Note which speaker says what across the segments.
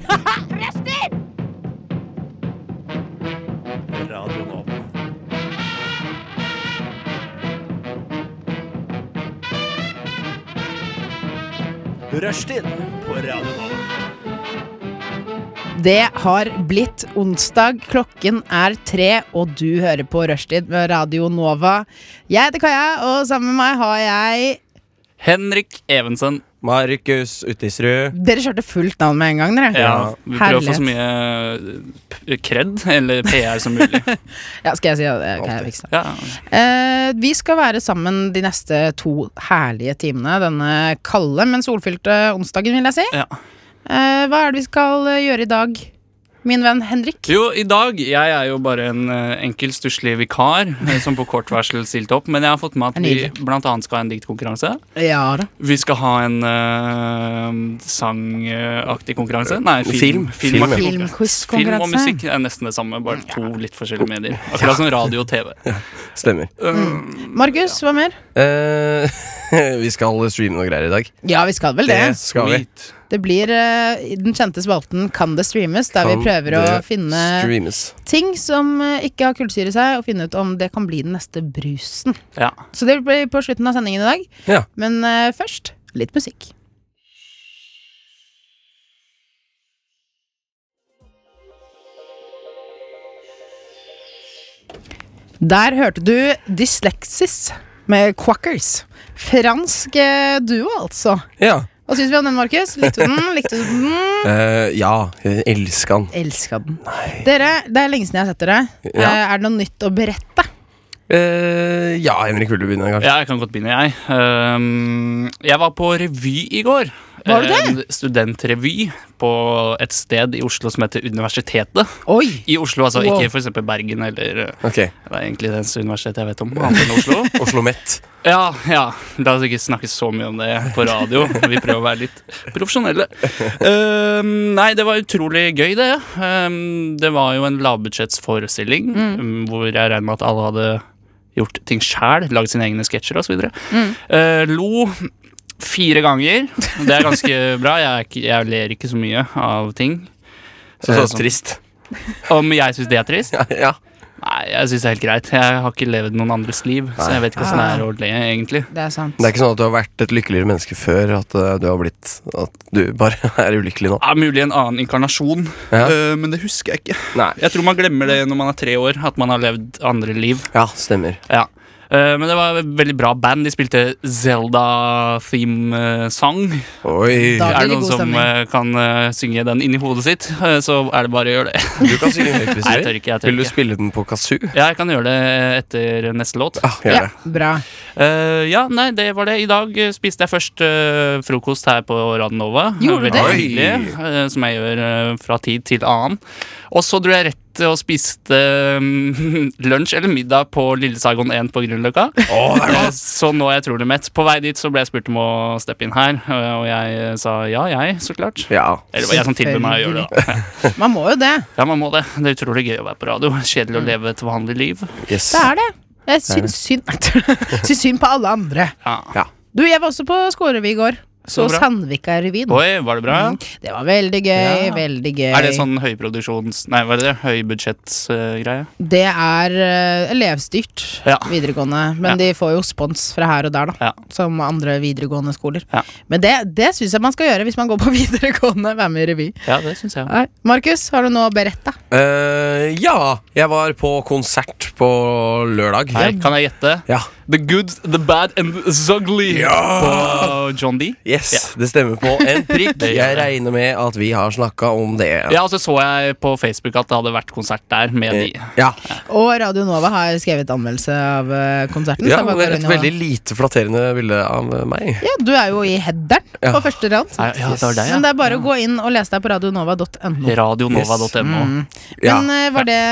Speaker 1: Rustin!
Speaker 2: Radio Nova. Rushtid på Radio Nova.
Speaker 3: Det har blitt onsdag, klokken er tre, og du hører på Rushtid med Radio Nova. Jeg heter Kaja, og sammen med meg har jeg
Speaker 4: Henrik Evensen.
Speaker 5: Markus Uttisrud.
Speaker 3: Dere kjørte fullt navn med en gang, dere.
Speaker 4: Ja, vi prøver å få
Speaker 3: Herlighet.
Speaker 4: så mye eh, kred, eller PR, som mulig.
Speaker 3: Ja, skal jeg si ja, det? Kan jeg
Speaker 5: Alltid.
Speaker 3: fikse.
Speaker 4: Ja.
Speaker 3: Eh, vi skal være sammen de neste to herlige timene denne kalde, men solfylte onsdagen, vil jeg si.
Speaker 4: Ja.
Speaker 3: Eh, hva er det vi skal eh, gjøre i dag, min venn Henrik?
Speaker 4: Jo, i dag Jeg er jo bare en eh, enkel, stusslig vikar eh, som på kort varsel stilte opp. Men jeg har fått med at
Speaker 3: Det er
Speaker 4: vi blant annet skal ha en diktkonkurranse.
Speaker 3: Ja da.
Speaker 4: Vi skal ha en eh, sangaktig konkurranse. Nei, film.
Speaker 5: Film.
Speaker 4: Filmaktig
Speaker 5: Film.
Speaker 4: konkurranse. Film og
Speaker 3: Filmquiz-konkurranse.
Speaker 4: musikk er nesten det samme, bare to litt forskjellige medier. Akkurat som radio og TV.
Speaker 5: Stemmer.
Speaker 3: Markus, hva mer?
Speaker 5: Eh, vi skal streame noe greier i dag.
Speaker 3: Ja, vi skal vel det.
Speaker 5: skal vi.
Speaker 3: Det blir eh, i den kjente spalten Kan det streames? Der
Speaker 5: Kan
Speaker 3: vi prøver å
Speaker 5: det
Speaker 3: finne
Speaker 5: Streames.
Speaker 3: ting som eh, ikke har kullsyre i seg, og finne ut om det kan bli den neste brusen.
Speaker 4: Ja.
Speaker 3: Så det blir på slutten av sendingen i dag.
Speaker 5: Ja.
Speaker 3: Men eh, først litt musikk. Der hørte du Dyslexis med Quackers. Fransk eh, duo, altså.
Speaker 5: Ja.
Speaker 3: Hva syns vi om den, Markus? Likte du den? Likte du den?
Speaker 5: Eh, ja. Jeg elsker han.
Speaker 3: Elska den. Dere, det er lenge siden jeg har sett dere.
Speaker 5: Ja.
Speaker 3: Eh, er det noe nytt å berette?
Speaker 5: Eh, ja, Henrik, vil du begynne, kanskje?
Speaker 4: Ja, jeg kan godt begynne, jeg. Ehm, jeg var på revy i går.
Speaker 3: Var du det?
Speaker 4: En studentrevy på et sted i Oslo som heter Universitetet.
Speaker 3: Oi!
Speaker 4: I Oslo, altså.
Speaker 3: Wow.
Speaker 4: Ikke for eksempel Bergen eller eh,
Speaker 5: Ok.
Speaker 4: Det er egentlig det eneste universitetet jeg vet om. Annet enn Oslo.
Speaker 5: Oslo Met.
Speaker 4: Ja, ja. La oss ikke snakke så mye om det på radio. Vi prøver å være litt profesjonelle. Ehm, nei, det var utrolig gøy, det. Ehm, det var jo en lavbudsjettsforestilling um, hvor jeg regner med at alle hadde gjort ting sjæl. Lagd sine egne sketsjer osv.
Speaker 3: Mm.
Speaker 4: Uh, lo fire ganger. Det er ganske bra. Jeg, er ikke, jeg ler ikke så mye av ting.
Speaker 5: Så
Speaker 4: Eh,
Speaker 5: så
Speaker 4: sånn.
Speaker 5: trist.
Speaker 4: Om jeg syns det er trist?
Speaker 5: Ja, ja.
Speaker 4: Nei, jeg syns det er helt greit. Jeg har ikke levd noen andres liv, så jeg vet ikke åssen det er å le, egentlig.
Speaker 3: Det er sant.
Speaker 5: Det er ikke sånn at du har vært et lykkeligere menneske før. At eh, du har blitt At du bare er ulykkelig nå.
Speaker 4: Ja, mulig en annen inkarnasjon,
Speaker 5: Ja.
Speaker 4: Eh, men det husker jeg ikke.
Speaker 5: Nei.
Speaker 4: Jeg tror man glemmer det når man er tre år, at man har levd andre liv.
Speaker 5: Ja, stemmer.
Speaker 4: Ja. Eh, men det var et veldig bra band. De spilte Zelda-theme-sang.
Speaker 5: Oi.
Speaker 3: Da- blir det
Speaker 4: Er det noen
Speaker 3: god
Speaker 4: som
Speaker 3: stemning.
Speaker 4: eh, kan eh, synge den inni hodet sitt, eh, så er det bare å gjøre det.
Speaker 5: Du kan synge høyt hvis
Speaker 4: Nei, jeg
Speaker 5: du
Speaker 4: tør
Speaker 5: vil.
Speaker 4: ikke. Jeg tør
Speaker 5: Vil du
Speaker 4: ikke.
Speaker 5: spille den på kazoo?
Speaker 4: Ja, jeg kan gjøre det eh, etter neste låt.
Speaker 5: Ah, gjør
Speaker 3: Ja,
Speaker 5: det.
Speaker 3: bra.
Speaker 4: Eh, ja, nei, det var det. I dag eh, spiste jeg først eh, frokost her på Radnova.
Speaker 3: Gjorde du det?
Speaker 4: Veldig hyggelig, eh, som jeg gjør eh, fra tid til annen. Og så dro jeg rett og spiste mm, lunsj eller middag på Lille Sagon 1 på Grünerløkka. Eh, så nå er jeg trolig mett. På vei dit så ble jeg spurt om å steppe inn her, eh, og jeg eh, sa ja, jeg, så klart.
Speaker 5: Ja.
Speaker 4: Eller det var jeg som tilbød meg å gjøre det. da.
Speaker 3: Man må jo det.
Speaker 4: Ja, man må det. Det er utrolig gøy å være på radio. Kjedelig å leve et vanlig liv.
Speaker 5: Yes.
Speaker 3: Det er det. Jeg syns synd Syns synd på alle andre.
Speaker 4: Ja.
Speaker 3: Du, jeg var også på skolerevy i går. Så
Speaker 4: Så bra.
Speaker 3: Sandvika-revyen.
Speaker 4: Oi, var det bra?
Speaker 3: Mm, Det var veldig gøy.
Speaker 4: Ja.
Speaker 3: Veldig gøy.
Speaker 4: Er det sånn høyproduksjons... Nei, hva er det? det? Høybudsjettsgreie?
Speaker 3: Det er eh, elevstyrt
Speaker 4: Ja.
Speaker 3: videregående, men
Speaker 4: Ja.
Speaker 3: de får jo spons fra her og der, da.
Speaker 4: Ja.
Speaker 3: Som andre videregående skoler.
Speaker 4: Ja.
Speaker 3: Men det, det syns jeg man skal gjøre hvis man går på videregående. Være med i revy.
Speaker 4: Ja, det syns jeg.
Speaker 3: Nei. Markus, har du noe å berette?
Speaker 5: Eh, ja, jeg var på konsert på lørdag.
Speaker 4: Her kan jeg gjette.
Speaker 5: Ja.
Speaker 4: The good, the bad and the ugly på John D.
Speaker 5: Yes, det stemmer på en prikk.
Speaker 4: Det gjør
Speaker 5: Jeg
Speaker 4: det.
Speaker 5: regner med at vi har snakka om det.
Speaker 4: Ja, Eh, og så så jeg på Facebook at det hadde vært konsert der med de.
Speaker 5: Ja,
Speaker 3: Og Radio Nova har skrevet anmeldelse av eh, konserten.
Speaker 5: ja
Speaker 3: så bare
Speaker 5: det er
Speaker 3: gå
Speaker 5: et
Speaker 3: inn og-
Speaker 5: veldig lite flatterende bilde av meg.
Speaker 3: ja, du er jo i headeren på
Speaker 5: Ja.
Speaker 3: første rad.
Speaker 4: Nei, Ja, det var deg,
Speaker 3: Men
Speaker 4: ja.
Speaker 3: det er bare å gå inn og lese deg på radionova.no.
Speaker 4: Radionova.no.
Speaker 5: Ja.
Speaker 3: Men eh, var det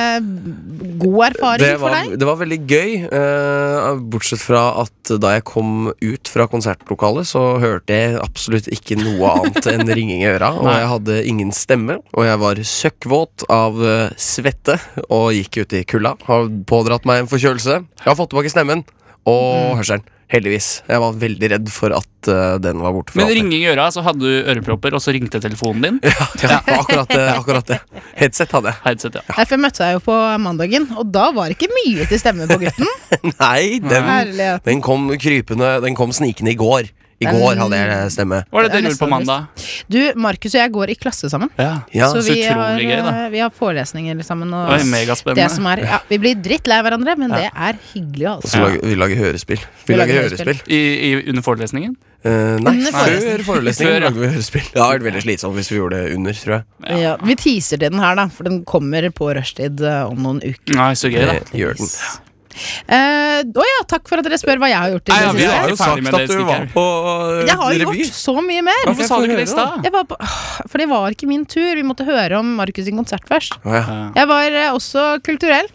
Speaker 3: god erfaring
Speaker 5: Det
Speaker 3: for
Speaker 5: var,
Speaker 3: deg?
Speaker 5: det var veldig gøy, eh, bortsett fra at da jeg kom ut fra konsertlokalet, så hørte jeg absolutt ikke noe annet enn ringing i øra. Og
Speaker 4: Nei.
Speaker 5: jeg hadde ingen stemme, og jeg var søkkvåt av eh, svette og gikk ut i kulda. Har pådratt meg en forkjølelse. Jeg har fått tilbake stemmen og hørselen. Heldigvis. Jeg var veldig redd for at eh, den var borte. fra
Speaker 4: Men
Speaker 5: alt.
Speaker 4: ringing i øra, så hadde du ørepropper, og så ringte telefonen din.
Speaker 5: Ja, ja akkurat, det, akkurat det. Headset hadde jeg.
Speaker 4: Headset, ja.
Speaker 3: Nei, for jeg møtte deg jo på mandagen, og da var det ikke mye til stemme på gutten.
Speaker 5: Nei, den,
Speaker 3: Herlighet.
Speaker 5: den kom krypende Den kom snikende i går. I
Speaker 3: Den-
Speaker 5: går hadde jeg stemme.
Speaker 4: Var det
Speaker 3: Det er
Speaker 4: det du
Speaker 3: nesten
Speaker 4: på mandag?
Speaker 3: Du, Markus og jeg går i klasse sammen.
Speaker 4: Ja.
Speaker 5: Ja,
Speaker 3: så
Speaker 4: så
Speaker 3: vi har,
Speaker 4: utrolig gøy, da.
Speaker 3: eh, vi har forelesninger sammen. Og
Speaker 4: Det var jo megaspennende.
Speaker 3: det som er, ja, vi blir drittlei hverandre, men det er hyggelig.
Speaker 5: og
Speaker 3: Altså.
Speaker 5: så lager, vi lager hørespill. Vi, lager, hørespill.
Speaker 4: I, i, under forelesningen?
Speaker 5: Eh, nei,
Speaker 3: Under
Speaker 5: før
Speaker 3: forelesningen.
Speaker 5: forelesningen
Speaker 4: Før, ja.
Speaker 5: lagde vi hørespill. Det hadde vært veldig slitsomt hvis vi gjorde det under, tror jeg.
Speaker 3: Ja. vi teaser til den her, da, for den kommer på rushtid eh, om noen uker.
Speaker 4: Nei, så gøy, da.
Speaker 5: Det gjør den.
Speaker 3: Eh, Å ja, takk for at dere spør hva jeg har gjort. i
Speaker 4: Nei, ja,
Speaker 3: det
Speaker 4: vi
Speaker 3: siste.
Speaker 4: er jo ferdig med det stikket.
Speaker 5: på
Speaker 4: eh,
Speaker 3: Jeg har jo gjort så mye mer.
Speaker 4: Hvorfor sa du ikke det i stad?
Speaker 3: Jeg var på, Åh, for det var ikke min tur. Vi måtte høre om Markus sin konsert først.
Speaker 5: Å, ja.
Speaker 4: Ja.
Speaker 3: Jeg var eh, også kulturell.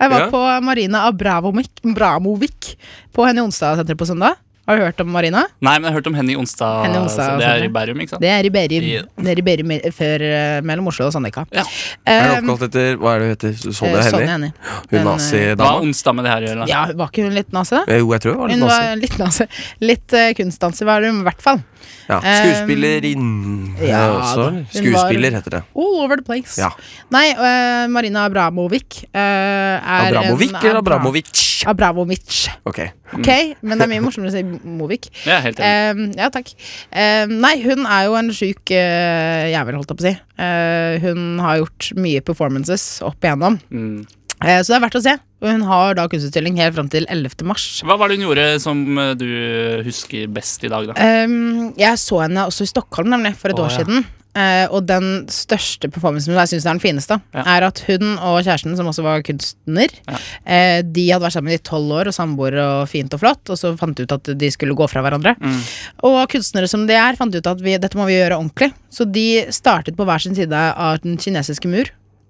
Speaker 3: Jeg var
Speaker 5: Ja.
Speaker 3: på Marina Abramovic, Abramovic på Henny Onsdag-senteret på søndag. Har du hørt om Marina?
Speaker 4: Nei, men jeg har hørt om henne i onsdag.
Speaker 3: Henny Onsdag,
Speaker 4: så det er i
Speaker 3: sånn.
Speaker 4: Bærum, ikke sant?
Speaker 3: Det er i Beri,
Speaker 4: Ja.
Speaker 3: det er i Beri me- før, eh, mellom Oslo og Sandvika.
Speaker 4: Ja.
Speaker 5: Er det
Speaker 3: Eh,
Speaker 5: oppkalt etter Hva er det hun heter? Sonja
Speaker 3: eh,
Speaker 5: Hennie?
Speaker 3: Hennie.
Speaker 5: Hun
Speaker 3: den,
Speaker 4: Hva har
Speaker 5: nazidama?
Speaker 4: onsdag med det her å gjøre? da?
Speaker 3: Ja, var ikke hun litt nazi, da?
Speaker 5: Eh, Jo, jeg tror hun var litt
Speaker 3: Hun
Speaker 5: nazi.
Speaker 3: var litt nazi. Litt eh, kunstdanser var hun i hvert fall.
Speaker 5: Ja. Skuespillerinnen
Speaker 3: eh, ja,
Speaker 5: ja, også.
Speaker 3: da. Hun
Speaker 5: Skuespiller
Speaker 3: var-
Speaker 5: heter det.
Speaker 3: All Oh, over the place.
Speaker 5: Ja.
Speaker 3: Nei, eh, Marina Abramovic eh, er
Speaker 5: Abramovic
Speaker 3: en-
Speaker 5: eller Abramovic? Mm.
Speaker 3: Abramovic.
Speaker 5: Ok.
Speaker 3: Ok, men det er mye morsommere å si Movic.
Speaker 4: Jeg er helt enig.
Speaker 3: Eh, ja, takk. Eh, nei, hun er jo en sjuk eh, jævel, holdt jeg på å si. Eh, hun har gjort mye performances opp igjennom,
Speaker 4: Mm.
Speaker 3: eh, så det er verdt å se. Og hun har da kunstutstilling helt fram til 11. mars.
Speaker 4: Hva var det hun gjorde som eh, du husker best i dag, da?
Speaker 3: Ehm, jeg så henne også i Stockholm nemlig for et
Speaker 4: Å,
Speaker 3: år
Speaker 4: ja.
Speaker 3: siden. Eh, og den største performancen som jeg syns er den fineste,
Speaker 4: Ja.
Speaker 3: er at hun og kjæresten, som også var kunstner,
Speaker 4: Ja.
Speaker 3: eh, de hadde vært sammen i tolv år og samboere og fint og flott, og så fant de ut at de skulle gå fra hverandre.
Speaker 4: Mm.
Speaker 3: Og kunstnere som de er, fant ut at vi, dette må vi gjøre ordentlig. Så de startet på hver sin side av den kinesiske mur,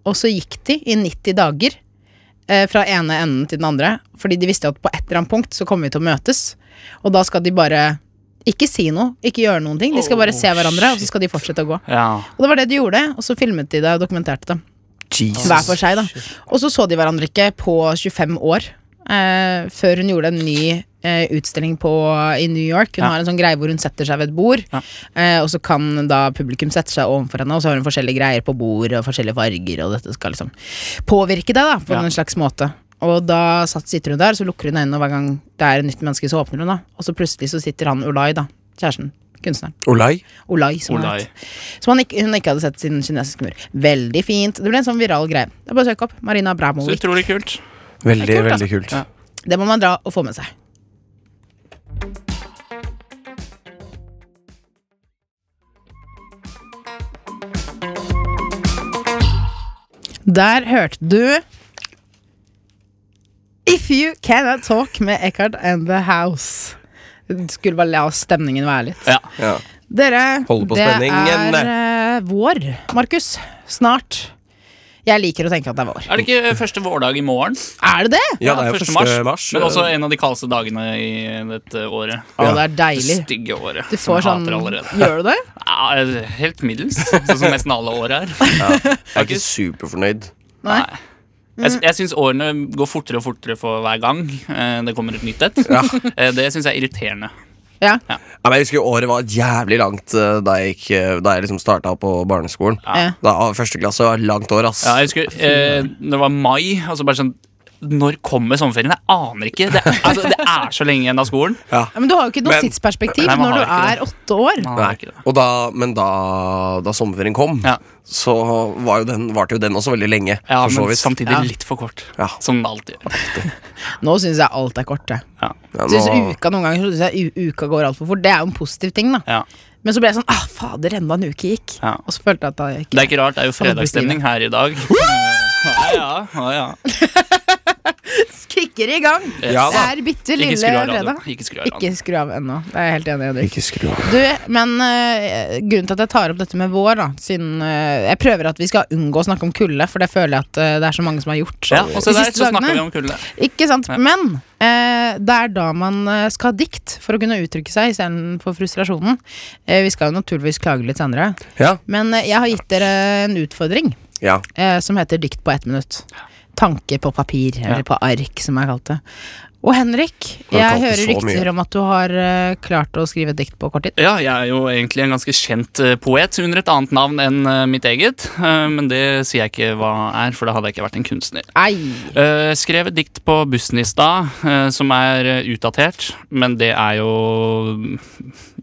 Speaker 3: og så gikk de i 90 dager eh, fra ene enden til den andre, fordi de visste at på et eller annet punkt så kommer vi til å møtes, og da skal de bare ikke si noe, ikke gjøre noen ting. De skal bare
Speaker 4: Oh,
Speaker 3: se hverandre, og så skal de fortsette å gå.
Speaker 4: Ja.
Speaker 3: Og det var det de gjorde, og så filmet de det og dokumenterte det.
Speaker 5: Jesus.
Speaker 3: Hver for seg, da. Og så så de hverandre ikke på 25 år, eh, før hun gjorde en ny eh, utstilling på, i New York. Hun
Speaker 4: Ja.
Speaker 3: har en sånn greie hvor hun setter seg ved et bord,
Speaker 4: Ja.
Speaker 3: eh, og så kan da publikum sette seg overfor henne, og så har hun forskjellige greier på bordet og forskjellige farger, og dette skal liksom påvirke deg, da, på
Speaker 4: Ja.
Speaker 3: en slags måte. Og da satt, sitter hun der, så lukker hun øynene, og hver gang det er et nytt menneske, så åpner hun, da. Og så plutselig så sitter han Olai, da. Kjæresten. Kunstneren.
Speaker 5: Olai?
Speaker 3: Olai, som han
Speaker 4: Olai.
Speaker 3: het. Som han ikke, hun ikke hadde sett siden kinesisk mur. Veldig fint. Det ble en sånn viral greie. Det er bare å søke opp. Marina
Speaker 4: Så
Speaker 3: Abramovic.
Speaker 4: utrolig kult. altså.
Speaker 5: Veldig,
Speaker 3: Det er kult,
Speaker 5: veldig kult.
Speaker 4: Ja.
Speaker 3: Det må man dra og få med seg. Der hørte du If You Cannot Talk med Eckhart and The House. Skulle bare la stemningen være litt.
Speaker 4: Ja.
Speaker 5: Ja.
Speaker 3: Dere,
Speaker 5: Holde på
Speaker 3: det
Speaker 5: spenningen.
Speaker 3: er eh, vår, Markus. Snart. Jeg liker å tenke at det er vår.
Speaker 4: Er det ikke første vårdag i morgen?
Speaker 3: Er det det?
Speaker 5: ja, det er jo 1. mars. eh.
Speaker 4: Men også en av de kaldeste dagene i dette året.
Speaker 3: Å,
Speaker 5: Ja.
Speaker 3: det er deilig.
Speaker 4: Det stygge året.
Speaker 3: Du får
Speaker 4: som
Speaker 3: sånn
Speaker 4: jeg hater allerede.
Speaker 3: Gjør du det?
Speaker 4: Ja, helt middels, sånn som nesten alle år er.
Speaker 5: Jeg er ikke superfornøyd.
Speaker 3: Nei.
Speaker 4: Jeg, jeg syns årene går fortere og fortere for hver gang eh, det kommer et nytt et.
Speaker 5: Ja.
Speaker 4: Eh, Det syns jeg er irriterende.
Speaker 3: Ja.
Speaker 5: Ja, men jeg husker året var jævlig langt eh, da jeg, gikk, eh, da jeg liksom starta på barneskolen.
Speaker 3: Ja.
Speaker 5: Da, ah, første klasse var et langt år, ass.
Speaker 4: Ja, jeg husker eh, når det var mai, og så bare sånn Når kommer sommerferien? Jeg aner ikke. Det, altså, det er så lenge igjen av skolen.
Speaker 3: Ja, Men du har jo ikke noe
Speaker 5: Men-
Speaker 3: tidsperspektiv
Speaker 4: Nei, man
Speaker 3: når du
Speaker 4: har
Speaker 3: er åtte år.
Speaker 4: Man
Speaker 5: Nei.
Speaker 4: aner ikke det.
Speaker 5: Og da, men da, da sommerferien kom,
Speaker 4: Ja.
Speaker 5: så var jo den, varte jo den også veldig lenge.
Speaker 4: Ja,
Speaker 5: for så
Speaker 4: men
Speaker 5: vidt.
Speaker 4: samtidig
Speaker 3: Ja.
Speaker 4: litt for kort.
Speaker 5: Ja.
Speaker 4: Som den alltid gjør.
Speaker 3: Nå syns jeg alt er kort. Jeg
Speaker 4: Ja.
Speaker 5: Ja,
Speaker 3: synes
Speaker 5: nå-
Speaker 3: uka noen ganger så synes jeg u- uka går altfor fort. Det er jo en positiv ting, da.
Speaker 4: Ja.
Speaker 3: Men så ble jeg sånn ah, fader, enda en uke gikk.
Speaker 4: Ja.
Speaker 3: Og så følte jeg at da gikk
Speaker 4: Det er ikke rart, det er jo fredagsstemning her i dag. Ja, ja, ja, ja.
Speaker 3: Kicker i gang!
Speaker 5: Ja
Speaker 3: Det
Speaker 5: da.
Speaker 3: er bitte
Speaker 4: Ikke
Speaker 3: lille
Speaker 4: skru av radioen.
Speaker 3: fredag.
Speaker 4: Ikke skru av radioen.
Speaker 3: Ikke skru av ennå. Det er jeg helt enig i. Henrik.
Speaker 5: Ikke skru av.
Speaker 3: Du, men eh, grunnen til at jeg tar opp dette med vår, da siden eh, Jeg prøver at vi skal unngå å snakke om kulde, for det føler jeg at eh, det er så mange som har gjort.
Speaker 4: Ja, og så
Speaker 3: de
Speaker 4: der
Speaker 3: siste
Speaker 4: så
Speaker 3: dagene.
Speaker 4: snakker vi om kulde.
Speaker 3: Ikke sant?
Speaker 4: Ja.
Speaker 3: Men eh, det er da man eh, skal ha dikt for å kunne uttrykke seg istedenfor frustrasjonen. Eh, vi skal jo naturligvis klage litt senere,
Speaker 5: Ja.
Speaker 3: men eh, jeg har gitt dere en utfordring
Speaker 5: ja.
Speaker 3: eh, som heter Dikt på ett minutt. Tanke på papir, eller på ark, som jeg kalte det. Og Henrik,
Speaker 5: Har du
Speaker 3: jeg
Speaker 5: kalt det
Speaker 3: hører
Speaker 5: så mye?
Speaker 3: rykter om at du har eh, klart å skrive dikt på kort tid.
Speaker 4: Ja, jeg er jo egentlig en ganske kjent eh, poet under et annet navn enn eh, mitt eget. eh, Men det sier jeg ikke hva er, for da hadde jeg ikke vært en kunstner.
Speaker 3: Ei.
Speaker 4: Eh, Skrev et dikt på bussen i stad eh, som er eh, utdatert, men det er jo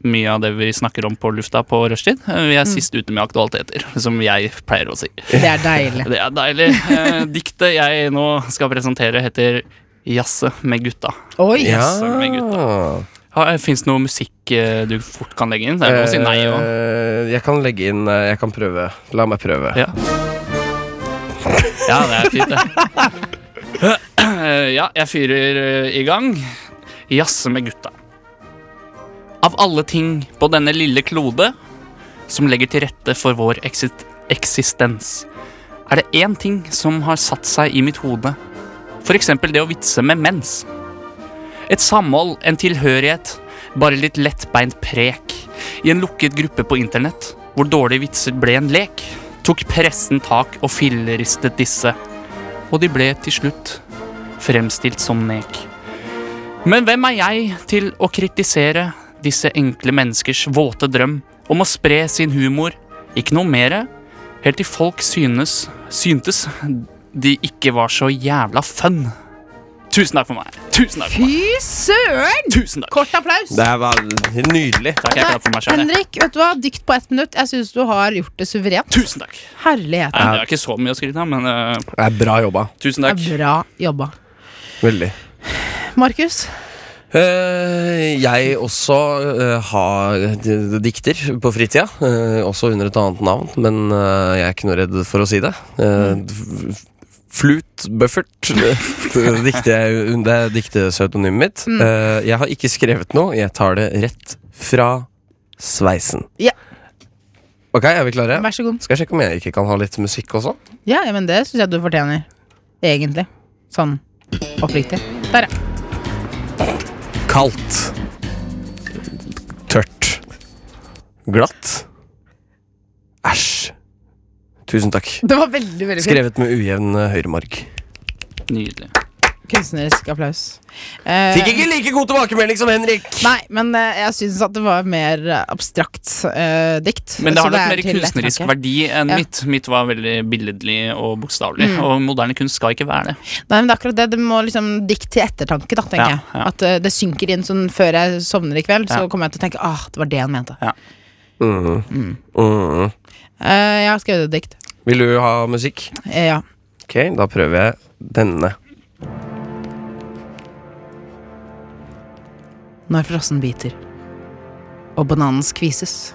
Speaker 4: mye av det vi snakker om på lufta på rushtid. Eh, Vi er sist ute med aktualiteter, som jeg pleier å si.
Speaker 3: Det er deilig.
Speaker 4: Det er deilig. Eh, Diktet jeg nå skal presentere, heter Jazze med gutta.
Speaker 3: Oi.
Speaker 4: Yes, er du med, Fins det noe musikk eh, du fort kan legge inn? Det er lov å si nei òg.
Speaker 5: Eh, Jeg kan legge inn eh, Jeg kan prøve. La meg prøve.
Speaker 4: Ja. ja, det er fint, det. Eh, Ja, jeg fyrer eh, i gang. Jazze med gutta. Av alle ting på denne lille klode som legger til rette for vår eksis- eksistens, er det én ting som har satt seg i mitt hode. F.eks. det å vitse med mens. Et samhold, en tilhørighet, bare litt lettbeint prek. I en lukket gruppe på internett, hvor dårlige vitser ble en lek, tok pressen tak og filleristet disse. Og de ble til slutt fremstilt som nek. Men hvem er jeg til å kritisere disse enkle menneskers våte drøm om å spre sin humor? Ikke noe mere, helt til folk synes, syntes de ikke var så jævla fun. Tusen takk for meg. Tusen takk. for meg.
Speaker 3: Fy søren!
Speaker 4: Tusen takk.
Speaker 3: Kort applaus.
Speaker 5: Det her var nydelig.
Speaker 4: Takk, jeg er glad for meg selv. jeg.
Speaker 3: Henrik, vet du hva? dikt på ett minutt. Jeg syns du har gjort det suverent.
Speaker 4: Tusen takk.
Speaker 3: Herlighet.
Speaker 4: Nei, det er ikke så mye å skryte av, men eh,
Speaker 5: Det er bra jobba.
Speaker 4: tusen
Speaker 3: Det
Speaker 4: takk.
Speaker 3: er bra jobba.
Speaker 5: Veldig.
Speaker 3: Markus,
Speaker 5: Eh, jeg også eh, har d- dikter på fritida, eh, også under et annet navn, men eh, jeg er ikke noe redd for å si det. Eh, f- f- Flut Buffert det dikter jeg- det er diktepseudonymet mitt. Eh, jeg har ikke skrevet noe, jeg tar det rett fra sveisen.
Speaker 3: Ja.
Speaker 5: Ok, er vi klare?
Speaker 3: vær så god.
Speaker 5: Skal jeg sjekke om jeg ikke kan ha litt musikk også?
Speaker 3: Ja, ja, men det syns jeg du fortjener. Egentlig. Sånn oppriktig. Der, ja.
Speaker 5: Kaldt. Tørt. Glatt. Æsj. Tusen takk.
Speaker 3: Det var veldig veldig fint.
Speaker 5: Skrevet med ujevn eh, høyremarg.
Speaker 4: Nydelig.
Speaker 3: Kunstnerisk applaus. Eh,
Speaker 5: Fikk ikke like god tilbakemelding som Henrik!
Speaker 3: Nei, men eh, jeg syns at det var mer eh, abstrakt eh, dikt.
Speaker 4: Men det har
Speaker 3: så
Speaker 4: nok
Speaker 3: er
Speaker 4: mer
Speaker 3: til
Speaker 4: kunstnerisk
Speaker 3: ettertanke.
Speaker 4: verdi enn
Speaker 3: Ja. Mm.
Speaker 4: mitt. Mitt var veldig billedlig og bokstavelig. Og moderne kunst skal ikke være det.
Speaker 3: Nei, men det er akkurat det. Det må liksom dikt til ettertanke, da, tenker
Speaker 4: Ja,
Speaker 3: jeg.
Speaker 4: ja.
Speaker 3: At eh, det synker inn sånn før jeg sovner i kveld,
Speaker 4: Ja.
Speaker 3: så kommer jeg til å tenke ah, det var det han mente.
Speaker 5: Mm. Mm.
Speaker 3: Eh, jeg har skrevet et dikt.
Speaker 5: Vil du ha musikk?
Speaker 3: Eh, ja.
Speaker 5: Ok, da prøver jeg denne.
Speaker 3: Når frossen biter og bananen skvises,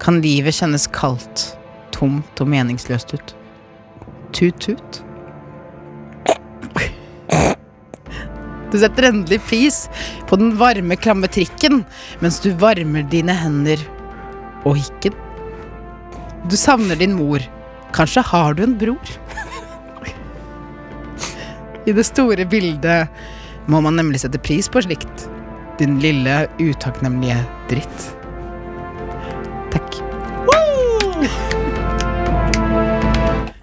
Speaker 3: kan livet kjennes kaldt, tomt og meningsløst ut. Tut-tut. Du setter endelig pris på den varme, klamme trikken mens du varmer dine hender og hikken. Du savner din mor. Kanskje har du en bror? I det store bildet må man nemlig sette pris på slikt. Din lille utakknemlige dritt. Takk.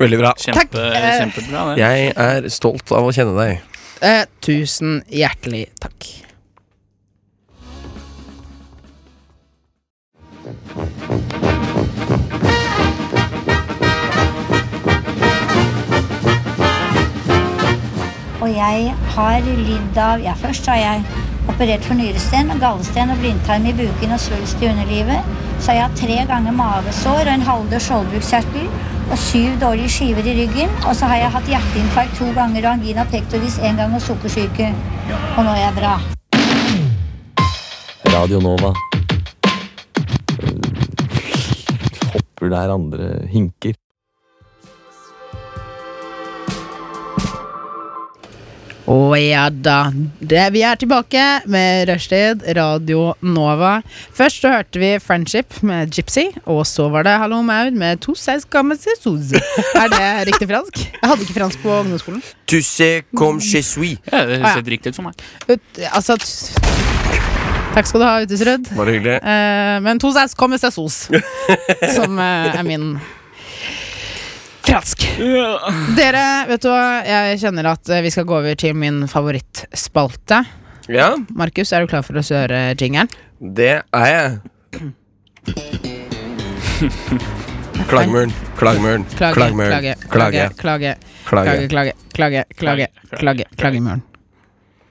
Speaker 5: Veldig bra.
Speaker 4: Kjempe,
Speaker 3: Takk, eh.
Speaker 4: Kjempebra, det.
Speaker 5: Jeg er stolt av å kjenne deg.
Speaker 3: Eh, tusen hjertelig takk.
Speaker 1: Og jeg har lidd av Ja, først har jeg operert for nyresten, gallesten og blindtarm i buken og svulst i underlivet. Så har jeg hatt tre ganger mavesår og en halvdød skjoldbruskkjertel og syv dårlige skiver i ryggen. Og så har jeg hatt hjerteinfarkt to ganger og angina pectoris én gang og sukkersyke. Og nå er jeg bra.
Speaker 6: Radio Nova. Eh, Hopper der andre hinker.
Speaker 3: Å ja da. Det, vi er tilbake med Rushtid, Radio Nova. Først så hørte vi Friendship med Gypsy, og så var det Hallo Maud med To seis gamme se soze. Er det riktig fransk? Jeg hadde ikke fransk på ungdomsskolen.
Speaker 5: Tusse comme chez suis.
Speaker 4: Ja,
Speaker 3: Ah,
Speaker 4: det høres
Speaker 3: ja.
Speaker 4: helt riktig ut for meg.
Speaker 3: Ut, altså t- Takk skal du ha, Utesrød.
Speaker 5: Bare hyggelig.
Speaker 3: Eh, men to saus kommer seg sos. Som eh, er min Trask! Dere, vet du hva? Jeg kjenner at eh, vi skal gå over til min favorittspalte.
Speaker 5: Ja,
Speaker 3: Markus, er du klar for å høre jingeren?
Speaker 5: det er jeg. Klagemuren, klagemuren,
Speaker 3: Klage, klage,
Speaker 5: klagemuren.
Speaker 3: klage,
Speaker 5: Klage,
Speaker 3: klage,
Speaker 5: klage.
Speaker 3: klage, klage, klage, klage, klage, klagemuren.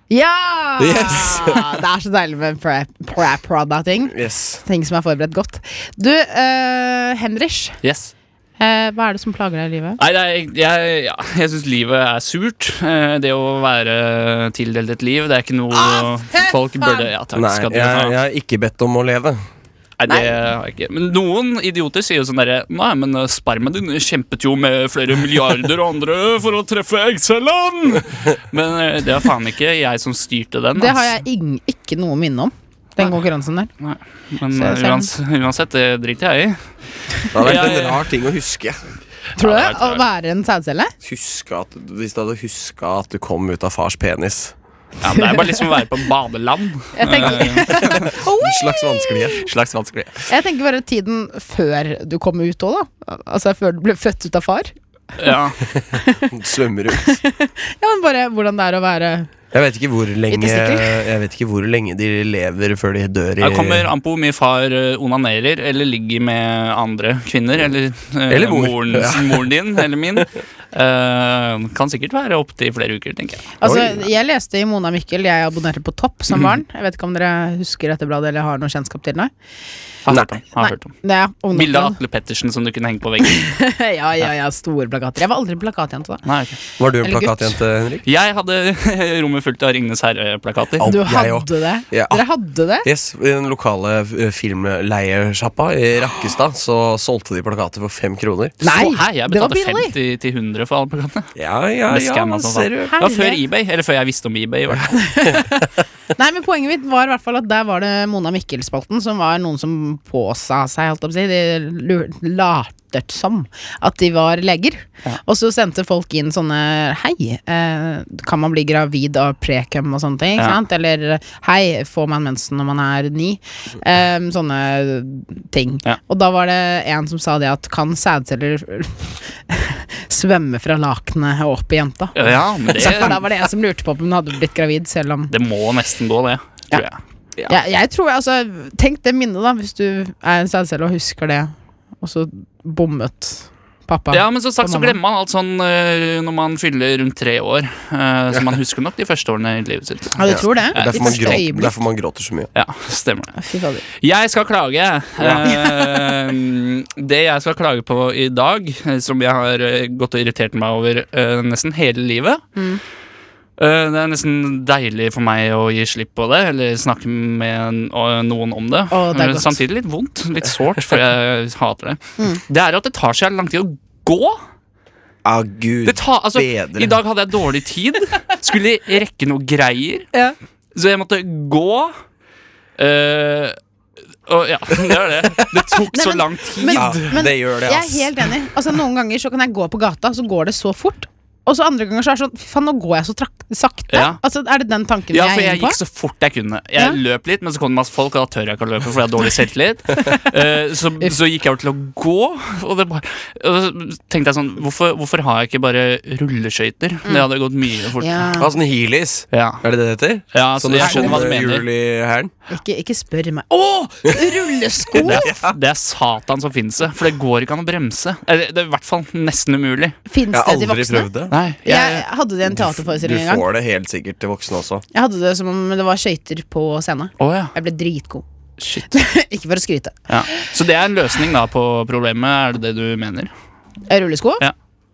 Speaker 3: Ja!
Speaker 5: Yes!
Speaker 3: Det er så deilig med pra-prada-ting.
Speaker 5: Yes.
Speaker 3: Ting som er forberedt godt. Du, eh, Henrich,
Speaker 4: Yes.
Speaker 3: eh, hva er det som plager deg i livet?
Speaker 4: Nei, det er, jeg, ja, jeg syns livet er surt. Eh, Det å være tildelt et liv, det er ikke noe
Speaker 3: Ah, fy
Speaker 4: folk burde
Speaker 3: faen!
Speaker 4: Ja, takk
Speaker 5: Nei,
Speaker 4: skal
Speaker 5: jeg,
Speaker 4: dere ha.
Speaker 5: jeg har ikke bedt om å leve.
Speaker 4: Nei, det har jeg ikke. Men noen idioter sier jo sånn derre Nei, men eh, spermaen din kjempet jo med flere milliarder andre for å treffe eggcellene! Men eh, det var faen ikke jeg som styrte den.
Speaker 3: Det har
Speaker 4: ass.
Speaker 3: jeg ing- ikke noe minne om. Den konkurransen der.
Speaker 4: Men
Speaker 3: Så jeg
Speaker 4: eh,
Speaker 3: ser
Speaker 4: uans, uansett, det driter jeg i.
Speaker 5: Det hadde vært
Speaker 4: Jeg-
Speaker 5: en rar ting å huske.
Speaker 3: Tror du det?
Speaker 4: Ja, det
Speaker 3: Å
Speaker 4: tror jeg.
Speaker 3: være en sædcelle?
Speaker 5: Huske at, hvis du hadde huska at du kom ut av fars penis.
Speaker 4: Ja, men det er bare liksom å være på badeland.
Speaker 3: Jeg tenker,
Speaker 5: En slags vanskelighet.
Speaker 4: Slags vanskelig.
Speaker 3: jeg tenker bare tiden før du kom ut òg, da. Altså før du ble født ut av far.
Speaker 4: Ja.
Speaker 5: Svømmer ut.
Speaker 3: Ja, men bare hvordan det er å være
Speaker 5: Jeg vet ikke hvor lenge,
Speaker 3: testikler.
Speaker 5: jeg vet ikke hvor lenge de lever før de dør i
Speaker 4: Her kommer an på hvor mye far eh, onanerer eller ligger med andre kvinner. Eller, eh,
Speaker 5: Eller mor.
Speaker 4: moren, moren din eller min. Eh, kan sikkert være opptil flere uker, tenker jeg.
Speaker 3: Altså,
Speaker 5: Oi.
Speaker 3: jeg leste i Mona Mikkel, jeg abonnerte på Topp som barn. Jeg vet ikke om dere husker dette bladet eller har noe kjennskap til det?
Speaker 4: Har
Speaker 5: Nei.
Speaker 4: hørt om. Har hørt om.
Speaker 3: Det er ungdomsblad.
Speaker 4: Bilde av Atle Pettersen som du kunne henge på veggen.
Speaker 3: ja, ja, ja, store plakater. Jeg var aldri plakatjente, da.
Speaker 4: Nei, ok.
Speaker 5: Var du en
Speaker 3: Eller gutt.
Speaker 5: plakatjente, Henrik?
Speaker 4: Jeg hadde rommet fullt av Ringnes herre-plakater.
Speaker 5: Au.
Speaker 3: Du
Speaker 5: Jeg
Speaker 3: hadde
Speaker 5: også.
Speaker 3: det?
Speaker 5: Ja.
Speaker 3: Dere hadde det?
Speaker 5: Yes, I den lokale eh, filmleiesjappa i Rakkestad så solgte de plakater for fem kroner.
Speaker 3: Nei,
Speaker 4: Så her, jeg
Speaker 3: det var
Speaker 4: betalte
Speaker 3: billig.
Speaker 4: 50 til 100 for alle plakatene.
Speaker 5: Ja, ja,
Speaker 4: Det
Speaker 5: ja,
Speaker 4: skammer meg som
Speaker 5: ser du.
Speaker 4: Det var før
Speaker 3: Herlig.
Speaker 4: eBay, eller før jeg visste om eBay. i hvert fall.
Speaker 3: Nei, men Poenget mitt var i hvert fall at der var det Mona Mikkel-spalten som var noen som påsa seg, holdt jeg på å si. De lur- latet som at de var leger. Og så sendte folk inn sånne Hei, eh, kan man bli gravid av prekum og sånne ting? Ikke
Speaker 4: Ja.
Speaker 3: sant? Eller hei, får man mensen når man er ni? Eh, sånne ting.
Speaker 4: Ja.
Speaker 3: Og da var det en som sa det at kan sædceller svømme fra lakenet og opp i jenta?
Speaker 4: Ja, men
Speaker 3: Så for da
Speaker 4: det,
Speaker 3: var det en som lurte på om hun hadde blitt gravid, selv om
Speaker 4: det må nesten gå, det.
Speaker 3: Ja.
Speaker 4: Tror jeg.
Speaker 3: ja. jeg, jeg tror, altså, Tenk det minnet, da, hvis du er en sædcelle og husker det, og så bommet pappa.
Speaker 4: Ja, men som sagt
Speaker 3: Og
Speaker 4: så
Speaker 3: mamma.
Speaker 4: glemmer man alt sånn eh, når man fyller rundt tre år. eh, så man husker nok de første årene i livet sitt.
Speaker 3: Ja, du tror det?
Speaker 5: Det er
Speaker 3: I
Speaker 5: Derfor man,
Speaker 3: første
Speaker 5: gråter,
Speaker 3: øyeblikk.
Speaker 5: derfor man gråter så mye.
Speaker 4: Ja, stemmer det.
Speaker 3: Fy fader.
Speaker 4: Jeg skal klage. Eh, det jeg skal klage på i dag, eh, som jeg har eh, gått og irritert meg over eh, nesten hele livet
Speaker 3: Mm.
Speaker 4: eh, Det er nesten deilig for meg å gi slipp på det, eller snakke med en- og noen om det.
Speaker 3: Å, det er
Speaker 4: Eh,
Speaker 3: godt. Mm.
Speaker 4: Samtidig litt vondt, litt sårt, for jeg hater det. Det er at det tar seg lang tid å gå.
Speaker 5: Ah, Gud.
Speaker 4: Det tar, altså,
Speaker 5: Bedre.
Speaker 4: I dag hadde jeg dårlig tid. Skulle rekke noe greier.
Speaker 3: Ja.
Speaker 4: Så jeg måtte gå. Eh, og ja, det var det. Det tok
Speaker 3: Nei,
Speaker 4: så
Speaker 3: men-
Speaker 4: lang tid.
Speaker 3: men-
Speaker 5: ja,
Speaker 3: men-
Speaker 5: det gjør det,
Speaker 3: Jeg er
Speaker 5: ass.
Speaker 3: helt enig. Altså Noen ganger så kan jeg gå på gata, så går det så fort. Og så andre ganger så er det sånn Fy faen, nå går jeg så trak sakte.
Speaker 4: Ja.
Speaker 3: Altså Er det den tanken
Speaker 4: ja, for
Speaker 3: jeg er
Speaker 4: jeg
Speaker 3: inne på?
Speaker 4: gikk så fort jeg kunne. Jeg
Speaker 3: Ja.
Speaker 4: løp litt, men så kom det masse folk, og da tør jeg ikke å løpe, for jeg har dårlig selvtillit. Eh, så, så gikk jeg over til å gå, og, det bare, og så tenkte jeg sånn Hvorfor, hvorfor har jeg ikke bare rulleskøyter? Det hadde gått mye fort. Ja,
Speaker 3: Mm. Ja.
Speaker 5: Ah, sånn heelys.
Speaker 4: ja.
Speaker 5: Er det det det heter? Sånn
Speaker 4: så Altså, jeg skjønner hva du mener.
Speaker 5: mener.
Speaker 3: Ikke, ikke spør meg. Å! Rullesko!
Speaker 4: Det er, det er satan som finnes det, for det går ikke an å bremse. Eller, Det er i hvert fall nesten umulig.
Speaker 3: Fins
Speaker 5: Jeg
Speaker 3: det
Speaker 5: har
Speaker 3: til
Speaker 5: aldri
Speaker 3: voksne?
Speaker 5: prøvd det.
Speaker 4: Nei,
Speaker 3: Jeg hadde det i en
Speaker 5: Du
Speaker 3: teaterforestilling en gang.
Speaker 5: får det helt sikkert til voksne også.
Speaker 3: Jeg hadde det som om det var skøyter på scenen.
Speaker 4: Å ja,
Speaker 3: Jeg ble dritgod.
Speaker 4: shit
Speaker 3: ikke for å skryte.
Speaker 4: ja. Så det er en løsning da på problemet, er det det du mener?
Speaker 3: Rullesko?
Speaker 4: Ja.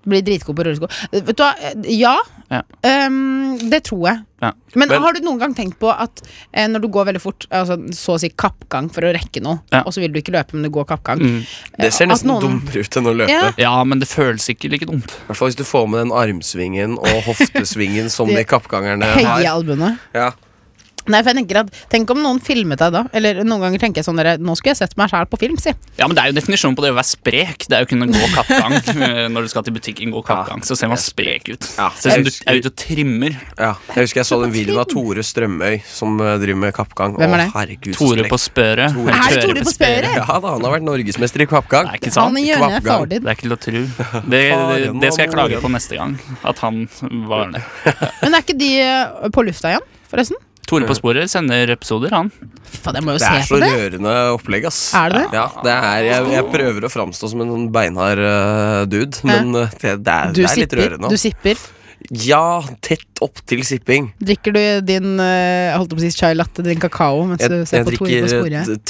Speaker 3: Blir dritgod på rullesko. Eh, Vet du hva, eh, ja.
Speaker 4: Ja.
Speaker 3: Ehm, det tror jeg.
Speaker 4: Ja.
Speaker 3: Men,
Speaker 5: Men-
Speaker 3: har du noen gang tenkt på at eh, når du går veldig fort, altså, så å si kappgang for å rekke noe,
Speaker 4: Ja. Mm.
Speaker 3: og så vil du ikke løpe, men du går kappgang eh,
Speaker 5: Det ser
Speaker 3: at
Speaker 5: nesten
Speaker 3: noen-
Speaker 5: dummere ut enn å løpe.
Speaker 3: Ja.
Speaker 4: Ja, men det føles ikke like dumt.
Speaker 5: I hvert fall hvis du får med den armsvingen og hoftesvingen som de
Speaker 3: Det-
Speaker 5: kappgangerne
Speaker 3: Høye
Speaker 5: har.
Speaker 3: albuene.
Speaker 5: Ja.
Speaker 3: Nei, for jeg tenker at Tenk om noen filmet deg da. Eller noen ganger tenker jeg sånn dere, Nå skulle jeg sett meg sjæl på film, si.
Speaker 4: Ja, men Det er jo definisjonen på det å være sprek. Det er jo å kunne gå kappgang. Eh, Når du skal til butikken, gå kappgang, så ser man sprek ut.
Speaker 5: Ja.
Speaker 4: Ser ut som du er ute og trimmer.
Speaker 5: Ja, jeg husker jeg så den videoen av Tore Strømøy som eh, driver med kappgang.
Speaker 3: Hvem er det?
Speaker 5: Å, herregud, så
Speaker 4: Tore
Speaker 5: sprek.
Speaker 4: på spøret.
Speaker 5: Tore.
Speaker 4: Eller
Speaker 5: Er det
Speaker 3: Tore på spøret?
Speaker 5: Ja da, han har vært norgesmester i kappgang.
Speaker 4: Det er ikke
Speaker 3: Han
Speaker 4: sant.
Speaker 3: er hjørnet
Speaker 5: Kvappgang.
Speaker 3: faren din.
Speaker 4: Det er ikke til å tro. Det, det, det skal jeg klage på neste gang. At han var det.
Speaker 3: Men er ikke de eh, på lufta igjen, forresten?
Speaker 4: Tore på sporet sender episoder, han.
Speaker 3: Faen, jeg må jo
Speaker 5: Det
Speaker 3: se
Speaker 5: er så
Speaker 3: på det.
Speaker 5: rørende opplegg, ass.
Speaker 3: Er det det?
Speaker 5: Ja, det er, jeg, jeg prøver å framstå som en sånn beinhard eh, dude, men eh, det, det, er, det er
Speaker 3: Du
Speaker 5: litt
Speaker 3: sipper,
Speaker 5: rørende.
Speaker 3: du
Speaker 5: ass.
Speaker 3: sipper.
Speaker 5: Ja, tett opp til sipping.
Speaker 3: Drikker du din eh, holdt jeg på å si chai latte, din kakao mens
Speaker 5: Jeg,
Speaker 3: du ser
Speaker 5: jeg
Speaker 3: på Tore på
Speaker 5: drikker eh,
Speaker 3: sporet?
Speaker 5: t-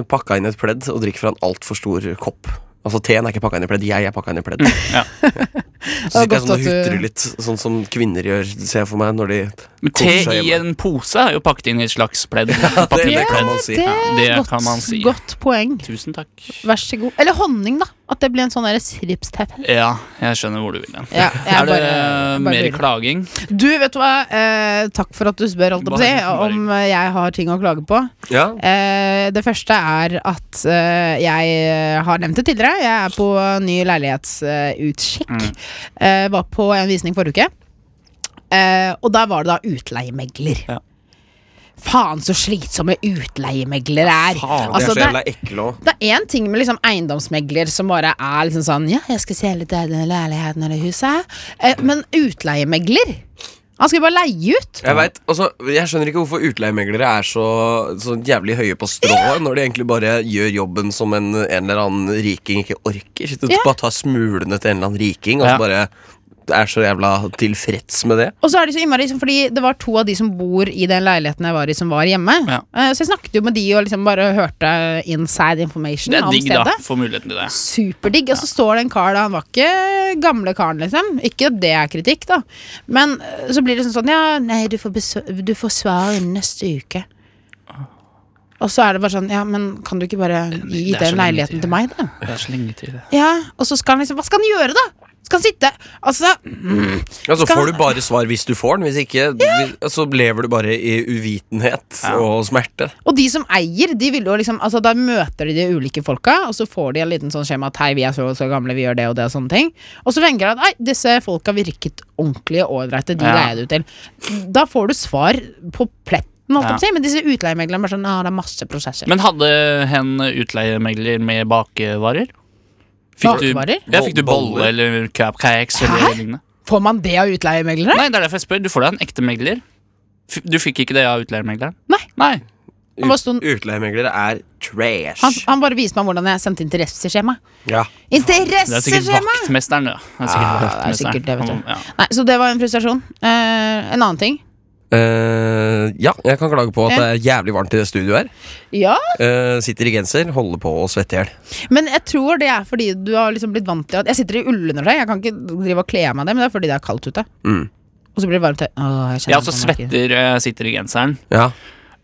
Speaker 5: te, pakka inn i et pledd, og drikker fra en altfor stor kopp. Altså, Teen er ikke pakka inn i pledd, jeg er pakka inn i pledd.
Speaker 4: Ja.
Speaker 5: Så
Speaker 3: Det er
Speaker 5: sitter jeg
Speaker 3: godt
Speaker 5: sånn
Speaker 3: at
Speaker 5: og
Speaker 3: du-
Speaker 5: hutrer litt, sånn som kvinner gjør, ser jeg for meg, når de
Speaker 4: Men te
Speaker 5: koser seg
Speaker 4: i
Speaker 5: hjemme.
Speaker 4: en pose er jo pakket inn i et slags pledd.
Speaker 5: Det,
Speaker 4: Papir.
Speaker 5: det kan man si.
Speaker 3: Det
Speaker 4: Ja,
Speaker 3: er
Speaker 4: det
Speaker 3: godt,
Speaker 4: kan man si.
Speaker 3: godt poeng.
Speaker 4: Tusen takk.
Speaker 3: Vær så god. Eller honning, da. At det blir en sånn derre sirupsteppe.
Speaker 4: Ja, jeg skjønner hvor du vil hen.
Speaker 3: Ja, jeg
Speaker 4: Er det
Speaker 3: bare- bare
Speaker 4: Eh, mer
Speaker 3: lurer.
Speaker 4: klaging?
Speaker 3: Du, vet du hva? Eh, takk for at du spør, holdt jeg på å si,
Speaker 4: Bare- bare-
Speaker 3: om eh, jeg har ting å klage på.
Speaker 5: Ja.
Speaker 3: Eh, det første er at eh, jeg har nevnt det tidligere. Jeg er på ny leilighetsutkikk. Eh, var på en visning forrige uke. Eh, og der var det da utleiemegler.
Speaker 4: Ja.
Speaker 3: Faen så slitsomme utleiemeglere er.
Speaker 5: De
Speaker 4: Faen,
Speaker 5: er så
Speaker 3: Altså, det-
Speaker 5: jævla ekle òg.
Speaker 3: det er én ting med liksom eiendomsmegler som bare er liksom sånn Ja, jeg skal selge til denne leiligheten eller huset. Eh, men utleiemegler? Han skal jo bare leie ut.
Speaker 5: Jeg vet, altså, jeg skjønner ikke hvorfor utleiemeglere er så, så jævlig høye på strået når de egentlig bare gjør jobben som en, en eller annen riking ikke orker. Du
Speaker 3: Ja.
Speaker 5: Bare tar smulene til en eller annen riking og så
Speaker 4: Ja.
Speaker 5: bare er så jævla tilfreds med det.
Speaker 3: Og så er det så innmari liksom, Fordi det var to av de som bor i den leiligheten jeg var i, som var hjemme.
Speaker 4: Ja.
Speaker 3: Eh, Så jeg snakket jo med de og liksom bare hørte inside information
Speaker 4: Det er
Speaker 3: om
Speaker 4: digg, da.
Speaker 3: stedet.
Speaker 4: Få muligheten til det.
Speaker 3: Superdigg. Og så står det en kar da, han var ikke gamle karen, liksom. Ikke at det er kritikk, da. Men eh, så blir det sånn sånn Ja, nei, du får, besø- du får svar innen neste uke. Og så er det bare sånn Ja, men kan du ikke bare gi
Speaker 4: det er så
Speaker 3: den
Speaker 4: lenge
Speaker 3: leiligheten
Speaker 4: til.
Speaker 3: til meg, da?
Speaker 4: Det er så lenge til det.
Speaker 3: Ja, Og så skal han liksom Hva skal han gjøre, da? Skal han sitte Altså
Speaker 5: Ja, så
Speaker 3: Skal-
Speaker 5: får du bare svar hvis du får den. Hvis ikke, vi- så lever du bare i uvitenhet og smerte.
Speaker 3: Og de som eier, de vil jo liksom Altså da møter de de ulike folka, og så får de en liten sånn skjema at hei, vi er så og så gamle, vi gjør det og det og sånne ting. Og så tenker de at nei, disse folka virket ordentlige og ålreite, de
Speaker 4: Ja.
Speaker 3: leier du til. Da får du svar på pletten, holdt jeg på å
Speaker 4: Ja.
Speaker 3: si, men disse utleiemeglerne bare sånn ja, det er masse prosesser.
Speaker 4: Men hadde hen utleiemegler med bakevarer?
Speaker 3: Bakevarer?
Speaker 4: Du, ja, fikk du
Speaker 5: Boller.
Speaker 4: bolle eller cupcakes
Speaker 3: Hæ?
Speaker 4: eller lignende?
Speaker 3: Får man det av utleiemeglere?
Speaker 4: Nei, det er derfor jeg spør. Du får deg en ekte megler. F- Du fikk ikke det av utleiemegleren?
Speaker 3: Nei.
Speaker 4: Nei.
Speaker 3: Han bare, sto-
Speaker 5: Utleiemeglere er trash.
Speaker 3: han, han bare viste meg hvordan jeg sendte interesseskjema.
Speaker 5: ja.
Speaker 4: Det er sikkert
Speaker 3: Interesseskjema!
Speaker 4: vaktmesteren, det.
Speaker 3: Ja,
Speaker 4: Det er sikkert
Speaker 3: Ah, det er
Speaker 4: vaktmesteren.
Speaker 3: sikkert det, vet du.
Speaker 4: Ja.
Speaker 3: Nei, så det var en frustrasjon. Eh, en annen ting.
Speaker 5: Eh, ja, jeg kan klage på at det er jævlig varmt i det studioet her.
Speaker 3: Ja,
Speaker 5: Eh, sitter i genser, holder på å svette i hjel.
Speaker 3: Men jeg tror det er fordi du har liksom blitt vant til at Jeg sitter i ullundertøy, jeg kan ikke drive og kle av meg det, men det er fordi det er kaldt ute.
Speaker 5: Mm.
Speaker 3: Og så blir det varmt her. Åh, jeg kjenner
Speaker 4: Jeg også
Speaker 3: på nakken.
Speaker 4: svetter, eh, sitter i genseren.
Speaker 5: Ja.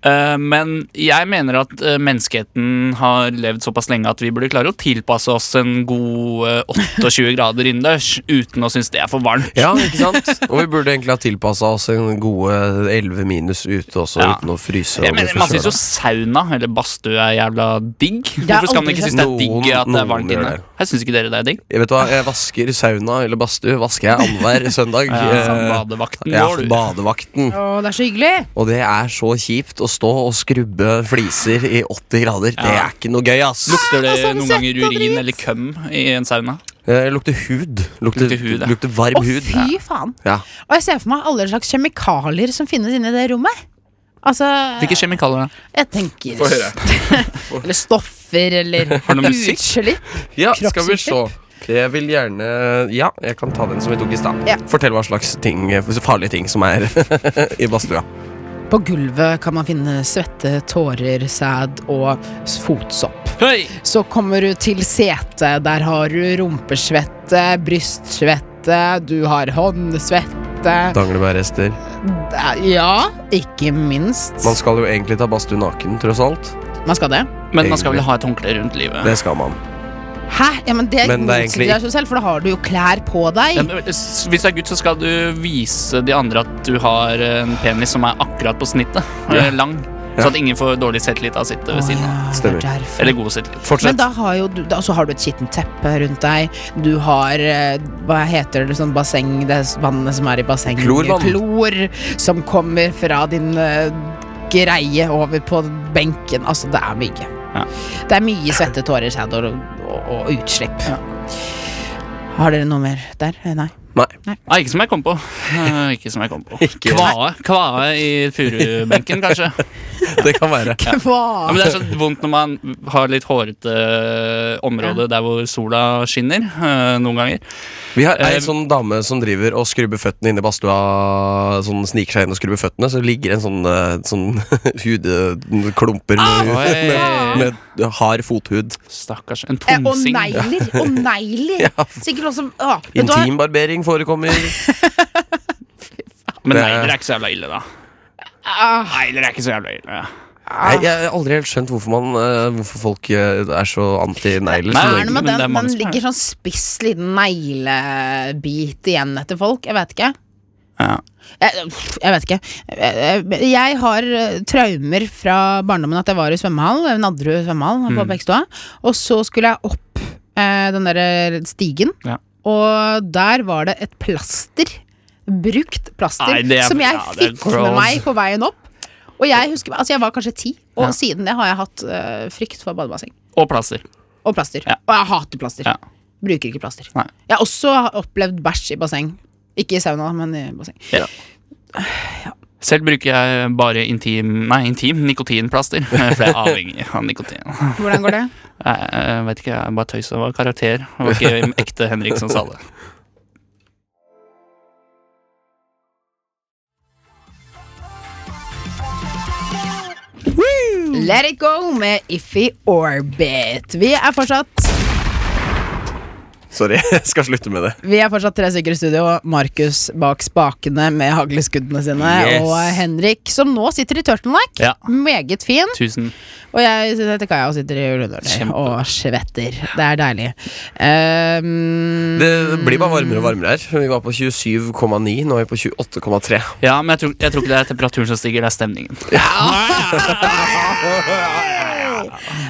Speaker 4: Eh, men jeg mener at eh, menneskeheten har levd såpass lenge at vi burde klare å tilpasse oss en god eh, 28 grader innendørs uten å synes det er for varmt.
Speaker 5: Ja, ikke sant? Og vi burde egentlig ha tilpassa oss en gode 11 minus ute også,
Speaker 4: Ja.
Speaker 5: uten å fryse. og
Speaker 4: Jeg
Speaker 5: bli
Speaker 4: mener, Man syns jo
Speaker 5: forkjøla.
Speaker 4: sauna eller badstue er jævla digg.
Speaker 3: er
Speaker 4: Hvorfor skal man
Speaker 3: aldri
Speaker 4: ikke synes det er
Speaker 5: noen-
Speaker 4: digg at det er
Speaker 5: noen
Speaker 4: varmt
Speaker 5: gjør
Speaker 4: inne?
Speaker 5: det.
Speaker 4: Jeg syns ikke dere det er digg.
Speaker 5: Jeg vet du hva, jeg vasker sauna eller badstue vasker jeg annenhver søndag.
Speaker 4: Ja, sånn
Speaker 5: Eh,
Speaker 4: badevakten
Speaker 5: ja,
Speaker 4: går, du.
Speaker 5: badevakten.
Speaker 3: Åh, det er så hyggelig!
Speaker 5: Og det er så kjipt å stå og skrubbe fliser i 80 grader. Det er ikke noe gøy, ass.
Speaker 4: Lukter det
Speaker 3: Ah, sånn
Speaker 4: noen
Speaker 3: sett
Speaker 4: ganger
Speaker 3: og drit.
Speaker 4: urin eller køm i en sauna?
Speaker 5: Eh, lukter hud. Lukter,
Speaker 4: Lukter hud, ja.
Speaker 5: lukter varm
Speaker 3: Å,
Speaker 5: hud.
Speaker 3: fy faen.
Speaker 5: Ja.
Speaker 3: Og jeg ser for meg alle slags kjemikalier som finnes inni det rommet. Altså
Speaker 4: Hvilke kjemikalier? da?
Speaker 3: Jeg tenker Eller stoffer, eller
Speaker 4: Har du noe musikk?
Speaker 3: utslipp.
Speaker 5: Ja,
Speaker 3: skal vi se.
Speaker 5: Jeg vil gjerne Ja, jeg kan ta den som vi tok i stad.
Speaker 3: Ja.
Speaker 5: Fortell hva slags ting, farlige ting som er i badstua.
Speaker 3: På gulvet kan man finne svette, tårer, sæd og s- fotsopp.
Speaker 4: Hei!
Speaker 3: Så kommer du til setet, der har du rumpesvette, brystsvette, du har håndsvette
Speaker 5: Danglebærrester.
Speaker 3: Ja, ikke minst.
Speaker 5: Man skal jo egentlig ta badstue naken, tross alt.
Speaker 3: Man skal det.
Speaker 4: Men man skal vel ha et håndkle rundt livet?
Speaker 5: Det skal man.
Speaker 3: Hæ? Ja, men det
Speaker 5: Men det er egentlig-
Speaker 3: motsier seg selv, for da har du jo klær på deg.
Speaker 4: Ja, men eh, s- Hvis du er gutt, så skal du vise de andre at du har en penis som er akkurat på snittet. eh, Lang. Så at ingen får dårlig selvtillit av å sitte ved siden av.
Speaker 3: Å, ja,
Speaker 5: Stemmer.
Speaker 3: det er derfor.
Speaker 4: Eller god selvtillit.
Speaker 3: Men
Speaker 5: Fortsett.
Speaker 3: da har jo du, da, så har du et skittent teppe rundt deg. Du har eh, hva heter det, sånn basseng Det s- vannet som er i basseng
Speaker 5: Klorvann.
Speaker 3: Klor som kommer fra din eh, greie over på benken. Altså, det er mye.
Speaker 4: Ja.
Speaker 3: Det er mye svette, tårer, sæd og, og, og utslipp. Har dere noe mer der? Eh, Nei.
Speaker 5: Nei.
Speaker 4: Nei, ikke som jeg kom på. Eh, Ikke som jeg kom på.
Speaker 5: Ikke.
Speaker 4: Kvae. Kvae i furubenken, kanskje.
Speaker 5: Det kan være.
Speaker 4: Ja,
Speaker 3: Hva?
Speaker 4: men Det er så vondt når man har litt hårete eh, område der hvor sola skinner. eh, Noen ganger.
Speaker 5: Vi har ei
Speaker 4: Eh,
Speaker 5: sånn dame som driver og skrubber føttene inne i badstua. Sånn sniker seg inn og skrubber føttene, så ligger en sånn, eh, sånn hudklumper med,
Speaker 4: Ah! Oi.
Speaker 5: med, med hard fothud.
Speaker 4: Stakkars. En
Speaker 3: Eh, Og
Speaker 4: tonsing.
Speaker 3: negler! Og negler! Sikkert også å, vet du hva?
Speaker 5: Intimbarbering forekommer.
Speaker 4: Men
Speaker 5: Det-
Speaker 4: negler er ikke så jævla ille, da.
Speaker 3: Ah,
Speaker 4: Negler er ikke så jævla ille. ja.
Speaker 5: Jeg, jeg har aldri helt skjønt hvorfor, man, eh, hvorfor folk eh, er så anti-negler.
Speaker 4: Nei,
Speaker 5: som
Speaker 3: Hva
Speaker 4: nei,
Speaker 3: er det
Speaker 5: regel.
Speaker 3: med
Speaker 4: men det er
Speaker 3: den?
Speaker 4: mange
Speaker 3: Den
Speaker 4: som er-
Speaker 3: ligger sånn spiss liten neglebit igjen etter folk. Jeg vet ikke.
Speaker 4: Ja.
Speaker 3: Jeg, pff, jeg vet ikke. Jeg- Jeg har eh, traumer fra barndommen at jeg var i svømmehall, eh, Nadderud svømmehall
Speaker 4: Mm.
Speaker 3: på Bekkestua, og så skulle jeg opp eh, den der stigen,
Speaker 4: Ja.
Speaker 3: og der var det et plaster, brukt plaster,
Speaker 4: Nei, det er-
Speaker 3: som jeg
Speaker 4: ja, det er
Speaker 3: fikk med
Speaker 4: gross.
Speaker 3: meg på veien opp. Og jeg husker, altså jeg var kanskje ti, og
Speaker 4: Ja.
Speaker 3: siden det har jeg hatt eh, frykt for badebasseng.
Speaker 4: Og plaster.
Speaker 3: Og plaster.
Speaker 4: Ja.
Speaker 3: Og jeg hater plaster.
Speaker 4: Ja.
Speaker 3: Bruker ikke plaster.
Speaker 4: Nei.
Speaker 3: Jeg har også opplevd bæsj i basseng. Ikke i sauna, men i basseng.
Speaker 4: Selv bruker jeg bare intim Nei, intim nikotinplaster. For jeg er avhengig av nikotin. Jeg,
Speaker 3: Hvordan går det?
Speaker 4: jeg vet ikke, jeg bare tøysa. Det var karakter. Det var ikke ekte Henrik som sa det. Mm.
Speaker 3: Let it go med Iffy Orbit. Vi er fortsatt
Speaker 5: Sorry, jeg skal slutte med det.
Speaker 3: Vi er fortsatt tre stykker i studio. Markus bak spakene med hagleskuddene sine.
Speaker 5: Yes.
Speaker 3: Og Henrik, som nå sitter i turtleneck.
Speaker 4: Ja.
Speaker 3: Meget fin.
Speaker 4: Tusen
Speaker 3: Og jeg sitter etter Kaja og sitter i ullundertøy
Speaker 4: Kjempe.
Speaker 3: og svetter. Det er deilig. Um,
Speaker 5: Det blir bare varmere og varmere her. Vi var på 27,9, nå er vi på 28,3.
Speaker 4: Ja, men jeg tror, jeg tror ikke det er temperaturen som stiger, det er stemningen.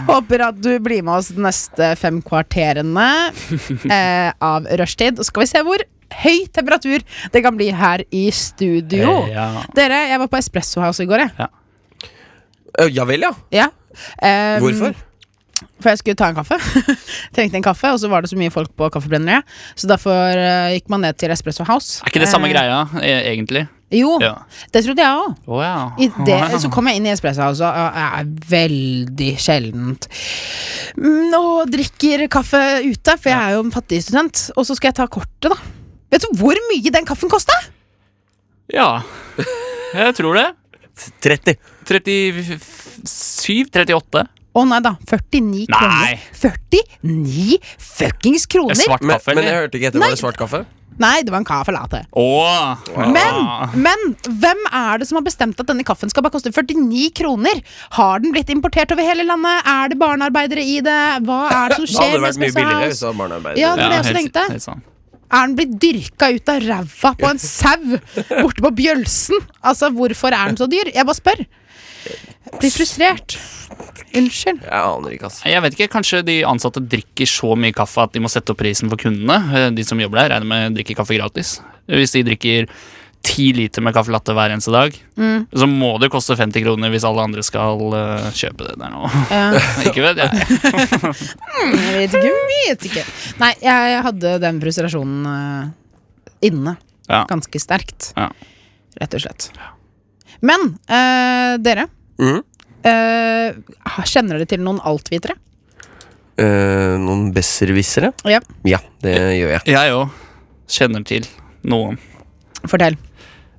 Speaker 3: Håper at du blir med oss de neste fem kvarterene eh, av rushtid. Og så skal vi se hvor høy temperatur det kan bli her i studio.
Speaker 4: Eh, ja.
Speaker 3: Dere, jeg var på Espresso House i går, jeg.
Speaker 5: Eh, Ja vel, ja.
Speaker 3: Ja. Eh,
Speaker 5: Hvorfor?
Speaker 3: For jeg skulle ta en kaffe. Trengte en kaffe, og så var det så mye folk på kaffebrenneriet. Så derfor eh, gikk man ned til Espresso House.
Speaker 4: Er ikke det samme
Speaker 3: Eh,
Speaker 4: greia, eh, egentlig?
Speaker 3: Jo,
Speaker 4: Ja.
Speaker 3: det trodde jeg òg.
Speaker 4: Å ja.
Speaker 3: I det,
Speaker 4: Å, ja.
Speaker 3: Så kom jeg inn i Espresso House og jeg er veldig sjeldent mm, Og drikker kaffe ute, for jeg er jo en fattig student. Og så skal jeg ta kortet, da. Vet du hvor mye den kaffen kosta?
Speaker 4: ja. Jeg tror det.
Speaker 5: 30.
Speaker 4: 37? 38?
Speaker 3: Å nei da. 49
Speaker 4: Nei.
Speaker 3: kroner. 49 fuckings
Speaker 4: Er
Speaker 3: kroner!
Speaker 4: Svart
Speaker 5: Men,
Speaker 4: kaffe,
Speaker 5: men jeg
Speaker 4: eller?
Speaker 5: hørte ikke etter. Var det svart kaffe?
Speaker 3: Nei, det var en kaffe latte.
Speaker 4: Å!
Speaker 3: Men,
Speaker 4: Ah.
Speaker 3: men hvem er det som har bestemt at denne kaffen skal bare koste 49 kroner? Har den blitt importert over hele landet? Er det barnearbeidere i det? Hva er det som
Speaker 5: Det hadde vært
Speaker 3: skjer
Speaker 5: mye
Speaker 3: Espresso
Speaker 5: billigere
Speaker 3: House?
Speaker 5: hvis det var barnearbeid.
Speaker 3: Ja, det var det jeg også
Speaker 4: helt-
Speaker 3: tenkte.
Speaker 4: helt sant.
Speaker 3: Er den blitt dyrka ut av ræva på en sau borte på Bjølsen? Altså, hvorfor er den så dyr? Jeg bare spør. Jeg Blir frustrert. Unnskyld.
Speaker 5: Jeg aner ikke, altså.
Speaker 4: Nei, Jeg vet ikke, Kanskje de ansatte drikker så mye kaffe at de må sette opp prisen for kundene. Eh, De som jobber der, regner med drikker kaffe gratis. Hvis de drikker ti liter med kaffe latte hver eneste dag, så må det koste 50 kroner hvis alle andre skal eh, kjøpe det der nå. ikke vet jeg.
Speaker 3: Jeg vet ikke, jeg vet ikke. Nei, jeg hadde den frustrasjonen eh, inne.
Speaker 4: Ja.
Speaker 3: Ganske sterkt.
Speaker 4: Ja.
Speaker 3: Rett og slett. Men eh, dere
Speaker 5: Mhm.
Speaker 3: eh, Kjenner dere til noen altvitere?
Speaker 5: Eh, noen besserwissere?
Speaker 3: Ja.
Speaker 5: Ja, det gjør jeg.
Speaker 4: Jeg òg kjenner til noen.
Speaker 3: Fortell.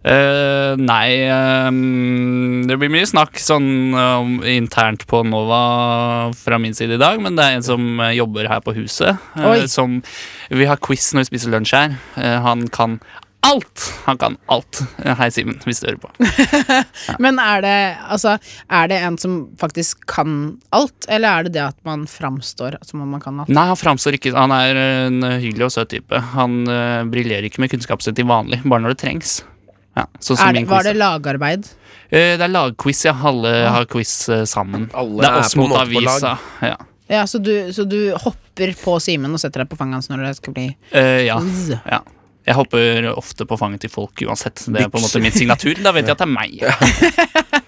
Speaker 4: Eh, nei ehm, Det blir mye snakk sånn om- internt på Nova fra min side i dag, men det er en som eh, jobber her på huset. eh,
Speaker 3: Oi.
Speaker 4: som, vi har quiz når vi spiser lunsj her. Eh, han kan alt! Han kan alt. Eh, Hei, Simen, hvis du hører på.
Speaker 3: Men er det, altså, er det en som faktisk kan alt, eller er det det at man framstår som om man kan alt?
Speaker 4: Nei, han framstår ikke Han er en hyggelig og søt type. Han uh, briljerer ikke med kunnskapen sin til vanlig, bare når det trengs. Ja, sånn som
Speaker 3: Er det,
Speaker 4: min
Speaker 3: var
Speaker 4: quiz.
Speaker 3: det Ah. lagarbeid?
Speaker 4: Eh, det er lagquiz, ja. Alle har quiz eh, sammen.
Speaker 5: Alle
Speaker 4: det er
Speaker 5: er
Speaker 4: oss
Speaker 5: på en
Speaker 4: mot
Speaker 5: måte på lag.
Speaker 4: avisa. Ja.
Speaker 3: Ja, så du, så du hopper på Simen og setter deg på fanget hans når det skal bli
Speaker 4: Eh, ja.
Speaker 3: Zzz.
Speaker 4: ja. Jeg hopper ofte på fanget til folk uansett. Det er på en måte min signatur. Da vet jeg at det er meg.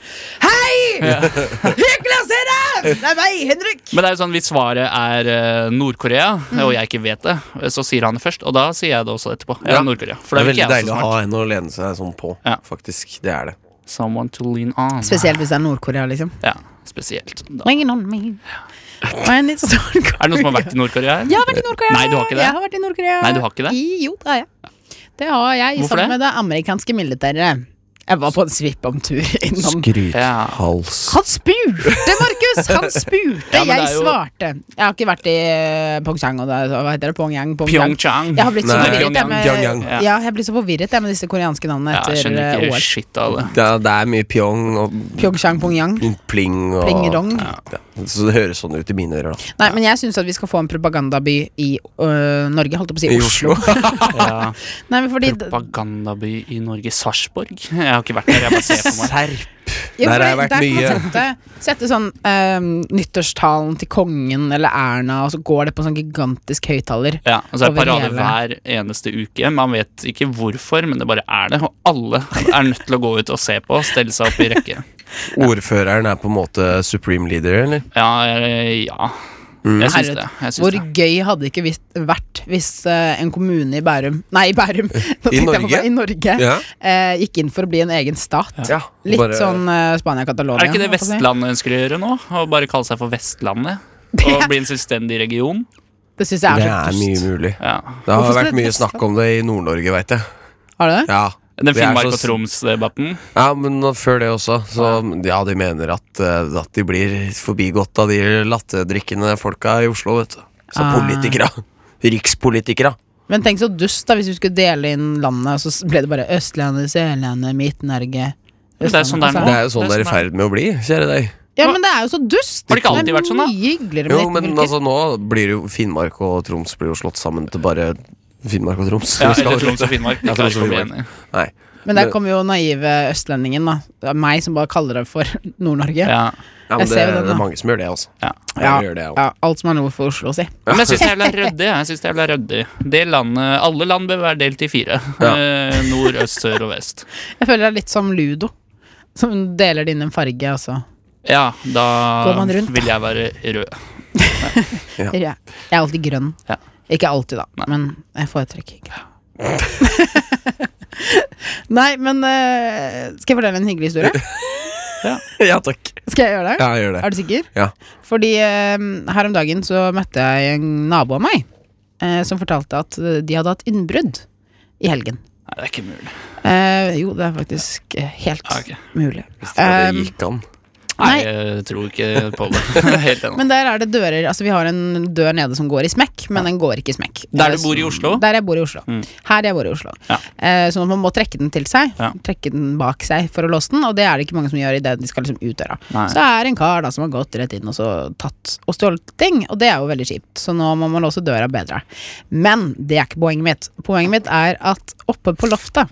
Speaker 3: Niklas Hedem! Det er meg, Henrik!
Speaker 4: Men det er jo sånn, hvis svaret er eh, Nord-Korea,
Speaker 3: Mm.
Speaker 4: og jeg ikke vet det, så sier han det først. Og da sier jeg det også etterpå. Ja,
Speaker 5: Ja.
Speaker 4: Nord-Korea. For
Speaker 5: Det
Speaker 4: da
Speaker 5: er
Speaker 4: er ikke
Speaker 5: veldig
Speaker 4: jeg
Speaker 5: deilig
Speaker 4: så
Speaker 5: å
Speaker 4: smart.
Speaker 5: ha en å lene seg sånn på,
Speaker 4: Ja.
Speaker 5: faktisk. Det er det.
Speaker 4: Someone to lean on.
Speaker 3: Spesielt hvis det er Nord-Korea, liksom.
Speaker 4: Ja, spesielt. Da.
Speaker 3: Lean on me. Men it's sånn Nord-Korea.
Speaker 4: Er det noen som har vært i Nord-Korea? her?
Speaker 3: Jeg har vært i Nord-Korea.
Speaker 4: Nei, du har ikke det.
Speaker 3: Jeg har vært i Nord-Korea.
Speaker 4: Nei, du har ikke det.
Speaker 3: I, jo, det har jeg. Det har jeg,
Speaker 4: Hvorfor
Speaker 3: sammen
Speaker 4: det?
Speaker 3: med det amerikanske militæret. Jeg var på en svippomtur innom
Speaker 4: Ja.
Speaker 5: Hals.
Speaker 3: Han spurte, Markus! Han spurte,
Speaker 4: Ja, men det
Speaker 3: jeg
Speaker 4: er jo-
Speaker 3: svarte. Jeg har ikke vært i eh, Pyeongchang og det, hva heter det? Pyongyang? Pyongyang.
Speaker 4: Pyeongchang.
Speaker 3: Jeg har blitt så
Speaker 5: Nei,
Speaker 3: forvirret jeg, med,
Speaker 5: Pyongyang.
Speaker 4: Ja.
Speaker 3: ja, jeg blir så forvirret jeg, med disse koreanske navnene
Speaker 4: Ja, jeg
Speaker 3: etter
Speaker 4: skjønner
Speaker 3: eh,
Speaker 4: ikke
Speaker 3: OL.
Speaker 4: shit av det.
Speaker 5: Det er, det er mye pjong og
Speaker 3: Pyeongchang, Pyongyang.
Speaker 5: pling og
Speaker 3: Plingerong.
Speaker 5: Ja, Så det høres sånn ut i mine ører, da.
Speaker 3: Nei, men jeg syns at vi skal få en propagandaby i øh, Norge, holdt jeg på å si. Oslo.
Speaker 4: Ja.
Speaker 3: Nei, men fordi, jo,
Speaker 4: Propagandaby i Norge, Sarpsborg. Jeg har ikke vært der, jeg bare ser på meg.
Speaker 5: Serp.
Speaker 3: fordi
Speaker 5: Der har jeg vært
Speaker 3: der
Speaker 5: mye.
Speaker 3: kan man sette, sette sånn øhm, nyttårstalen til kongen eller Erna, og så går det på sånn gigantisk høyttaler.
Speaker 4: Ja, og så er det
Speaker 3: Over
Speaker 4: parade
Speaker 3: hele.
Speaker 4: hver eneste uke. Man vet ikke hvorfor, men det bare er det. Og alle er nødt til å gå ut og se på og stelle seg opp i rekke.
Speaker 5: Ordføreren er på en måte supreme leader, eller?
Speaker 4: Ja, jeg- ja.
Speaker 5: Mm.
Speaker 4: Jeg syns
Speaker 3: Herregud,
Speaker 4: det. Jeg syns
Speaker 3: Hvor
Speaker 4: det.
Speaker 3: gøy hadde det ikke visst, vært hvis eh, en kommune i Bærum Nei, i Bærum! Nå
Speaker 5: I
Speaker 3: tenkte jeg på
Speaker 5: Norge?
Speaker 3: meg, I Norge
Speaker 5: Ja.
Speaker 3: eh, gikk inn for å bli en egen stat.
Speaker 5: Ja,
Speaker 3: Litt
Speaker 5: bare-
Speaker 3: sånn eh, Spania-Catalonia.
Speaker 4: Er ikke det
Speaker 3: holdt jeg på å si.
Speaker 4: Vestlandet ønsker å gjøre nå? Å bare kalle seg for Vestlandet? Og bli en selvstendig region?
Speaker 3: Det syns jeg
Speaker 5: Det
Speaker 3: er så
Speaker 5: er mye
Speaker 3: dust.
Speaker 5: mulig.
Speaker 4: Ja.
Speaker 5: Det har
Speaker 3: Hvorfor skal
Speaker 5: vært
Speaker 3: det
Speaker 5: mye
Speaker 3: testes?
Speaker 5: snakk om det i Nord-Norge, veit jeg.
Speaker 3: Har du det?
Speaker 5: Ja.
Speaker 4: Den
Speaker 5: Det er
Speaker 4: Finnmark
Speaker 5: så
Speaker 4: og
Speaker 5: s-
Speaker 4: Troms-debatten.
Speaker 5: ja, men nå- før det også. Så ja, de mener at, eh, at de blir forbigått av de latterdrikkende folka i Oslo, vet du. Så
Speaker 3: Ah.
Speaker 5: politikere. Rikspolitikere.
Speaker 3: Men tenk så dust, da, hvis vi skulle dele inn landet, og så ble det bare Østlandet, Sørlandet, Midt-Norge
Speaker 4: Men det er sånn det er
Speaker 3: Østlandet.
Speaker 5: Det er jo
Speaker 4: Det
Speaker 5: sånn
Speaker 4: er
Speaker 5: det er i
Speaker 4: sånn det
Speaker 5: ferd med å bli, kjære deg.
Speaker 3: Ja, men det er jo så dust!
Speaker 4: Har det ikke alltid vært sånn, da?
Speaker 3: Det er mye hyggeligere med
Speaker 5: Jo, men
Speaker 3: dette fylket.
Speaker 5: altså nå blir jo Finnmark og Troms blir jo slått sammen til bare Finnmark og Troms.
Speaker 4: Ja,
Speaker 5: Vi skal
Speaker 4: eller
Speaker 5: aldri-
Speaker 4: Troms og Finnmark.
Speaker 5: Ja,
Speaker 4: Det klarer
Speaker 5: Troms og
Speaker 4: ikke å bli
Speaker 5: Finnmark.
Speaker 4: enig.
Speaker 5: Nei.
Speaker 3: Men der
Speaker 5: det-
Speaker 3: kommer jo naive østlendingen, da. Det er meg som bare kaller det for Nord-Norge.
Speaker 4: Ja.
Speaker 5: Ja,
Speaker 3: Jeg
Speaker 5: men det,
Speaker 3: ser jo den,
Speaker 5: det
Speaker 3: da.
Speaker 5: er mange som gjør det, altså.
Speaker 4: Ja.
Speaker 5: Jeg gjør det, også.
Speaker 3: ja, alt som er nord for Oslo, si.
Speaker 4: Men jeg syns det er jævla ryddig. Jeg synes det er jævla ryddig. Det landet, alle land bør være delt i fire.
Speaker 5: Ja.
Speaker 4: Eh, Nord, øst, sør og vest.
Speaker 3: Jeg føler det er litt som Ludo. Som deler det inn i en farge, altså. og så
Speaker 4: Ja,
Speaker 3: Går
Speaker 4: da
Speaker 3: man rundt, da?
Speaker 4: vil jeg være rød.
Speaker 3: Jeg er alltid grønn.
Speaker 4: Ja.
Speaker 3: Ikke alltid, da, men jeg foretrekker ikke. Nei, men eh, Skal jeg fortelle en hyggelig historie?
Speaker 5: Ja, takk.
Speaker 3: Skal jeg gjøre det?
Speaker 5: Ja, jeg gjør det.
Speaker 3: Er du sikker?
Speaker 5: Ja.
Speaker 3: Fordi eh, her om dagen så møtte jeg en nabo av meg eh, som fortalte at eh, de hadde hatt innbrudd i helgen.
Speaker 4: Nei, det er ikke mulig.
Speaker 3: Eh, jo, det er faktisk eh, helt
Speaker 4: Ja, ok.
Speaker 3: mulig.
Speaker 5: Ja,
Speaker 3: Um,
Speaker 5: det gikk an.
Speaker 4: Nei,
Speaker 3: Nei.
Speaker 4: jeg tror ikke på det helt ennå.
Speaker 3: Men der er det dører Altså vi har en dør nede som går i smekk, men den går ikke i smekk.
Speaker 4: Der du bor i Oslo? Mm.
Speaker 3: Der jeg bor i Oslo. Her jeg bor i Oslo.
Speaker 4: Ja.
Speaker 3: Eh, sånn at man må trekke den til seg.
Speaker 4: Ja.
Speaker 3: Trekke den bak seg for å låse den, og det er det ikke mange som gjør idet de skal liksom ut døra.
Speaker 4: Nei.
Speaker 3: Så er det en kar da som har gått rett inn og så tatt og stjålet ting, og det er jo veldig kjipt, så nå må man låse døra bedre. Men det er ikke poenget mitt. Poenget mitt er at oppe på loftet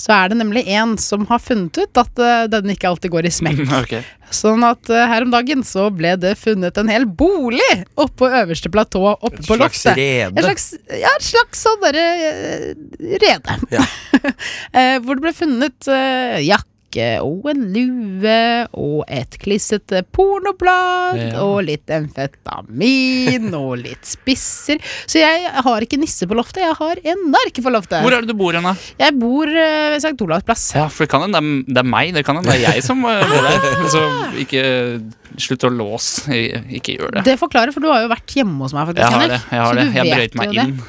Speaker 3: så er det nemlig en som har funnet ut at eh, den ikke alltid går i smekk.
Speaker 4: Ok.
Speaker 3: Sånn at eh, her om dagen så ble det funnet en hel bolig oppå øverste platå oppe på
Speaker 5: slags
Speaker 3: loftet.
Speaker 5: rede.
Speaker 3: En slags, ja, et slags sånn derre eh, rede.
Speaker 5: Ja.
Speaker 3: Eh, Hvor det ble funnet eh, jakke og en lue og et klissete pornoblad
Speaker 4: Ja.
Speaker 3: og litt amfetamin og litt spisser. Så jeg har ikke nisse på loftet, jeg har en narke på loftet.
Speaker 4: Hvor er det du bor hen, da?
Speaker 3: Jeg bor eh, ved St. Olavs plass.
Speaker 4: Ja, for det kan hende det er- det er meg. Det kan hende det er jeg som eh, bor der. Så ikke slutt å låse. I- Ikke gjør det.
Speaker 3: Det forklarer, for du har jo vært hjemme hos meg, faktisk.
Speaker 4: Jeg har
Speaker 3: Henrik.
Speaker 4: det. Jeg har
Speaker 3: Så
Speaker 4: det.
Speaker 3: du
Speaker 4: Jeg
Speaker 3: vet
Speaker 4: brøyt meg
Speaker 3: jo det.
Speaker 4: inn.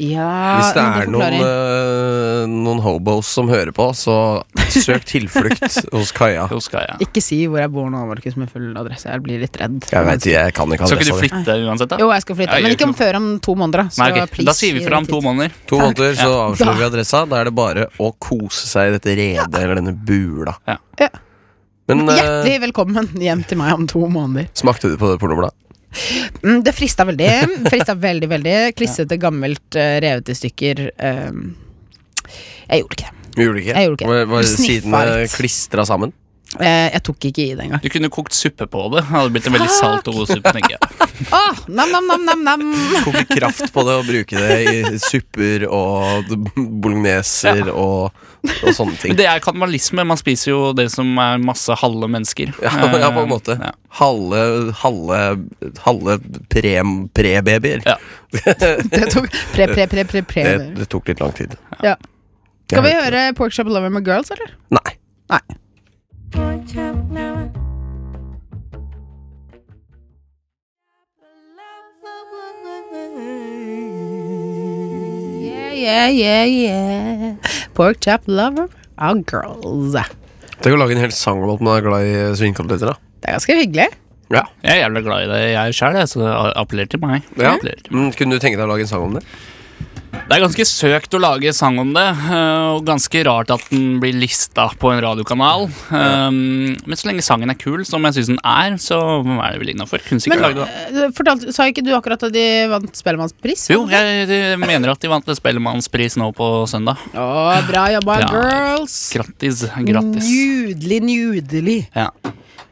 Speaker 3: Ja,
Speaker 5: Hvis det
Speaker 3: men
Speaker 5: er noen
Speaker 3: forklarer-
Speaker 5: øh, eh, noen hobos som hører på, så søk tilflukt hos Kaja.
Speaker 4: Jo, skal jeg.
Speaker 3: Ikke si hvor jeg bor nå, Markus, med full adresse. Jeg blir litt redd.
Speaker 5: eh, Jeg vet, jeg kan ikke
Speaker 4: Skal ikke
Speaker 5: adressa
Speaker 4: du
Speaker 5: di.
Speaker 4: flytte uansett, da?
Speaker 3: Jo, jeg skal flytte,
Speaker 4: Jeg
Speaker 3: men
Speaker 4: gjør
Speaker 3: ikke om
Speaker 4: ikke
Speaker 3: før om to måneder. da. Så
Speaker 4: Nei, ok.
Speaker 3: please,
Speaker 4: Da sier vi fra om to måneder.
Speaker 5: To måneder, så
Speaker 4: Ja.
Speaker 5: avslører
Speaker 3: Da.
Speaker 5: vi adressa. Da er det bare å kose seg i dette redet eller denne bula.
Speaker 4: Ja.
Speaker 3: Ja.
Speaker 5: Men eh,
Speaker 3: Hjertelig velkommen hjem til meg om to måneder.
Speaker 5: smakte du på det pornobladet?
Speaker 3: Mm, det frista veldig. Frista veldig, veldig. Klissete, gammelt, eh, revet i stykker. eh, jeg gjorde ikke det.
Speaker 5: Vi gjorde ikke.
Speaker 3: Jeg gjorde ikke.
Speaker 5: Var, var
Speaker 3: Du sniffa
Speaker 5: sidene
Speaker 3: litt.
Speaker 5: klistra sammen?
Speaker 3: Eh, jeg tok ikke i det engang.
Speaker 4: Du kunne kokt suppe på det. Det hadde blitt en veldig salt og god suppe. tenker jeg
Speaker 3: Åh, nam, nam, nam, nam, nam.
Speaker 5: Koke kraft på det og bruke det i supper og bologneser og, og sånne ting.
Speaker 4: Men Det er kannibalisme. Man spiser jo det som er masse halve mennesker. Eh,
Speaker 5: Ja, Ehm, ja, på en måte.
Speaker 4: Ja.
Speaker 5: Halve, halve, halve pre- pre-babyer.
Speaker 4: Ja.
Speaker 3: Det tok pre, pre, pre, pre, pre.
Speaker 5: det, det tok litt lang tid.
Speaker 3: Ja. Skal vi
Speaker 5: Jeg-
Speaker 3: høre Porkshop Lover med Girls, eller?
Speaker 5: Nei.
Speaker 3: Nei. Yeah, yeah, yeah, yeah. Porkchop Lover av Girls.
Speaker 5: Tenk å lage en hel sang om at man er glad i svinekoteletter, da.
Speaker 3: Det er ganske hyggelig.
Speaker 5: Ja.
Speaker 4: Jeg er jævla glad i det jeg sjøl, så det appellerer til meg. Det
Speaker 5: Ja.
Speaker 4: appellerer til meg.
Speaker 5: Men Mm, kunne du tenke deg å lage en sang om det?
Speaker 4: Det er ganske søkt å lage sang om det, eh, og ganske rart at den blir lista på en radiokanal. Um, Men så lenge sangen er kul, som jeg syns den er, så er det vel innafor. Kunne
Speaker 3: Men
Speaker 4: sikkert lage det. da.
Speaker 3: eh, fortalte- sa ikke du akkurat at de vant Spellemannspris?
Speaker 4: Jo, jeg jeg mener at de vant Spellemannspris nå på søndag.
Speaker 3: Å, bra jobba,
Speaker 4: Ja.
Speaker 3: Girls!
Speaker 4: Grattis. Grattis.
Speaker 3: Nydelig, nydelig.
Speaker 4: Ja.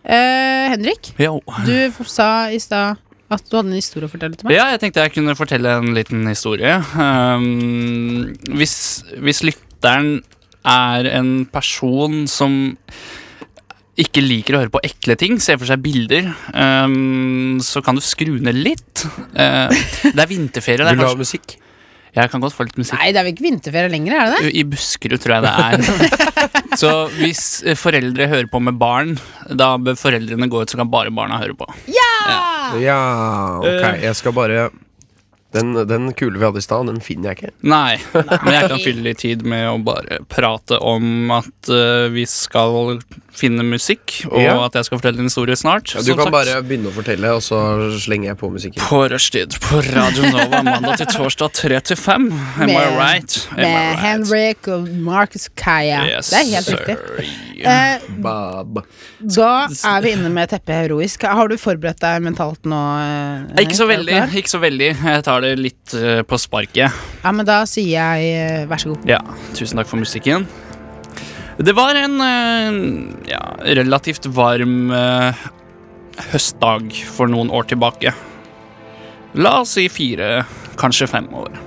Speaker 3: Eh, Henrik,
Speaker 4: Jo.
Speaker 3: du f- sa i stad at du hadde en historie å fortelle til meg.
Speaker 4: Ja, jeg tenkte jeg kunne fortelle en liten historie. Um, hvis, hvis lytteren er en person som ikke liker å høre på ekle ting, ser for seg bilder, um, så kan du skru ned litt. Uh, det er vinterferie. Det er
Speaker 5: Vil du ha
Speaker 4: kanskje,
Speaker 5: musikk?
Speaker 4: jeg kan godt få litt musikk.
Speaker 3: Nei, det er vel ikke vinterferie lenger, er det det?
Speaker 4: I Buskerud, tror jeg det er. Så hvis eh, foreldre hører på med barn, da bør foreldrene gå ut, så kan bare barna høre på.
Speaker 5: Ja, ok. Jeg skal bare Den, den kule vi hadde i stad, den finner jeg ikke.
Speaker 4: Nei, men jeg kan fylle litt tid med å bare prate om at eh, vi skal finne musikk, og
Speaker 5: Ja.
Speaker 4: at jeg skal fortelle en historie snart.
Speaker 5: Ja, du
Speaker 4: som
Speaker 5: kan
Speaker 4: sagt.
Speaker 5: bare begynne å fortelle, og så slenger jeg på musikken.
Speaker 4: På rushtid på Radio Nova mandag til torsdag 3 til 5. Am I
Speaker 3: Med-
Speaker 4: right? Am I
Speaker 3: Med
Speaker 4: right?
Speaker 3: Henrik og Marcus Kaya.
Speaker 4: Yes,
Speaker 3: det er helt
Speaker 4: sir.
Speaker 3: riktig. Eh,
Speaker 5: Bab.
Speaker 3: da er vi inne med teppet heroisk. Har du forberedt deg mentalt nå? eh,
Speaker 4: Ikke så
Speaker 3: Henrik?
Speaker 4: veldig.
Speaker 3: Er du klar?
Speaker 4: ikke så veldig Jeg tar det litt eh, på sparket.
Speaker 3: Ja, men da sier jeg eh, vær så god.
Speaker 4: Ja, tusen takk for musikken. Det var en eh, ja, relativt varm eh, høstdag for noen år tilbake. La oss si fire, kanskje fem år.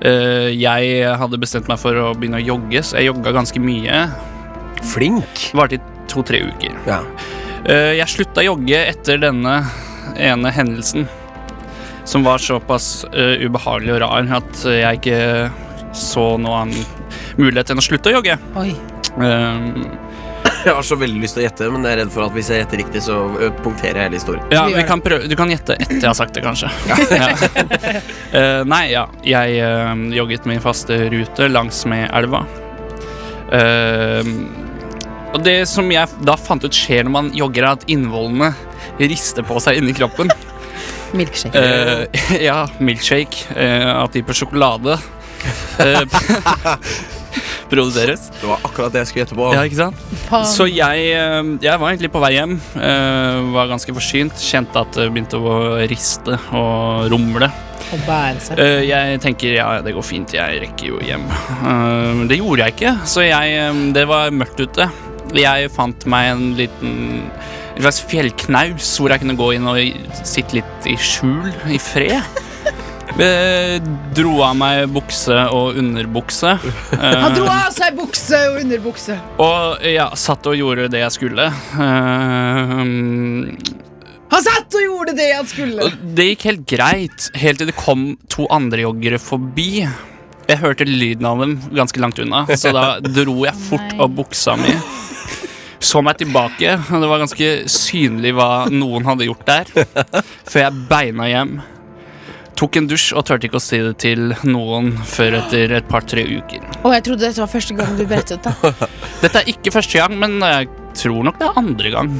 Speaker 4: Eh, jeg hadde bestemt meg for å begynne å jogge, så jeg jogga ganske mye.
Speaker 5: Flink.
Speaker 4: Varte i to-tre uker.
Speaker 5: Ja.
Speaker 4: Eh, jeg slutta å jogge etter denne ene hendelsen, som var såpass eh, ubehagelig og rar at jeg ikke så noen annen mulighet enn å slutte å jogge.
Speaker 3: Oi.
Speaker 4: Eh,
Speaker 5: Jeg har så veldig lyst til å gjette, men jeg er redd for at hvis jeg gjetter riktig, så ø, punkterer jeg hele historien.
Speaker 4: ja,
Speaker 3: Vi gjør
Speaker 4: vi
Speaker 3: det.
Speaker 4: kan prøve, du kan gjette etter jeg har sagt det, kanskje. Ja. Eh, nei, ja. Jeg eh, jogget min faste rute langsmed elva. Eh, og det som jeg da fant ut skjer når man jogger, er at innvollene rister på seg inni kroppen.
Speaker 3: Milkshake.
Speaker 4: Eh, ja, milkshake eh, av type sjokolade eh, produseres.
Speaker 5: Det var akkurat det jeg skulle gjette på.
Speaker 4: Ja, ikke sant?
Speaker 3: Faen.
Speaker 4: Så jeg, eh, jeg var egentlig på vei hjem. eh, var ganske forsynt. Kjente at det begynte å riste og rumle.
Speaker 3: Og bære seg.
Speaker 4: Eh, jeg tenker ja, ja, det går fint, jeg rekker jo hjem. Eh, men det gjorde jeg ikke, så jeg, eh, det var mørkt ute. Jeg fant meg en liten en slags fjellknaus hvor jeg kunne gå inn og i- sitte litt i skjul, i fred. Eh, dro av meg bukse og underbukse.
Speaker 3: Han dro
Speaker 4: Eh,
Speaker 3: av seg bukse og underbukse.
Speaker 4: og ja, satt og gjorde det jeg skulle. Eh,
Speaker 3: Han satt og gjorde det han skulle.
Speaker 4: Og Det gikk helt greit, helt til det kom to andre joggere forbi. Jeg hørte lyden av dem ganske langt unna, så da dro jeg fort av buksa mi. Så meg tilbake, og det var ganske synlig hva noen hadde gjort der, før jeg beina hjem. Tok en dusj og turte ikke å si det til noen før etter et par-tre uker.
Speaker 3: Å, jeg trodde dette var første gang du brettet det.
Speaker 4: Dette er ikke første gang, men jeg tror nok det er andre gang.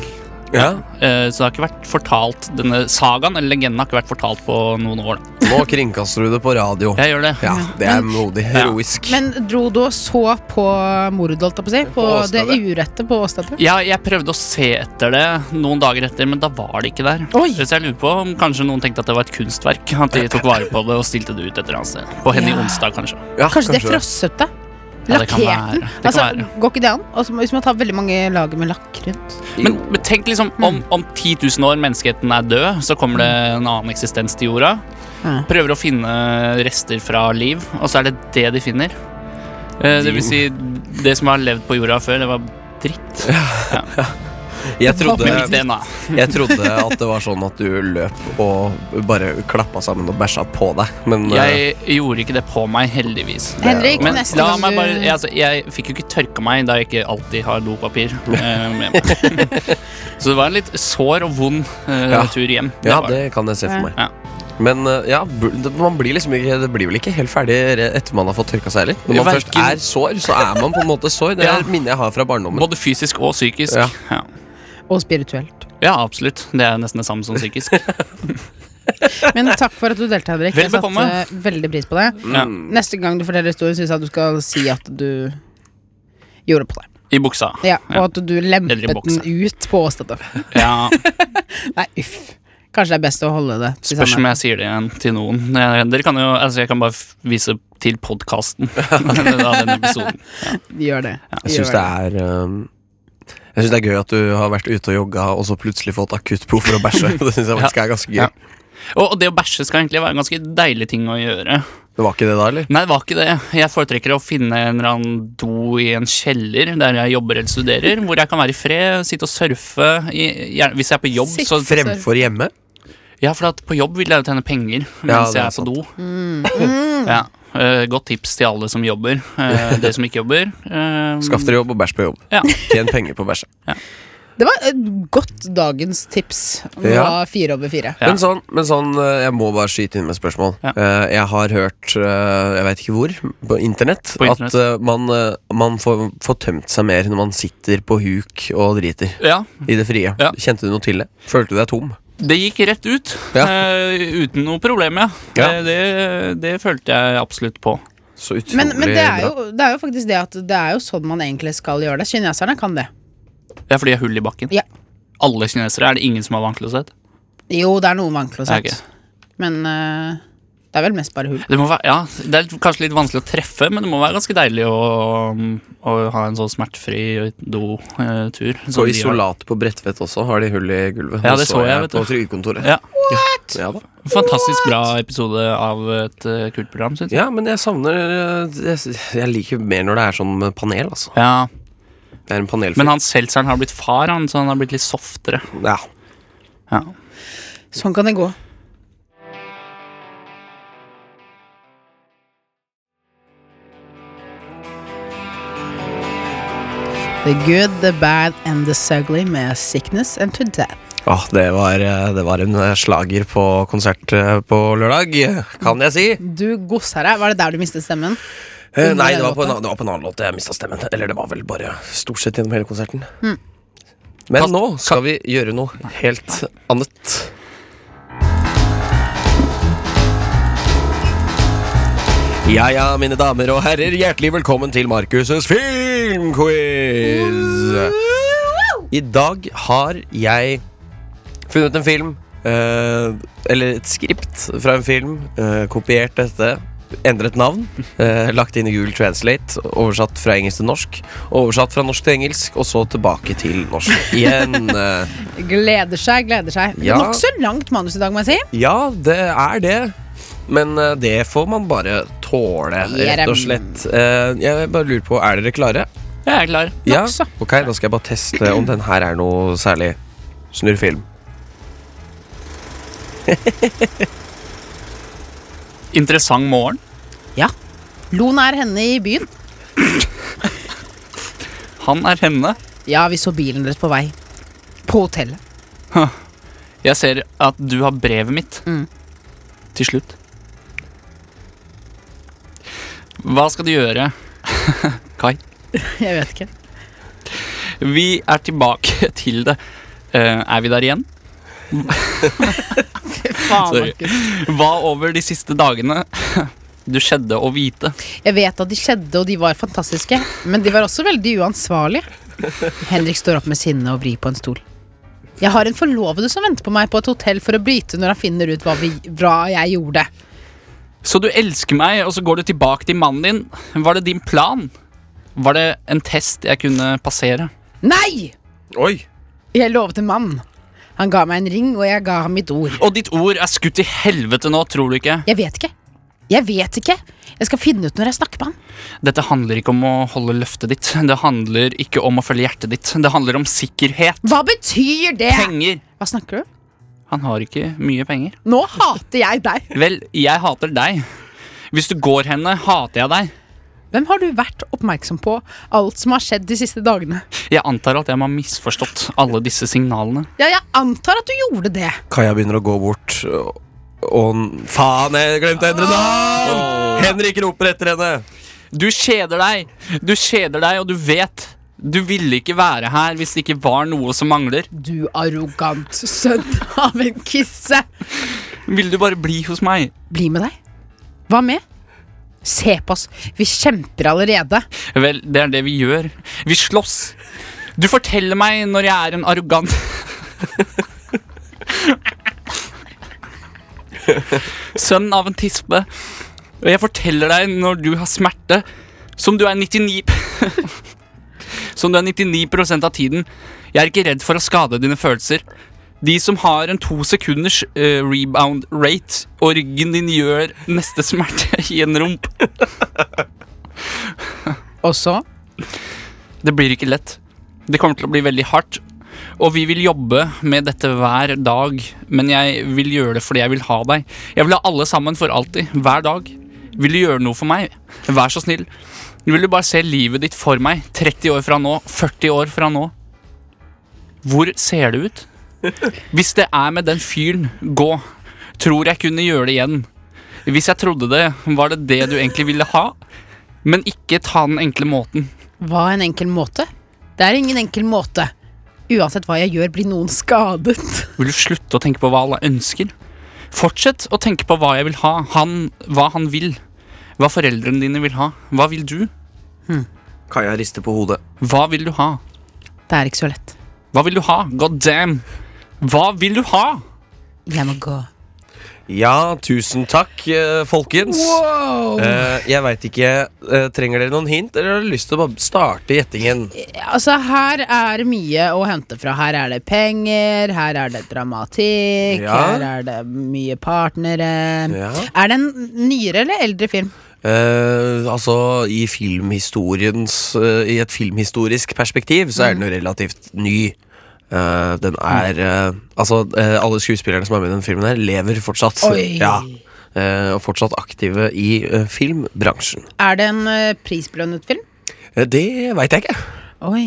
Speaker 5: Ja.
Speaker 4: Eh, Så det har ikke vært fortalt Denne sagaen eller legenden har ikke vært fortalt på noen år. da.
Speaker 5: Nå kringkaster du det på radio.
Speaker 4: Jeg gjør det.
Speaker 5: Ja, det er modig. Heroisk.
Speaker 3: Men dro du og så på mordet, holdt jeg på å si? På,
Speaker 5: På
Speaker 3: det
Speaker 5: åstedet.
Speaker 3: urette på åstedet?
Speaker 4: Ja, jeg prøvde å se etter det noen dager etter, men da var det ikke der.
Speaker 3: Oi!
Speaker 4: Så jeg lurer på om kanskje noen tenkte at det var et kunstverk. At de tok vare på det og stilte det ut et eller annet sted. På Henny
Speaker 3: Ja.
Speaker 4: Onsdag, kanskje.
Speaker 5: Ja,
Speaker 3: Kanskje det frosset det?
Speaker 4: Ja, det kan
Speaker 3: Lakkert
Speaker 4: være.
Speaker 3: den?
Speaker 4: Det kan
Speaker 3: Altså,
Speaker 4: være.
Speaker 3: går ikke det an? Altså, hvis man tar veldig mange lager med lakk rundt.
Speaker 4: Men, men tenk liksom
Speaker 3: Hmm.
Speaker 4: om, om 10 000 år menneskeheten er død, så kommer det en annen eksistens til jorda.
Speaker 3: Ja.
Speaker 4: Prøver å finne rester fra liv, og så er det det de finner. Eh, Det vil si, det som har levd på jorda før, det var dritt.
Speaker 5: Jeg trodde,
Speaker 4: Men litt DNA.
Speaker 5: jeg trodde at det var sånn at du løp og bare klappa sammen og bæsja på deg, men eh,
Speaker 4: Jeg gjorde ikke det på meg, heldigvis.
Speaker 3: Henrik,
Speaker 4: Men
Speaker 3: neste
Speaker 4: la
Speaker 3: gang
Speaker 4: meg
Speaker 3: du
Speaker 4: bare, jeg, altså, jeg fikk jo ikke tørka meg da jeg ikke alltid har dopapir eh, med meg. Så det var en litt sår og vond eh,
Speaker 5: Ja.
Speaker 4: tur hjem.
Speaker 5: ja,
Speaker 4: var
Speaker 5: det kan jeg se for
Speaker 4: Ja.
Speaker 5: meg. Men eh, ja, bu- det- man blir liksom ikke Det blir vel ikke helt ferdig re- etter man har fått tørka seg heller. Når man først
Speaker 4: Verken-
Speaker 5: er sår, så er man på en måte sår. Det
Speaker 4: Ja.
Speaker 5: er et minne jeg har fra barndommen.
Speaker 4: Både fysisk og psykisk.
Speaker 5: Ja.
Speaker 4: Ja. Ja.
Speaker 3: Og spirituelt.
Speaker 4: absolutt. Det er nesten det samme som psykisk.
Speaker 3: Men takk for at du deltok, Henrik.
Speaker 4: Vel
Speaker 3: Jeg satte
Speaker 4: bekomme.
Speaker 3: eh, veldig pris på det.
Speaker 4: Mm. Ja.
Speaker 3: Neste gang du forteller historien, syns jeg at du skal si at du gjorde på det.
Speaker 4: I buksa.
Speaker 3: Ja,
Speaker 4: Ja.
Speaker 3: og at du lempet
Speaker 4: Eller i
Speaker 3: den
Speaker 4: boksen.
Speaker 3: ut på åstedet.
Speaker 4: Ja,
Speaker 3: Nei, uff. Kanskje det er best å holde det til
Speaker 4: Spørs om
Speaker 3: sammen.
Speaker 4: jeg sier det igjen til noen. Eh, Dere kan jo, altså Jeg kan bare f- vise til podkasten av den episoden.
Speaker 3: Gjør det.
Speaker 5: Jeg syns
Speaker 3: Gjør
Speaker 5: det er ehm, Jeg synes det er gøy at du har vært ute og jogga og så plutselig fått akutt behov for å bæsje. Det synes jeg faktisk er ganske gøy.
Speaker 4: Ja. Og, og det å bæsje skal egentlig være en ganske deilig ting å gjøre.
Speaker 5: Det var ikke det da, eller?
Speaker 4: Nei, det var ikke det. Jeg foretrekker å finne en eller annen do i en kjeller der jeg jobber eller studerer, hvor jeg kan være i fred, sitte og surfe. I, gjerne- hvis jeg er på jobb,
Speaker 3: Sitte.
Speaker 4: så
Speaker 5: Fremfor hjemme?
Speaker 4: Ja, for at på jobb vil jeg jo tjene penger
Speaker 5: Ja,
Speaker 4: mens
Speaker 5: det er
Speaker 4: jeg er på do. Ja. eh, godt tips til alle som jobber. Eh, dere som ikke jobber. eh,
Speaker 5: Skaff dere jobb og bæsj på jobb.
Speaker 4: Ja.
Speaker 5: Tjen penger på bæsje.
Speaker 3: Det var et godt dagens tips. Det
Speaker 5: Ja.
Speaker 3: var fire over fire.
Speaker 4: Ja.
Speaker 5: Men sånn, men sånn eh, jeg må bare skyte inn med et spørsmål.
Speaker 4: Ja.
Speaker 5: Eh, Jeg har hørt, eh, jeg veit ikke hvor, på internett,
Speaker 4: På
Speaker 5: at
Speaker 4: internett.
Speaker 5: eh, man, eh, man får, får tømt seg mer når man sitter på huk og driter
Speaker 4: ja,
Speaker 5: i det frie.
Speaker 4: Ja.
Speaker 5: Kjente du noe til det? Følte du deg tom?
Speaker 4: det gikk rett ut.
Speaker 5: Ja.
Speaker 4: eh, uten noe problem, ja.
Speaker 5: Ja.
Speaker 4: Eh, det, det følte jeg absolutt på.
Speaker 5: Så utrolig
Speaker 3: Men, men det,
Speaker 5: bra.
Speaker 3: er jo, det er jo faktisk det at det er jo sånn man egentlig skal gjøre det. Kineserne kan det.
Speaker 4: Det er fordi jeg har hull i bakken.
Speaker 3: Ja.
Speaker 4: Alle kinesere. Er det ingen som har vannklosett?
Speaker 3: Jo, det er noe vannklosett.
Speaker 4: Det er
Speaker 3: Men eh, det er vel mest bare hull.
Speaker 4: Det, må være, ja, det er litt- kanskje litt vanskelig å treffe, men det må være ganske deilig å, å ha en sånn smertefri do-tur.
Speaker 5: Så isolat på Bredtvet også har de hull i gulvet.
Speaker 4: Sånn Ja, det så jeg, vet
Speaker 5: på
Speaker 4: du.
Speaker 5: trygdekontoret.
Speaker 4: Ja.
Speaker 5: Ja, da.
Speaker 4: Fantastisk bra episode av et eh, kult program, syns jeg.
Speaker 5: ja, men jeg savner eh, jeg, jeg liker mer når det er sånn panel, altså.
Speaker 4: Ja,
Speaker 5: Det er en panelfilm.
Speaker 4: Men han Seltzeren har blitt far, han, så han har blitt litt softere.
Speaker 5: ja.
Speaker 4: Ja.
Speaker 3: Sånn kan det gå. The good, the bad and the sugly med Sickness and to Death.
Speaker 5: Åh, det, var, eh, det var en eh, slager på konsert eh, på lørdag, kan jeg si.
Speaker 3: Du gosser deg. Var det der du mistet stemmen?
Speaker 5: Eh, Nei,
Speaker 3: den
Speaker 5: det var, på en,
Speaker 3: låta?
Speaker 5: annen- det var på en annen låt jeg mista stemmen. Eller det var vel bare stort sett gjennom hele konserten. Men
Speaker 4: Kan-
Speaker 5: nå skal vi gjøre noe helt annet. Ja ja, mine damer og herrer, hjertelig velkommen til Markus' filmquiz. I dag har jeg funnet en film, eh, eller et skript fra en film, eh, kopiert dette, endret navn, eh, lagt inn i Google Translate, oversatt fra engelsk til norsk, oversatt fra norsk til engelsk, og så tilbake til norsk igjen. Eh,
Speaker 3: Gleder seg, gleder seg.
Speaker 5: Ja.
Speaker 3: Nokså langt manus i dag, må jeg si.
Speaker 5: Ja, det er det. Men eh, det får man bare tåle, rett og slett. Eh, Jeg bare lurer på, er dere klare?
Speaker 4: Jeg er klar.
Speaker 5: Ja,
Speaker 3: Nokså.
Speaker 5: ok, da skal jeg bare teste om den her er noe særlig Snurr film
Speaker 4: Interessant morgen.
Speaker 3: Ja. Lo nær henne i byen.
Speaker 4: Han er henne.
Speaker 3: Ja, vi så bilen deres på vei. På hotellet.
Speaker 4: Jeg ser at du har brevet mitt.
Speaker 3: Mm.
Speaker 4: Til slutt. Hva skal du gjøre? Kai?
Speaker 3: Jeg vet ikke.
Speaker 4: Vi er tilbake til det. Eh, er vi der igjen?
Speaker 3: Faen,
Speaker 4: Sorry.
Speaker 3: Markus.
Speaker 4: Hva over de siste dagene du skjedde å vite?
Speaker 3: Jeg vet at de skjedde, og de var fantastiske, men de var også veldig uansvarlige. Henrik står opp med sinne og vrir på en stol. Jeg har en forlovede som venter på meg på et hotell for å bryte når han finner ut hva, vi, hva jeg gjorde.
Speaker 4: Så du elsker meg, og så går du tilbake til mannen din. Var det din plan? Var det en test jeg kunne passere?
Speaker 3: Nei!
Speaker 5: Oi!
Speaker 3: Jeg lovet en mann. Han ga meg en ring, og jeg ga ham mitt ord.
Speaker 4: Og ditt ord er skutt til helvete nå, tror du ikke?
Speaker 3: Jeg vet ikke. Jeg vet ikke. Jeg skal finne ut når jeg snakker med han.
Speaker 4: Dette handler ikke om å holde løftet ditt. Det handler ikke om å følge hjertet ditt. Det handler om sikkerhet.
Speaker 3: Hva betyr det?
Speaker 4: Penger.
Speaker 3: Hva snakker du?
Speaker 4: Han har ikke mye penger.
Speaker 3: Nå hater jeg deg.
Speaker 4: Vel, jeg hater deg. Hvis du går henne, hater jeg deg.
Speaker 3: Hvem har du vært oppmerksom på alt som har skjedd de siste dagene?
Speaker 4: Jeg antar at jeg må ha misforstått alle disse signalene.
Speaker 3: Ja, jeg antar at du gjorde det.
Speaker 5: Kaja begynner å gå bort og, og Faen, jeg glemte å endre navn! Henrik roper etter henne.
Speaker 4: Du kjeder deg! Du kjeder deg, og du vet. Du ville ikke være her hvis det ikke var noe som mangler.
Speaker 3: Du arrogant sønn av en kisse.
Speaker 4: Ville du bare bli hos meg?
Speaker 3: Bli med deg. Hva med? Se på oss, vi kjemper allerede.
Speaker 4: Vel, det er det vi gjør. Vi slåss. Du forteller meg når jeg er en arrogant Sønn av en tispe. Og jeg forteller deg når du har smerte, som du er 99 Som du er 99 av tiden. Jeg er ikke redd for å skade dine følelser. De som har en to sekunders eh, rebound rate, og ryggen din gjør neste smerte i en rump.
Speaker 3: Og så
Speaker 4: Det blir ikke lett. Det kommer til å bli veldig hardt. Og vi vil jobbe med dette hver dag, men jeg vil gjøre det fordi jeg vil ha deg. Jeg vil ha alle sammen for alltid, hver dag. Vil du gjøre noe for meg? Vær så snill. Vil du bare se livet ditt for meg, 30 år fra nå, 40 år fra nå? Hvor ser det ut? Hvis det er med den fyren, gå. Tror jeg kunne gjøre det igjen. Hvis jeg trodde det, var det det du egentlig ville ha? Men ikke ta den enkle måten.
Speaker 3: Hva en enkel måte? Det er ingen enkel måte. Uansett hva jeg gjør, blir noen skadet.
Speaker 4: Vil du slutte å tenke på hva alle ønsker? Fortsett å tenke på hva jeg vil ha, han, hva han vil. Hva foreldrene dine vil ha. Hva vil du?
Speaker 5: Kaja rister på hodet.
Speaker 4: Hva vil du ha?
Speaker 3: Det er ikke så lett.
Speaker 4: Hva vil du ha? God damn! Hva vil du ha?
Speaker 3: Jeg må gå.
Speaker 5: Ja, tusen takk, eh, folkens.
Speaker 3: Wow!
Speaker 5: Eh, jeg veit ikke eh, Trenger dere noen hint, eller har dere lyst til å bare starte gjettingen?
Speaker 3: Altså, her er det mye å hente fra. Her er det penger, her er det dramatikk,
Speaker 5: Ja.
Speaker 3: her er det mye partnere.
Speaker 5: Ja.
Speaker 3: Er det en nyere eller eldre film?
Speaker 5: Eh, altså, i filmhistoriens eh, I et filmhistorisk perspektiv så er den jo relativt ny. Eh, den er eh, Altså, eh, alle skuespillerne som er med i den filmen her, lever fortsatt.
Speaker 3: Oi.
Speaker 5: Ja. Eh, og fortsatt aktive i eh, filmbransjen.
Speaker 3: Er det en eh, prisbelønnet film?
Speaker 5: Eh, det veit jeg ikke.
Speaker 3: Oi.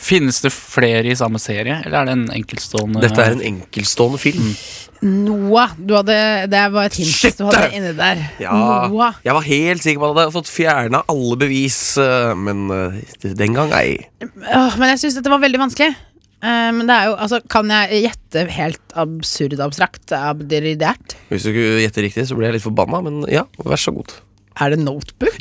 Speaker 4: Finnes det flere i samme serie, eller er det en enkeltstående
Speaker 5: Dette er en enkeltstående film.
Speaker 3: Noah. Du hadde, det var et hint
Speaker 5: Shit,
Speaker 3: du hadde
Speaker 5: det!
Speaker 3: inni der.
Speaker 5: Ja,
Speaker 3: Noah.
Speaker 5: jeg var helt sikker på at jeg hadde fått fjerna alle bevis, eh, men eh, den gang ei.
Speaker 3: Åh, men jeg syns dette var veldig vanskelig. Eh, men det er jo, altså, kan jeg gjette helt absurd abstrakt? Abdiridert?
Speaker 5: Hvis du ikke gjetter riktig, så blir jeg litt forbanna, men ja, vær så god.
Speaker 3: Er det Notebook?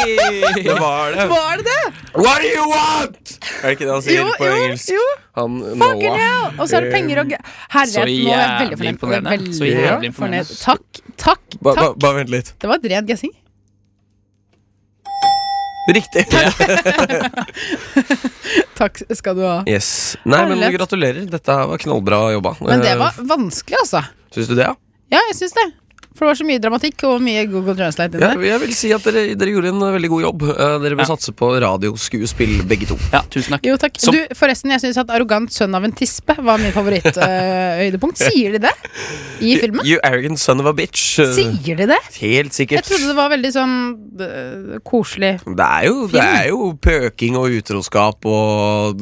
Speaker 5: Det var det.
Speaker 3: Var det det?
Speaker 5: What do you want? Er det ikke det han sier
Speaker 3: Jo,
Speaker 5: på
Speaker 3: jo,
Speaker 5: engelsk?
Speaker 3: jo.
Speaker 5: Han
Speaker 3: Fucking
Speaker 5: Noah. Eh,
Speaker 3: hell! Og så er det penger og gøy.
Speaker 4: Så
Speaker 3: Herlighet, nå er jeg veldig
Speaker 4: jævlig
Speaker 3: fornøyd.
Speaker 4: imponerende.
Speaker 3: Jeg er
Speaker 4: Så
Speaker 3: veldig
Speaker 4: jævlig
Speaker 3: fornøyd.
Speaker 4: imponerende.
Speaker 3: Takk, takk,
Speaker 5: Ba- ba-
Speaker 3: takk.
Speaker 5: Bare vent litt.
Speaker 3: Det var et rent guessing.
Speaker 5: Riktig.
Speaker 3: Takk skal du ha.
Speaker 5: Yes. Nei, men
Speaker 3: Herlighet.
Speaker 5: gratulerer. Dette her var knallbra jobba.
Speaker 3: Men det
Speaker 5: Eh,
Speaker 3: var vanskelig, altså.
Speaker 5: Syns du det, ja?
Speaker 3: Ja, jeg syns det. For det var så mye dramatikk og mye Google Translate inni
Speaker 5: ja?
Speaker 3: der.
Speaker 5: Jeg vil si at dere, dere gjorde en veldig god jobb. Eh, Dere bør
Speaker 4: Ja.
Speaker 5: satse på radioskuespill, begge to.
Speaker 4: Ja, tusen takk.
Speaker 3: Jo, takk.
Speaker 4: Som-
Speaker 3: Du, forresten, jeg syns at 'Arrogant sønn av en tispe' var min favoritthøydepunkt. Sier de det i filmen?
Speaker 5: You arrogant son of a bitch. Eh,
Speaker 3: Sier de det?
Speaker 5: Helt
Speaker 3: Jeg
Speaker 5: sikkert.
Speaker 3: trodde det var veldig sånn øh, koselig.
Speaker 5: Det er, jo, det er jo pøking og utroskap og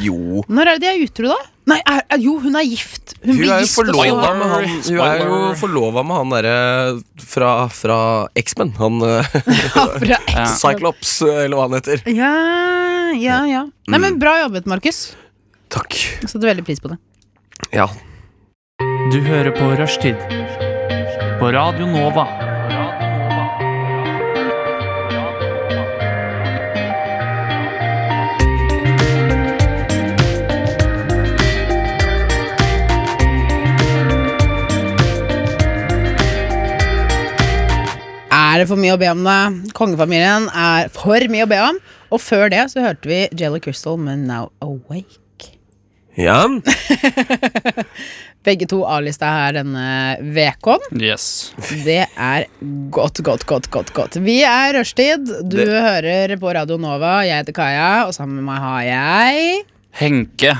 Speaker 5: Jo.
Speaker 3: Når er det de er utro, da? Nei, er, er, jo, hun er gift. Hun,
Speaker 5: Hun
Speaker 3: blir
Speaker 5: er jo
Speaker 3: gift og så-
Speaker 5: forlova med han Hun er jo
Speaker 4: Spoiler.
Speaker 5: forlova med han derre fra, fra X-Men. Han eh,
Speaker 3: Ja, fra X.
Speaker 5: Cyclops, eh, eller hva han heter.
Speaker 3: Ja, ja, Mm. ja. Nei, men bra jobbet, Markus.
Speaker 5: Takk.
Speaker 3: Jeg setter veldig pris på det.
Speaker 5: Ja.
Speaker 4: Du hører på Rushtid på Radio Nova.
Speaker 3: Er det for mye å be om, da? Kongefamilien er for mye å be om. Og før det så hørte vi Jelly Crystal med Now Awake.
Speaker 5: ja.
Speaker 3: Begge to A-lista her denne vekon.
Speaker 4: Yes.
Speaker 3: Det er godt, godt, godt, godt, godt. Vi er rushtid. Du
Speaker 5: Det-
Speaker 3: hører på Radio Nova. Jeg heter Kaja, og sammen med meg har jeg
Speaker 4: Henke.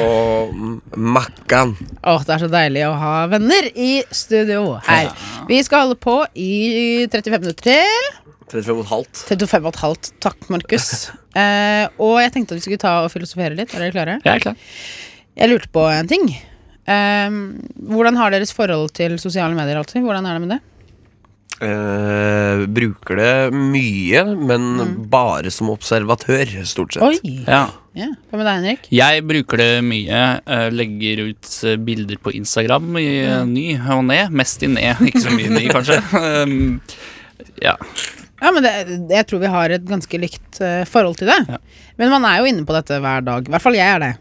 Speaker 5: Og M- Makkan.
Speaker 3: Åh, det er så deilig å ha venner i studio her. Vi skal holde på i 35 minutter til.
Speaker 5: 35 og et halvt.
Speaker 3: 35 og et halvt. Takk, Markus. Eh, og jeg tenkte at vi skulle ta og filosofere litt. Er dere klare?
Speaker 4: Jeg er klar.
Speaker 3: Jeg lurte på en ting. Ehm, hvordan har deres forhold til sosiale medier alltid? Hvordan er det med det?
Speaker 5: Eh, bruker det mye, men
Speaker 4: Mm.
Speaker 5: bare som observatør, stort sett.
Speaker 3: Oi!
Speaker 4: Ja.
Speaker 3: Ja. Hva med deg, Henrik?
Speaker 4: Jeg bruker det mye. eh, Legger ut eh, bilder på Instagram i eh, ny og ne. Mest i ne, ikke så mye i ny, kanskje. Um, Ja.
Speaker 3: Ja, men det, Jeg tror vi har et ganske likt eh, forhold til det.
Speaker 4: Ja.
Speaker 3: Men man er jo inne på dette hver dag. I hvert fall jeg er det.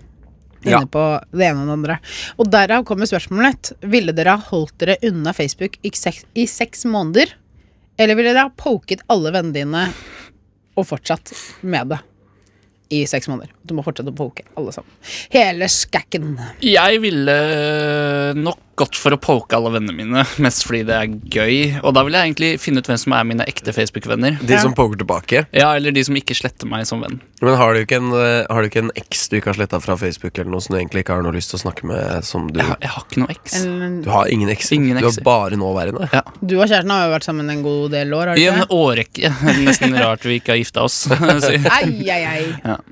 Speaker 3: Inne
Speaker 5: Ja.
Speaker 3: på det ene og det andre. Og derav kommer spørsmålet mitt. Ville dere ha holdt dere unna Facebook i seks, i seks måneder? Eller ville dere ha poket alle vennene dine og fortsatt med det i seks måneder? Du må fortsette å poke alle sammen. Hele skakken.
Speaker 4: Jeg ville eh, nok gått for å poke alle vennene mine, mest fordi det er gøy. Og da vil jeg egentlig finne ut hvem som er mine ekte Facebook-venner.
Speaker 5: De som poker tilbake.
Speaker 4: Ja, Eller de som ikke sletter meg som venn.
Speaker 5: Men har du ikke en, eh, har du ikke en eks du ikke har sletta fra Facebook, eller noe som du egentlig ikke har noe lyst til å snakke med? Som du,
Speaker 4: Jeg har, jeg har ikke noe eks.
Speaker 3: Eller-
Speaker 5: du har ingen ekser.
Speaker 4: Ingen
Speaker 5: Du har
Speaker 4: ekser.
Speaker 5: bare nåværende. Eh,
Speaker 3: Du og kjæresten har jo vært sammen en god del år, har du
Speaker 4: I
Speaker 3: ikke?
Speaker 4: en
Speaker 3: det?
Speaker 4: årrekke. Nesten rart vi ikke har gifta oss. Så-
Speaker 3: Ai, ai, ai.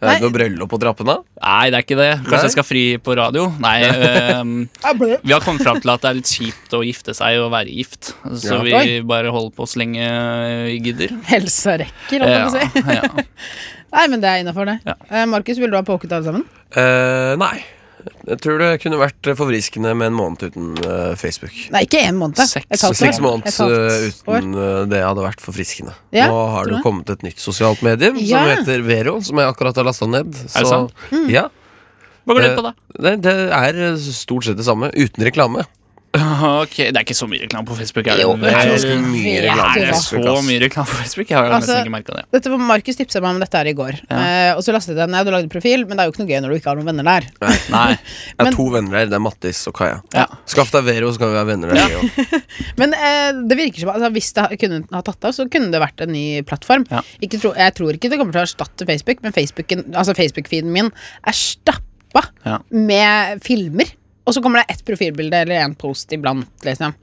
Speaker 5: Er det noe bryllup på trappene?
Speaker 4: Nei, det er ikke det. Kanskje
Speaker 5: Nei?
Speaker 4: jeg skal fri på radio? Nei. eh, øhm, vi har kommet fram til at det er litt kjipt å gifte seg og være gift, så
Speaker 5: Ja.
Speaker 4: vi
Speaker 3: Oi.
Speaker 4: bare holder på så lenge vi gidder.
Speaker 3: Helsa rekker, holdt jeg på å si.
Speaker 4: ja.
Speaker 3: Nei, men det er innafor, det.
Speaker 4: Ja.
Speaker 3: Eh, Markus, vil du ha poket alle sammen?
Speaker 5: Eh, nei. Jeg tror det kunne vært eh, forfriskende med en måned uten eh, Facebook.
Speaker 3: Nei, ikke én måned. da.
Speaker 4: Seks-
Speaker 3: Et halvt år.
Speaker 5: Seks måneder
Speaker 3: Et halvt
Speaker 5: eh,
Speaker 3: år.
Speaker 5: uten eh, det hadde vært forfriskende.
Speaker 3: Ja,
Speaker 5: Nå har det
Speaker 3: tror
Speaker 5: jo
Speaker 3: jeg.
Speaker 5: kommet et nytt sosialt medium som
Speaker 3: Ja.
Speaker 5: heter Vero, som jeg akkurat har lasta ned. Mm.
Speaker 4: det sant?
Speaker 5: ja,
Speaker 4: Hva går det ut på, da?
Speaker 5: det, det er eh, stort sett det samme, uten reklame.
Speaker 4: Eh, Ok, Det er ikke så mye reklame på Facebook. Er det?
Speaker 5: Jo, det er ganske
Speaker 4: Nei,
Speaker 5: mye
Speaker 3: vet
Speaker 5: reklame.
Speaker 3: du
Speaker 4: det
Speaker 5: på
Speaker 4: er
Speaker 5: Facebook,
Speaker 4: så
Speaker 5: ass.
Speaker 4: mye reklame på Facebook. Jeg har jo
Speaker 3: Altså-
Speaker 4: nesten ikke merka det.
Speaker 3: Dette var Markus tipsa meg om dette her i går. Eh, og så lastet jeg den ned og lagde profil, men det er jo ikke noe gøy når du ikke har noen venner der.
Speaker 4: Nei.
Speaker 5: Jeg har
Speaker 3: Men-
Speaker 5: to venner der. Det er Mattis og Kaja.
Speaker 4: Ja.
Speaker 5: Skaff deg Vero, så kan vi være venner der. vi også.
Speaker 3: Men eh, det virker som altså, hvis det ha- kunne ha tatt av, så kunne det vært en ny plattform.
Speaker 4: Ja.
Speaker 3: Ikke tro, jeg tror ikke det kommer til å erstatte Facebook, men Facebook-feeden altså Facebook min er stappa
Speaker 4: Ja.
Speaker 3: med filmer. Og så kommer det ett profilbilde eller en post iblant, liksom.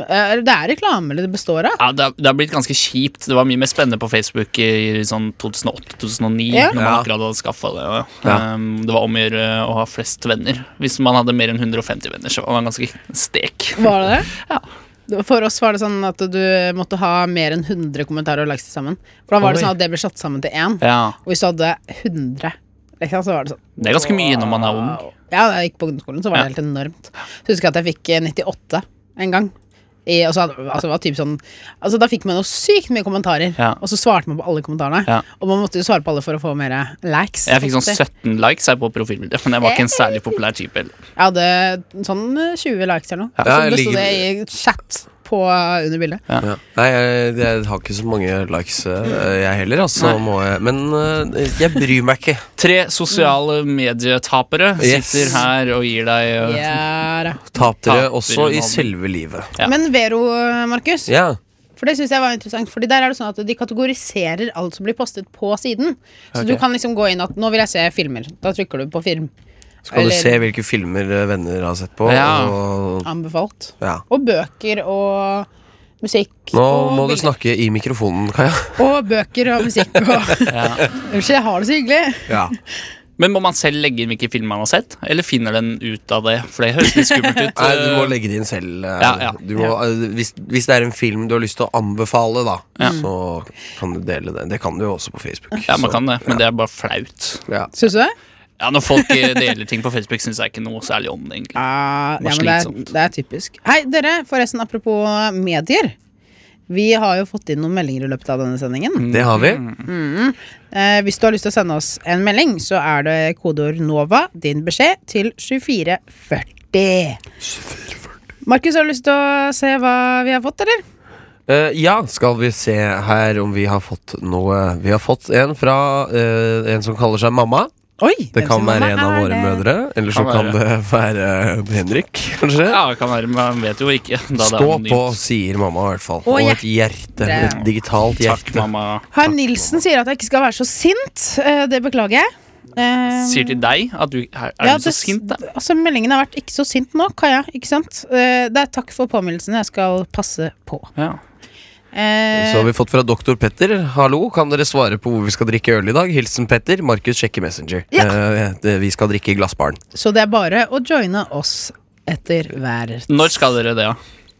Speaker 3: Eh, Det er reklame det består av.
Speaker 4: Ja, det, har, det har blitt ganske kjipt. Det var mye mer spennende på Facebook i sånn 2008-2009.
Speaker 3: Ja.
Speaker 4: Når man
Speaker 5: Ja.
Speaker 4: akkurat hadde skaffet det.
Speaker 5: Ja.
Speaker 4: Um, det var om å gjøre å ha flest venner. Hvis man hadde mer enn 150 venner, så var man ganske stek.
Speaker 3: Var det det?
Speaker 4: Ja.
Speaker 3: Det- For oss var det sånn at du måtte ha mer enn 100 kommentarer og likes til sammen. For da var det
Speaker 4: Oi.
Speaker 3: sånn at det ble satt sammen til én.
Speaker 4: Ja,
Speaker 3: Og hvis du hadde 100, liksom, så var det sånn
Speaker 4: Det er ganske mye når man er ung.
Speaker 3: Wow. Ja, da jeg gikk på ungdomsskolen, så var det helt enormt. Så husker jeg at jeg fikk eh, 98 en gang. I, og så hadde, altså, det var typ sånn, altså, da fikk man jo sykt mye kommentarer,
Speaker 4: Ja.
Speaker 3: og så svarte man på alle kommentarene.
Speaker 4: Ja.
Speaker 3: Og man måtte jo svare på alle for å få mer likes.
Speaker 4: Jeg fikk sånn
Speaker 3: Ofte.
Speaker 4: 17 likes her på profilbildet, men jeg var ikke en særlig populær type. heller.
Speaker 3: Jeg hadde sånn eh, 20 likes eller noe.
Speaker 5: Ja,
Speaker 3: så
Speaker 5: jeg
Speaker 3: det sto det i
Speaker 5: ligger-
Speaker 3: chat på, eh, under bildet.
Speaker 5: Ja. Nei, jeg, jeg har ikke så mange likes, eh, jeg heller. Altså, må jeg. Men eh, jeg bryr meg ikke.
Speaker 4: Tre sosiale medietapere
Speaker 5: Yes.
Speaker 4: sitter her og gir deg uh,
Speaker 3: Ja, da.
Speaker 5: Tap dere
Speaker 4: Taper
Speaker 5: også i
Speaker 4: man.
Speaker 5: selve livet.
Speaker 4: Ja.
Speaker 3: Men Vero, eh, Markus,
Speaker 5: Ja.
Speaker 3: for det synes jeg var interessant. Fordi der er det sånn at de kategoriserer alt som blir postet på siden. Så du
Speaker 4: Ok.
Speaker 3: kan liksom gå inn at 'nå vil jeg se filmer'. Da trykker du på 'film'.
Speaker 5: Så kan
Speaker 3: Eller-
Speaker 5: du se hvilke filmer eh, venner har sett på.
Speaker 4: Ja.
Speaker 5: Og,
Speaker 3: Anbefalt.
Speaker 5: ja.
Speaker 3: Og bøker og musikk.
Speaker 5: Nå
Speaker 3: og
Speaker 5: må du
Speaker 3: bilder.
Speaker 5: snakke i mikrofonen, Kaja.
Speaker 3: Og bøker og musikk og Unnskyld, jeg har det så hyggelig.
Speaker 4: Men må man selv legge inn hvilke filmer man har sett, eller finner den ut av det? For det høres litt skummelt ut. øh.
Speaker 5: Nei, du må legge det inn selv. eh,
Speaker 4: Ja, ja.
Speaker 5: Du må, eh, hvis, hvis det er en film du har lyst til å anbefale, da, så kan du dele det. Det kan du jo også på Facebook.
Speaker 4: Ja, man
Speaker 5: så-
Speaker 4: kan det, men det er bare flaut.
Speaker 5: ja.
Speaker 3: Syns du det?
Speaker 4: Ja, Når folk eh, deler ting på Facebook, syns jeg ikke noe særlig om det. egentlig
Speaker 3: Ah, ja,
Speaker 4: Bare
Speaker 3: men det er,
Speaker 4: slitsomt.
Speaker 3: det er typisk. Hei, dere, forresten, apropos medier. Vi har jo fått inn noen meldinger i løpet av denne sendingen.
Speaker 5: Det har vi.
Speaker 4: Mm.
Speaker 3: Eh, hvis du har lyst til å sende oss en melding, så er det kodeord NOVA, din beskjed, til 2440. Markus, har du lyst til å se hva vi har fått, eller?
Speaker 5: Eh, ja, skal vi se her om vi har fått noe Vi har fått en fra eh, en som kaller seg mamma.
Speaker 3: Oi!
Speaker 5: Det
Speaker 3: hvem
Speaker 5: kan
Speaker 3: sin
Speaker 5: være
Speaker 3: mamma
Speaker 5: en av
Speaker 3: er
Speaker 5: våre
Speaker 3: det?
Speaker 5: mødre. Eller så
Speaker 4: Kan
Speaker 5: kan
Speaker 4: være.
Speaker 5: det være Henrik, kanskje.
Speaker 4: Ja, det kan være, Man vet jo ikke. Da det er
Speaker 5: Stå
Speaker 4: anonymt.
Speaker 5: på, sier mamma i hvert fall.
Speaker 3: Og
Speaker 5: Og et hjerte. Et
Speaker 3: hjerte.
Speaker 5: digitalt
Speaker 4: Takk,
Speaker 5: hjerte.
Speaker 4: mamma.
Speaker 3: Harm Nilsen sier at jeg ikke skal være så sint. Eh, det beklager jeg. Eh,
Speaker 4: Sier til deg at du er, er
Speaker 3: ja,
Speaker 4: du så
Speaker 3: det-
Speaker 4: sint, da?
Speaker 3: Altså, meldingen har vært 'ikke så sint nå', Kaja. Ikke sant? Eh, det er takk for påminnelsen. Jeg skal passe på.
Speaker 4: Ja.
Speaker 3: Eh,
Speaker 5: Så har vi fått fra doktor Petter. Hallo, kan dere svare på hvor vi skal drikke øl i dag? Hilsen Petter. Markus sjekker Messenger.
Speaker 3: Ja.
Speaker 5: Eh, det- vi skal drikke i Glassbaren.
Speaker 3: Så det er bare å joine oss etter hver
Speaker 4: Når skal dere det, da?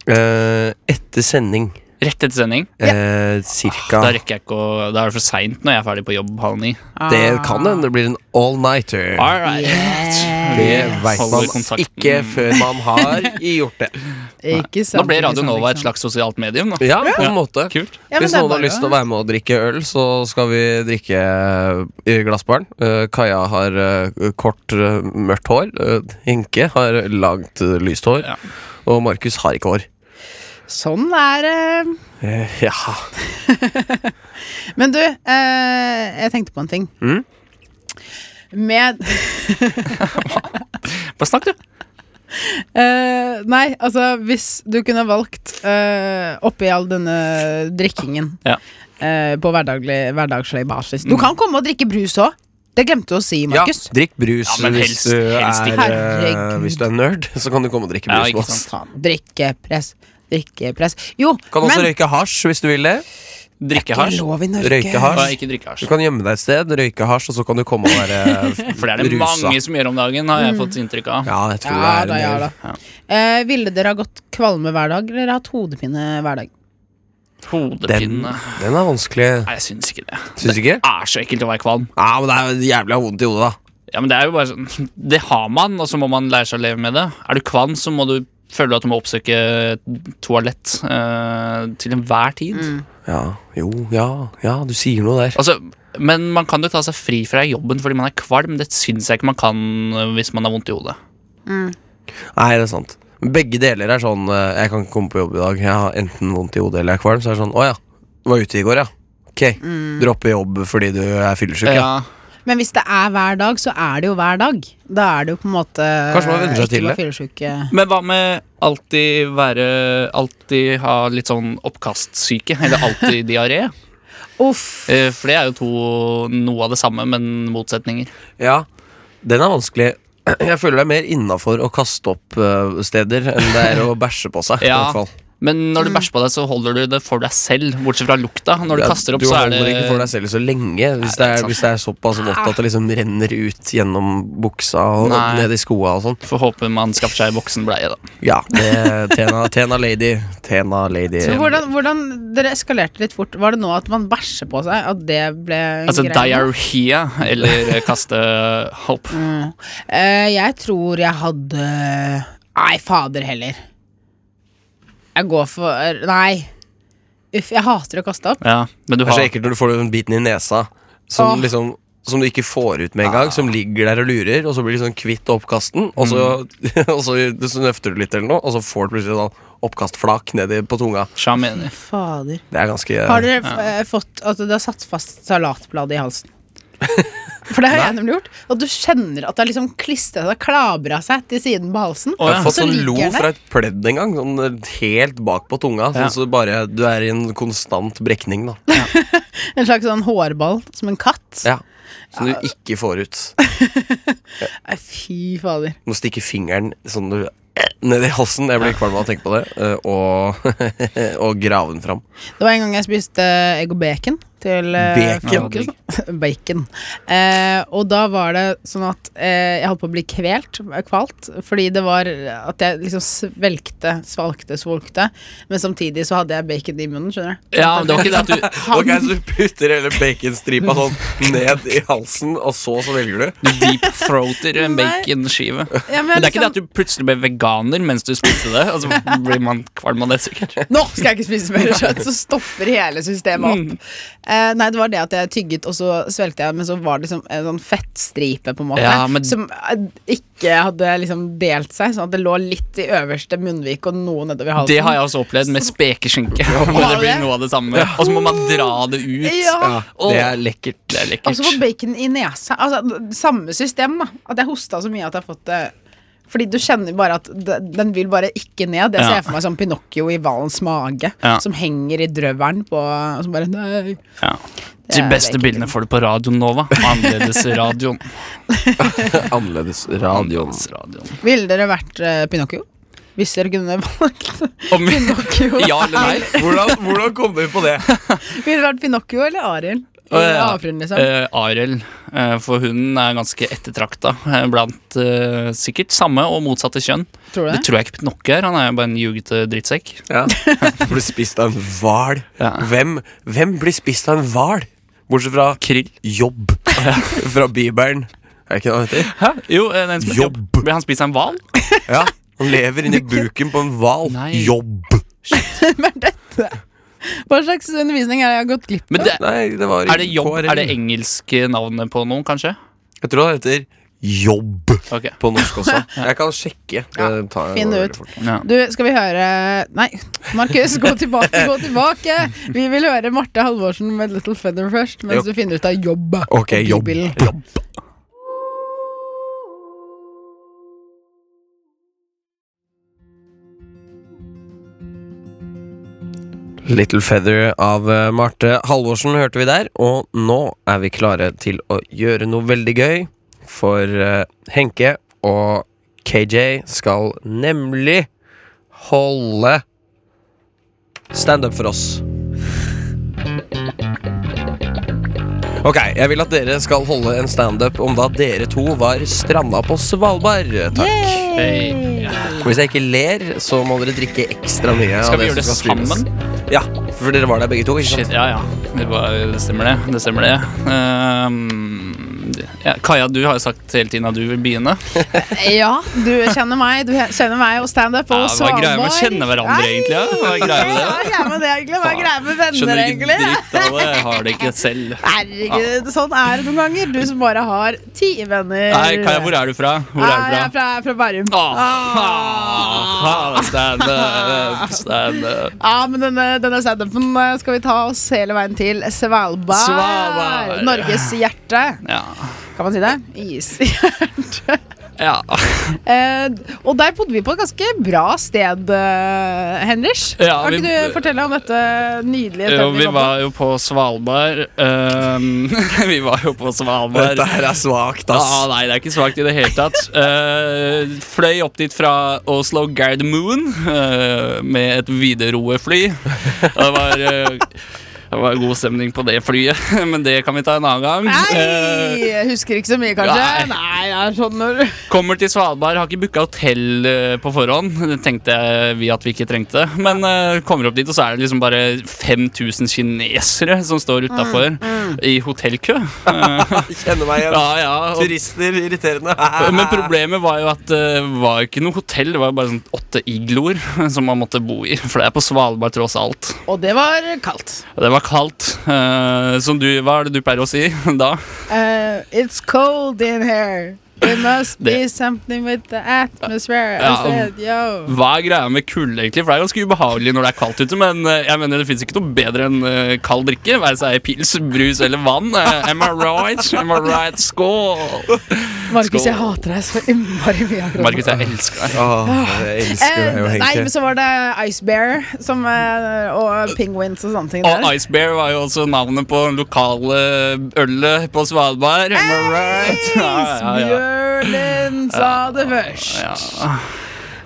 Speaker 5: Eh, etter sending.
Speaker 4: Rett etter sending?
Speaker 5: Eh,
Speaker 4: Da
Speaker 5: cirka
Speaker 4: rekker jeg ikke å Da er det for seint når jeg er ferdig på jobb halv ni.
Speaker 3: Ah.
Speaker 5: Det kan hende det blir en all-nighter.
Speaker 4: All right.
Speaker 5: Det
Speaker 3: Yeah.
Speaker 5: veit
Speaker 4: Holder
Speaker 5: man
Speaker 4: kontakten.
Speaker 5: ikke før man har gjort det.
Speaker 3: Ikke sant,
Speaker 4: Nå ble
Speaker 3: ikke
Speaker 4: Radio
Speaker 3: sant,
Speaker 4: Nova
Speaker 5: liksom-
Speaker 3: ikke
Speaker 4: et
Speaker 3: sant.
Speaker 4: slags sosialt medium. Da.
Speaker 5: Ja, på en måte.
Speaker 4: Kult.
Speaker 3: Ja, men
Speaker 5: Hvis
Speaker 3: det
Speaker 5: noen
Speaker 3: er
Speaker 5: har
Speaker 3: bare
Speaker 5: lyst til
Speaker 3: å-
Speaker 5: å være med og drikke øl, så skal vi drikke eh, i glassbaren. Eh, Kaja har eh, kort, eh, mørkt hår. Eh, Henke har langt, eh, lyst hår.
Speaker 4: Ja.
Speaker 5: Og Markus har ikke hår.
Speaker 3: Sånn er det.
Speaker 5: Eh, ja.
Speaker 3: Men du, eh, jeg tenkte på en ting.
Speaker 5: Mm.
Speaker 3: Med
Speaker 4: Bare snakk, du.
Speaker 3: eh, Nei, altså, hvis du kunne valgt eh, oppi all denne drikkingen
Speaker 4: Ja.
Speaker 3: eh, på hverdaglig, hverdagslig basis Du kan komme og drikke brus òg. Det glemte du å si,
Speaker 5: ja,
Speaker 3: Markus.
Speaker 5: drikk brus
Speaker 4: Ja, men
Speaker 5: hvis,
Speaker 4: helst-
Speaker 5: du
Speaker 4: helst
Speaker 5: er,
Speaker 4: ikke.
Speaker 5: eh,
Speaker 3: Herregud.
Speaker 5: hvis du er nerd. Så kan du komme og drikke
Speaker 4: Ja,
Speaker 5: brus
Speaker 4: ikke
Speaker 5: med oss.
Speaker 4: sant.
Speaker 3: Faen, drikkepress, drikkepress. Jo,
Speaker 5: Kan også
Speaker 3: men
Speaker 5: røyke hasj hvis du vil det.
Speaker 4: Drikke hasj.
Speaker 3: lov i Norge.
Speaker 5: Røyke
Speaker 4: Bare
Speaker 5: hasj.
Speaker 4: ikke drikke
Speaker 5: Du
Speaker 4: hasj.
Speaker 5: kan gjemme deg et sted, røyke hasj, og så kan du komme og være
Speaker 4: For det er det
Speaker 5: rusa. Mm.
Speaker 4: mange som gjør om dagen, har jeg fått inntrykk av.
Speaker 5: Ja, jeg tror
Speaker 3: Ja
Speaker 5: det
Speaker 3: da,
Speaker 5: er
Speaker 3: ja
Speaker 5: en
Speaker 3: da.
Speaker 5: del.
Speaker 3: Eh, ville dere ha gått kvalme hver dag, eller hatt hodepine hver dag?
Speaker 5: Den,
Speaker 4: Hodepine.
Speaker 5: den er vanskelig.
Speaker 4: Nei, jeg syns ikke det.
Speaker 5: Syns du ikke?
Speaker 4: Det er så ekkelt å være kvalm.
Speaker 5: Ja, men det er jævlig av vondt i hodet, da.
Speaker 4: Ja, men Det er jo bare sånn Det har man, og så må man lære seg å leve med det. Er du kvalm, så må du føle at du må oppsøke toalett eh, til enhver tid.
Speaker 5: Ja, jo, ja, ja, du sier noe der.
Speaker 4: Altså, men man kan jo ta seg fri fra jobben fordi man er kvalm. Det syns jeg ikke man kan eh, hvis man har vondt i hodet.
Speaker 5: Nei, det er sant. Begge deler er sånn eh, Jeg kan ikke komme på jobb i dag. Jeg har enten vondt i hodet eller er kvalm. Så er det sånn Å ja, du var ute i går, ja. Ok.
Speaker 4: Mm.
Speaker 5: Droppe jobb fordi du er fyllesyk, ja.
Speaker 4: Eh,
Speaker 3: Men hvis det er hver dag, så er det jo hver dag. Da er det jo på en måte
Speaker 5: Kanskje man venner seg til det.
Speaker 3: det.
Speaker 4: Men hva med alltid være Alltid ha litt sånn oppkastsyke? Eller alltid diaré?
Speaker 3: Uff.
Speaker 4: Eh, For det er jo to noe av det samme, men motsetninger.
Speaker 5: Ja. Den er vanskelig. Jeg føler det er mer innafor å kaste opp eh, steder enn det er å bæsje på seg. i
Speaker 4: Ja.
Speaker 5: hvert fall.
Speaker 4: Men når du bæsjer på deg, så holder du det for deg selv, bortsett fra lukta.
Speaker 5: Mm.
Speaker 4: Når du
Speaker 5: Ja,
Speaker 4: kaster opp,
Speaker 5: du
Speaker 4: så er
Speaker 5: holder
Speaker 4: det
Speaker 5: ikke for deg selv så lenge hvis det
Speaker 4: det er
Speaker 5: er,
Speaker 4: sant. Ah.
Speaker 5: hvis det er såpass vått at det liksom renner ut gjennom buksa og
Speaker 4: Nei.
Speaker 5: ned i skoa og sånn.
Speaker 4: Får håpe man skaffer seg voksenbleie, da.
Speaker 5: Ja, det, tena, tena lady. Tena lady.
Speaker 3: Så hvordan, hvordan Dere eskalerte litt fort. Var det nå at man bæsjer på seg? At det ble en
Speaker 4: Altså
Speaker 3: greie?
Speaker 4: diarhea, eller kaste hopp.
Speaker 5: Mm.
Speaker 3: Eh, jeg tror jeg hadde Nei, fader heller. Jeg går for Nei. Uff, jeg hater å kaste opp.
Speaker 4: Ja, men du
Speaker 5: Det er så
Speaker 4: har
Speaker 5: ekkelt når du får den biten i nesa som,
Speaker 3: Åh.
Speaker 5: liksom, som du ikke får ut med en gang. Som ligger der og lurer, og så blir du sånn kvitt oppkasten. Og så, og så, så nøfter du litt, eller noe og så får du plutselig sånn oppkastflak nedi på tunga.
Speaker 4: Shameni.
Speaker 3: Fader.
Speaker 5: Det er ganske
Speaker 3: Har dere f eh, fått at det har satt fast salatbladet i halsen? For det har jeg nemlig gjort. Og du kjenner at det har liksom klistra seg, klabra seg til siden på halsen.
Speaker 4: Å,
Speaker 5: Jeg
Speaker 4: ja.
Speaker 5: har fått
Speaker 3: Så
Speaker 5: sånn
Speaker 3: ligger
Speaker 5: lo
Speaker 3: den der.
Speaker 5: fra et pledd en gang, sånn helt bak på tunga.
Speaker 4: Ja.
Speaker 5: Sånn så bare du er i en konstant brekning, da.
Speaker 3: En slags sånn hårball, som en katt.
Speaker 5: Ja. Som du ikke får ut.
Speaker 3: Nei, Fy fader.
Speaker 5: Må stikke fingeren sånn du ned i halsen. Jeg blir kvalm av å tenke på det. eh, Og, og grave den fram.
Speaker 3: Det var en gang jeg spiste egg og bacon, til eh,
Speaker 5: Bacon.
Speaker 3: frokost. Bacon. Eh, og da var det sånn at eh, jeg holdt på å bli kvelt, kvalt, fordi det var at jeg liksom svelgte, svalgte, svolgte, men samtidig så hadde jeg bacon i munnen, skjønner du.
Speaker 4: Ja, men det var ikke det at du
Speaker 5: Ok, Så du putter hele baconstripa sånn ned i halsen, og så så velger du?
Speaker 4: deep-throater en baconskive.
Speaker 3: Ja,
Speaker 4: Men det er ikke det at du plutselig ble veganer mens du spiste det. Altså blir man kvalm av det, sikkert.
Speaker 3: Nå skal jeg ikke spise mer kjøtt! Så stopper hele systemet opp.
Speaker 4: Mm.
Speaker 3: Eh, nei, det var det at jeg tygget, og så svelgte jeg, men så var det liksom en sånn fettstripe, på en måte,
Speaker 4: Ja, men-
Speaker 3: som eh, ikke hadde liksom delt seg, sånn at det lå litt i øverste munnvik og noe nedover halsen.
Speaker 4: Det har jeg også opplevd med spekeskinke. Hvor
Speaker 3: Har
Speaker 4: det
Speaker 3: du det?
Speaker 4: blir noe av det samme. Og så må man dra det ut.
Speaker 3: Ja. Altså,
Speaker 4: Åh,
Speaker 5: Det er lekkert.
Speaker 4: det er
Speaker 3: Og så får
Speaker 4: lekkert.
Speaker 3: bacon i nesa. Altså, d- samme system, da. At jeg hosta så mye at jeg har fått det Fordi du kjenner bare at d- den vil bare ikke ned. Jeg ser
Speaker 4: Ja.
Speaker 3: for meg som Pinocchio i hvalens mage,
Speaker 4: Ja.
Speaker 3: som henger i drøvelen på og Som bare Nei.
Speaker 4: Ja.
Speaker 3: Det
Speaker 4: De
Speaker 3: er
Speaker 4: beste
Speaker 3: bacon.
Speaker 4: bildene får du på radioen Nova. Annerledesradioen.
Speaker 5: Annerledes radioen.
Speaker 4: Annerledesradioen.
Speaker 3: Ville dere vært eh, Pinocchio? Hvis dere kunne valgt
Speaker 4: Om-
Speaker 3: Pinocchio.
Speaker 4: Ja eller nei?
Speaker 5: Hvordan, hvordan kom du på det?
Speaker 3: Ville dere vært Pinocchio eller Ariel?
Speaker 4: Å,
Speaker 3: Eller
Speaker 4: ja.
Speaker 3: Aprin, liksom.
Speaker 4: Eh, Ariel, eh, for hunden er ganske ettertrakta eh, blant eh, sikkert samme og motsatte kjønn.
Speaker 3: Tror du
Speaker 4: Det
Speaker 3: det?
Speaker 4: tror jeg ikke Pinocchio er, han er jo bare en ljugete drittsekk.
Speaker 5: Ja. Blir spist av en hval.
Speaker 4: Ja.
Speaker 5: Hvem, hvem blir spist av en hval? Bortsett fra
Speaker 4: Krill.
Speaker 5: jobb. Fra Bibelen. Er det ikke det han heter?
Speaker 4: Hæ? Jo, eh, den som heter
Speaker 5: Jobb.
Speaker 4: Blir han spist av en hval?
Speaker 5: Ja. Han lever inni buken på en hval.
Speaker 4: Nei.
Speaker 5: Jobb.
Speaker 3: Hva slags undervisning er det jeg har gått glipp av?
Speaker 4: Men det,
Speaker 5: Nei, det var i
Speaker 4: er det jobb?
Speaker 5: KRL.
Speaker 4: Er det engelske navnet på noen, kanskje?
Speaker 5: Jeg tror han heter Jobb
Speaker 4: Ok.
Speaker 5: på norsk også. Jeg kan sjekke. Ja,
Speaker 3: finn ut.
Speaker 4: Ja.
Speaker 3: Du, skal vi høre Nei, Markus, gå tilbake, gå tilbake! Vi vil høre Marte Halvorsen med Little Feather først, mens
Speaker 5: Jo.
Speaker 3: du finner ut av jobb.
Speaker 5: Ok, jobb.
Speaker 3: Bibelen.
Speaker 5: jobb. Little Feather av eh, Marte Halvorsen hørte vi der, og nå er vi klare til å gjøre noe veldig gøy. For eh, Henke og KJ skal nemlig holde standup for oss. Ok, jeg vil at dere skal holde en standup om da dere to var stranda på Svalbard. Takk.
Speaker 4: Hey. Ja.
Speaker 5: Og Hvis jeg ikke ler, så må dere drikke ekstra mye. av
Speaker 4: Skal vi gjøre
Speaker 5: som
Speaker 4: det sammen?
Speaker 5: streames. Ja, for dere var der begge to. ikke sant?
Speaker 4: Shit, ja, ja. Det, var, det stemmer, det. Det stemmer, det. Ehm, ja, Kaja, du har jo sagt hele tiden at du vil begynne.
Speaker 3: Ja, du kjenner meg, du he- kjenner meg og standup
Speaker 4: Ja,
Speaker 3: og
Speaker 4: hva er greia med å
Speaker 3: Svalbard.
Speaker 4: kjenne hverandre,
Speaker 3: Nei,
Speaker 4: egentlig, ja? Hva er greia med
Speaker 3: Hva
Speaker 4: det?
Speaker 3: er greia med det, egentlig? Hva er greia med venner,
Speaker 4: Skjønner ikke
Speaker 3: egentlig?
Speaker 4: dritt av det. Jeg har det ikke selv.
Speaker 3: Herregud, sånn er det noen ganger. Du som bare har ti venner.
Speaker 4: Nei, Kaja, hvor er du fra? Hvor
Speaker 3: Nei,
Speaker 4: er
Speaker 3: Jeg er
Speaker 4: du fra?
Speaker 3: fra, jeg er fra Bærum.
Speaker 4: Ah, ah, ah, Standup, standup.
Speaker 3: Ja, men denne, denne standupen eh, skal vi ta oss hele veien til Svalbard.
Speaker 4: Svalbard.
Speaker 3: Norges hjerte.
Speaker 4: Ja.
Speaker 3: Kan man si det? Ishjerte.
Speaker 4: ja.
Speaker 3: Eh, og der bodde vi på et ganske bra sted, eh, Henrich.
Speaker 4: Ja,
Speaker 3: kan
Speaker 4: vi-
Speaker 3: ikke du fortelle om dette nydelige
Speaker 4: Jo,
Speaker 3: stedet
Speaker 4: vi var jo på Svalbard. Ehm, vi var jo på Svalbard.
Speaker 5: Dette her er svakt,
Speaker 4: Ah,
Speaker 5: ass.
Speaker 4: nei, det er ikke svakt i det hele tatt. Eh, fløy opp dit fra Oslo Gardermoen eh, med et Widerøe-fly. Og Det var eh, det var god stemning på det flyet, men det kan vi ta en annen gang. Eh,
Speaker 3: Nei, jeg husker ikke så mye, kanskje.
Speaker 4: Nei.
Speaker 3: Nei, det er sånn når
Speaker 4: Kommer til Svalbard, har ikke booka hotell eh, på forhånd. Det tenkte vi at vi ikke trengte. Men eh, kommer opp dit, og så er det liksom bare 5000 kinesere som står utafor i hotellkø. Eh,
Speaker 5: Kjenner meg igjen.
Speaker 4: ja, ja, og,
Speaker 5: Turister, irriterende.
Speaker 4: Eh, men
Speaker 5: Eh.
Speaker 4: problemet var jo at eh, det var jo ikke noe hotell, det var jo bare sånn åtte igloer som man måtte bo i. For det er på Svalbard tross alt.
Speaker 3: Og det var kaldt.
Speaker 4: Og Det var kaldt. eh, som du, hva er det du pleier å si da?
Speaker 3: Eh, it's cold in here. There must be
Speaker 4: Det-
Speaker 3: something with the atmosphere. I
Speaker 4: Ja,
Speaker 3: said, yo.
Speaker 4: Hva er greia med kulde, egentlig? For det er ganske ubehagelig når det er kaldt ute, men eh, jeg mener det fins ikke noe bedre enn eh, kald drikke. Være seg pils, brus eller vann. Eh, Am I right? Am I right? Skål!
Speaker 3: Markus,
Speaker 4: Skål.
Speaker 3: jeg hater deg så innmari mye akkurat nå.
Speaker 4: Markus, jeg elsker deg.
Speaker 5: Åh, jeg elsker deg
Speaker 3: Eh,
Speaker 5: jo,
Speaker 3: nei, men
Speaker 5: Henke.
Speaker 3: så var det Ice Bear som, eh, og penguins og sånne ting
Speaker 4: Og
Speaker 3: der.
Speaker 4: Ice Bear var jo også navnet på den lokale ølet på Svalbard. Am I right? Ja, ja, ja.
Speaker 3: Isbjørnen sa det først.
Speaker 4: Ja.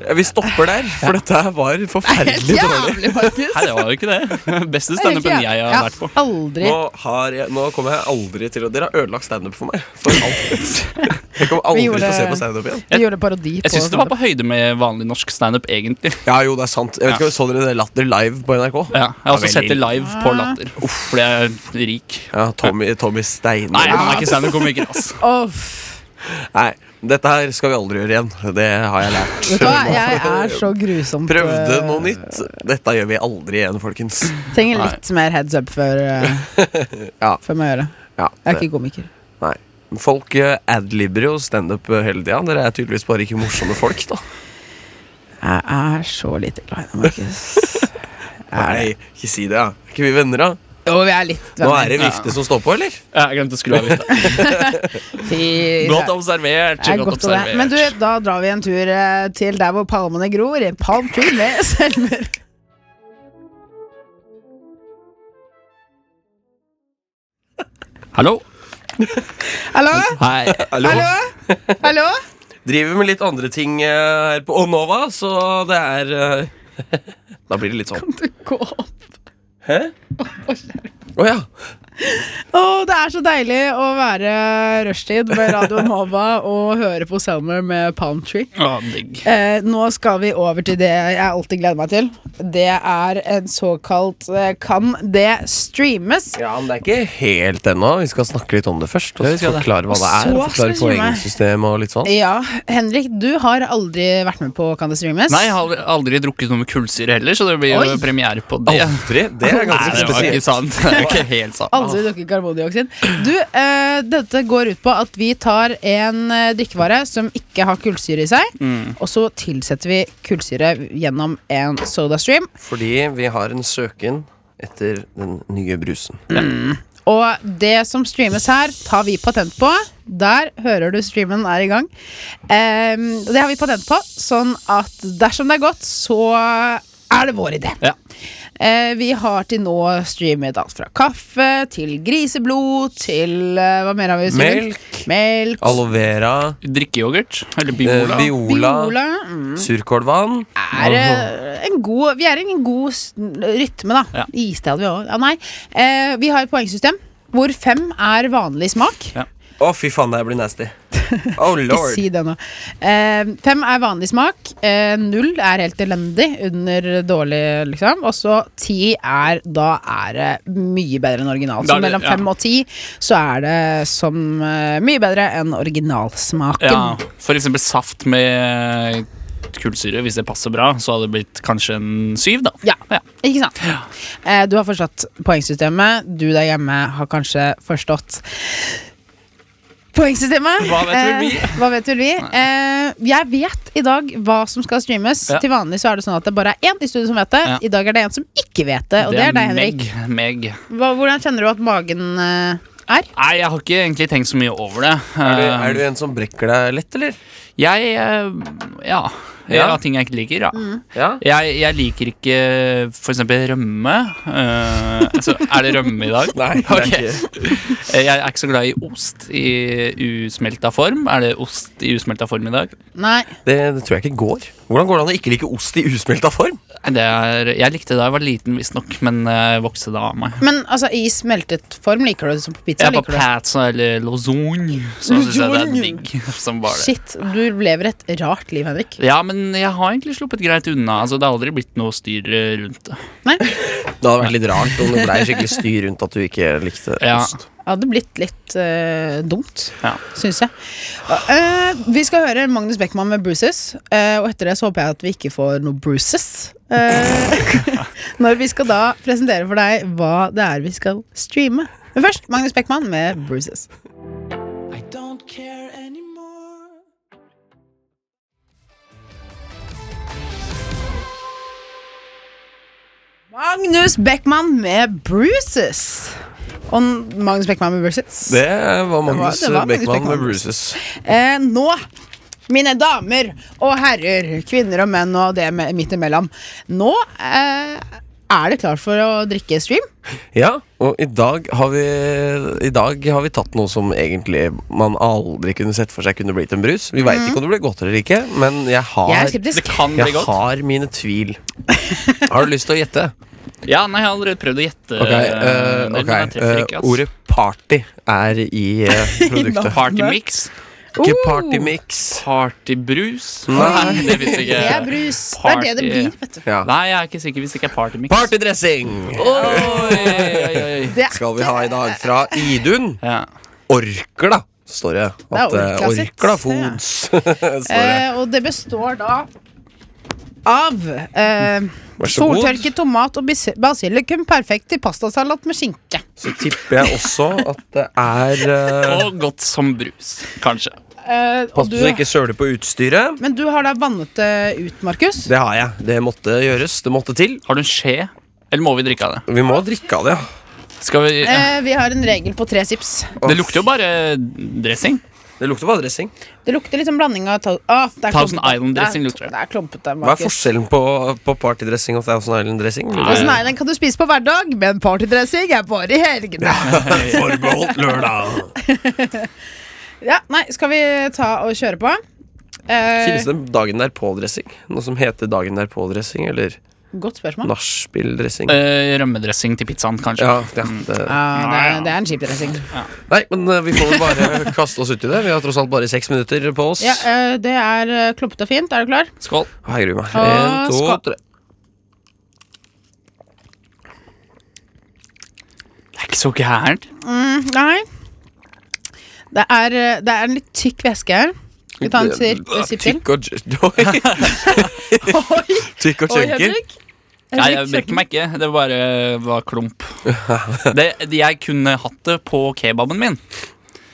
Speaker 5: Ja, vi stopper der, for dette her var forferdelig dårlig.
Speaker 3: Jævlig, Markus!
Speaker 4: Nei, det var jo ikke det. Beste standupen jeg har
Speaker 3: Ja,
Speaker 4: vært på.
Speaker 3: Aldri.
Speaker 5: Nå, har jeg, nå kommer jeg aldri til å Dere har ødelagt standup for meg. For alltid. Jeg kommer
Speaker 3: Vi
Speaker 5: aldri
Speaker 3: gjorde-
Speaker 5: til å se på standup igjen.
Speaker 3: Vi gjorde parodi på sånn.
Speaker 4: Jeg syns det var på høyde med vanlig norsk standup, egentlig.
Speaker 5: Ja, jo, det er sant. Jeg vet ikke, om Så dere det Latter live på NRK?
Speaker 4: Ja, jeg har også
Speaker 5: veldig.
Speaker 4: sett det live
Speaker 3: Ah.
Speaker 4: på Latter. Uff, fordi jeg er rik.
Speaker 5: Ja, Tommy, Tommy Steine.
Speaker 4: Nei, han er ikke standup-komiker, ass.
Speaker 3: Uff.
Speaker 5: Nei, dette her skal vi aldri gjøre igjen. Det har jeg lært.
Speaker 3: Vet du hva, jeg er så grusomt
Speaker 5: Prøvde
Speaker 3: eh,
Speaker 5: noe nytt. Dette gjør vi aldri igjen, folkens.
Speaker 3: Trenger litt mer heads up før, eh,
Speaker 5: Ja.
Speaker 3: før man gjør det.
Speaker 5: Ja,
Speaker 3: Jeg er
Speaker 5: det.
Speaker 3: ikke komiker.
Speaker 5: Nei. Folk eh, adlibber jo standup hele tida. Dere er tydeligvis bare ikke morsomme folk, da.
Speaker 3: Jeg er så lite glad i deg, Markus.
Speaker 5: Nei, ikke si det. Ja. Er ikke vi venner, da?
Speaker 3: Jo, vi er litt
Speaker 5: Nå er
Speaker 3: venner.
Speaker 5: det vifte som står på, eller?
Speaker 4: Jeg glemte å skru av vifta.
Speaker 3: Fy-
Speaker 4: Godt observert.
Speaker 3: Det er
Speaker 4: Godt
Speaker 3: godt å det.
Speaker 4: observert.
Speaker 3: Men du, da drar vi en tur eh, til der hvor palmene gror. i Palm Tree med Selmer.
Speaker 4: Hallo?
Speaker 3: Hallo?
Speaker 4: Hei.
Speaker 3: Hallo? Hallo?
Speaker 5: Driver med litt andre ting eh, her på Onova, så det er eh, Da blir det litt sånn.
Speaker 3: Du går opp.
Speaker 5: Hæ? Å ja.
Speaker 3: Å, det er så deilig å være rushtid med Radio Nova og høre på Selmer med Palm Tree.
Speaker 4: Å, digg.
Speaker 3: Eh, nå skal vi over til det jeg alltid gleder meg til. Det er en såkalt eh, Kan det streames?
Speaker 5: ja. Men det er ikke helt ennå. Vi skal snakke litt om det først. Og
Speaker 4: Ja, vi skal det.
Speaker 5: forklare hva det er.
Speaker 3: Og
Speaker 5: Og
Speaker 3: så
Speaker 5: forklare
Speaker 3: skal vi streame.
Speaker 5: poengsystem og litt sånn.
Speaker 3: Ja, Henrik, du har aldri vært med på Kan det streames?
Speaker 4: Nei, jeg har aldri- aldri drukket noe med kullsyre heller, så det blir jo
Speaker 3: Oi.
Speaker 4: premiere på det.
Speaker 5: Aldri? Det er
Speaker 4: Nei,
Speaker 5: ganske
Speaker 4: det var ikke
Speaker 5: spesielt.
Speaker 4: sant. Det er ikke helt sant.
Speaker 3: Aldri drukket karbondioksid. Du, eh, dette går ut på at vi tar en eh, drikkevare som ikke har kullsyre i seg,
Speaker 4: Mm.
Speaker 3: og så tilsetter vi kullsyre gjennom en sodastream.
Speaker 5: Fordi vi har en søken etter den nye brusen.
Speaker 3: Og det som streames her, tar vi patent på. Der hører du streamen er i gang. Ehm, det har vi patent på, sånn at dersom det er godt, så er det vår idé.
Speaker 4: Ja.
Speaker 3: Eh, vi har til nå streamet alt fra kaffe til griseblod til eh, Hva mer har vi streamet? Melk. Melk.
Speaker 5: Aloe vera,
Speaker 4: Drikkeyoghurt? Eller
Speaker 5: eh,
Speaker 4: Biola?
Speaker 5: biola,
Speaker 3: Biola. Mm.
Speaker 5: surkålvann.
Speaker 3: Er eh, en god Vi er i en god s- rytme, da.
Speaker 4: Ja.
Speaker 3: Iste hadde vi òg. Ja, nei. Eh, vi har et poengsystem hvor fem er vanlig smak.
Speaker 5: Å, fy faen, det her blir nasty. Oh
Speaker 3: Ikke
Speaker 5: lord.
Speaker 3: si det nå. Eh, fem er vanlig smak. Eh, null er helt elendig, under dårlig, liksom. Og så ti er Da er det mye bedre enn original.
Speaker 4: Da
Speaker 3: Så
Speaker 4: er det-
Speaker 3: mellom
Speaker 4: ja.
Speaker 3: fem og ti så er det som eh, mye bedre enn originalsmaken.
Speaker 4: Ja, for eksempel saft med kullsyre, hvis det passer bra, så hadde det blitt kanskje en syv, da.
Speaker 3: Ja,
Speaker 4: Ja.
Speaker 3: ikke sant? Eh, du har forstått poengsystemet. Du der hjemme har kanskje forstått poengsystemet.
Speaker 4: Hva vet vel vi?
Speaker 3: Eh, hva vet vel vi? Eh, jeg vet i dag hva som skal streames.
Speaker 4: Ja.
Speaker 3: Til vanlig så er det sånn at det bare er én i studio som vet det.
Speaker 4: Ja.
Speaker 3: I dag er det en som ikke vet det, og det, er deg, Henrik.
Speaker 4: Meg. meg.
Speaker 3: Hva, hvordan kjenner du at magen eh, er?
Speaker 4: Nei, jeg har ikke egentlig tenkt så mye over det.
Speaker 5: Er du, er du en som brekker deg lett, eller?
Speaker 4: Jeg eh, ja. Jeg
Speaker 5: Ja.
Speaker 4: har ting jeg ikke liker, ja.
Speaker 3: Mm.
Speaker 5: Ja.
Speaker 4: Jeg, jeg liker ikke for eksempel rømme. Eh, altså, er det rømme i dag?
Speaker 5: Nei, det er
Speaker 4: Ok. Eh, Jeg er ikke så glad i ost i usmelta form. Er det ost i usmelta form i dag?
Speaker 3: Nei.
Speaker 5: Det, det tror jeg ikke går. Hvordan går det an å ikke like ost i usmelta form?
Speaker 4: Nei, Det er, jeg likte det da jeg var liten, visstnok, men eh, vokste det av meg.
Speaker 3: Men altså, i smeltet form liker du det som på pizza?
Speaker 4: Jeg er på
Speaker 3: liker du det?
Speaker 4: pizza eller lasagne, så syns jeg det er
Speaker 5: Lasagne.
Speaker 4: digg som bare det.
Speaker 3: Shit, du lever et rart liv, Henrik.
Speaker 4: Ja, men jeg har egentlig sluppet greit unna. Altså, Det har aldri blitt noe styr eh, rundt det.
Speaker 5: Det hadde vært litt rart om det blei skikkelig styr rundt at du ikke likte
Speaker 4: Ja.
Speaker 5: ost.
Speaker 3: Det hadde blitt litt eh, dumt,
Speaker 4: Ja.
Speaker 3: syns jeg. Eh, vi skal høre Magnus Beckmann med 'Bruces', eh, og etter det så håper jeg at vi ikke får noe bruises. eh, når vi skal da presentere for deg hva det er vi skal streame. Men først Magnus Beckmann med 'Bruces'. Magnus Beckmann med 'Bruces'. Og Magnus Beckmann med 'Bruces'.
Speaker 5: Det var Magnus
Speaker 3: Det var- det var
Speaker 5: Beckmann
Speaker 3: Magnus
Speaker 5: med
Speaker 3: Beckmann.
Speaker 5: Bruises.
Speaker 3: Eh, nå, mine damer og herrer, kvinner og menn og det me- midt imellom Nå eh, Er du klar for å drikke stream?
Speaker 5: Ja, og i dag har vi, i dag har vi tatt noe som egentlig man aldri kunne sett for seg kunne blitt en brus. Vi veit ikke om det ble godt eller ikke, men jeg har,
Speaker 3: Jeg er
Speaker 4: Det
Speaker 3: skeptisk.
Speaker 4: kan bli
Speaker 5: jeg
Speaker 4: godt.
Speaker 5: har mine tvil. Har du lyst til å gjette?
Speaker 4: Ja, nei, jeg har allerede prøvd å gjette.
Speaker 5: Ok,
Speaker 4: eh,
Speaker 5: eh,
Speaker 4: men
Speaker 5: ok,
Speaker 4: jeg treffer
Speaker 5: eh,
Speaker 4: ikke, ass.
Speaker 5: Ordet party er i eh, produktet.
Speaker 4: Partymix.
Speaker 5: Ikke
Speaker 3: Oh.
Speaker 5: partymix.
Speaker 4: Partybrus.
Speaker 5: Nei.
Speaker 4: Nei, det fins
Speaker 3: Det
Speaker 4: ikke.
Speaker 3: er brus. Det er det det
Speaker 4: Party.
Speaker 3: blir, vet du.
Speaker 5: Ja.
Speaker 4: Nei, jeg er ikke sikker hvis det ikke er partymix.
Speaker 5: Partydressing
Speaker 4: Oi, oi, oi, oi.
Speaker 3: Det er
Speaker 5: skal vi ha i dag fra Idun.
Speaker 4: Ja.
Speaker 5: Orkla, står det.
Speaker 3: er
Speaker 5: At, eh,
Speaker 3: Orkla sitt.
Speaker 5: Orkla Foods, står det.
Speaker 3: Eh, og det består da av eh,
Speaker 5: Vær så god.
Speaker 3: soltørket tomat og bas- basilikum perfekt til pastasalat med skinke.
Speaker 5: Så tipper jeg også at det er eh,
Speaker 4: Og godt som brus, kanskje.
Speaker 3: Eh, og
Speaker 5: Pass
Speaker 3: du,
Speaker 5: på så du ikke søler på utstyret.
Speaker 3: men du har da vannet det ut, Markus.
Speaker 5: Det har jeg. Det måtte gjøres. Det måtte til.
Speaker 4: Har du en skje? Eller må vi drikke av det?
Speaker 5: Vi må drikke av det.
Speaker 4: Skal vi
Speaker 3: Eh, vi har en regel på tre sips.
Speaker 4: Det lukter jo bare dressing.
Speaker 5: Det lukter bare dressing.
Speaker 3: Det lukter liksom blanding av ta- ah, det er
Speaker 4: Thousand
Speaker 3: klumpete.
Speaker 4: Island dressing
Speaker 3: Det er-
Speaker 4: lukter det.
Speaker 3: Det er klumpete,
Speaker 5: Hva er
Speaker 3: Markus.
Speaker 5: forskjellen på, på partydressing og Thousand Island-dressing?
Speaker 4: Nei.
Speaker 3: Thousand Island kan du spise på hverdag, men partydressing er bare i helgene.
Speaker 5: Forbeholdt lørdag.
Speaker 3: Ja, nei, skal vi ta og kjøre på? Eh,
Speaker 5: Finnes det en dagen derpå-dressing? Noe som heter dagen derpå-dressing? Eller
Speaker 3: godt spørsmål.
Speaker 5: nachspiel-dressing?
Speaker 4: Eh, rømmedressing til pizzaen, kanskje.
Speaker 5: Ja, ja, det.
Speaker 3: Ja, det, er, det er en kjip dressing.
Speaker 5: Nei, men eh, vi får vel bare kaste oss uti det. Vi har tross alt bare seks minutter på oss.
Speaker 3: Ja, eh, det er eh, klumpete og fint. Er du klar?
Speaker 4: Skål.
Speaker 5: Å, Jeg gruer meg.
Speaker 3: Å,
Speaker 5: En, to,
Speaker 3: skål.
Speaker 5: tre.
Speaker 4: Det er ikke så gærent. Mhm.
Speaker 3: Nei. Det er, eh, det er en litt tykk væske her. Skal vi ta en sir- sipp til?
Speaker 5: Tykk Eh, og j-
Speaker 3: Oi,
Speaker 5: Tykk og
Speaker 3: oi,
Speaker 5: chunky.
Speaker 3: Henrik.
Speaker 4: Nei, jeg brekker meg ikke. Det bare var klump. Det, jeg kunne hatt det på kebaben min.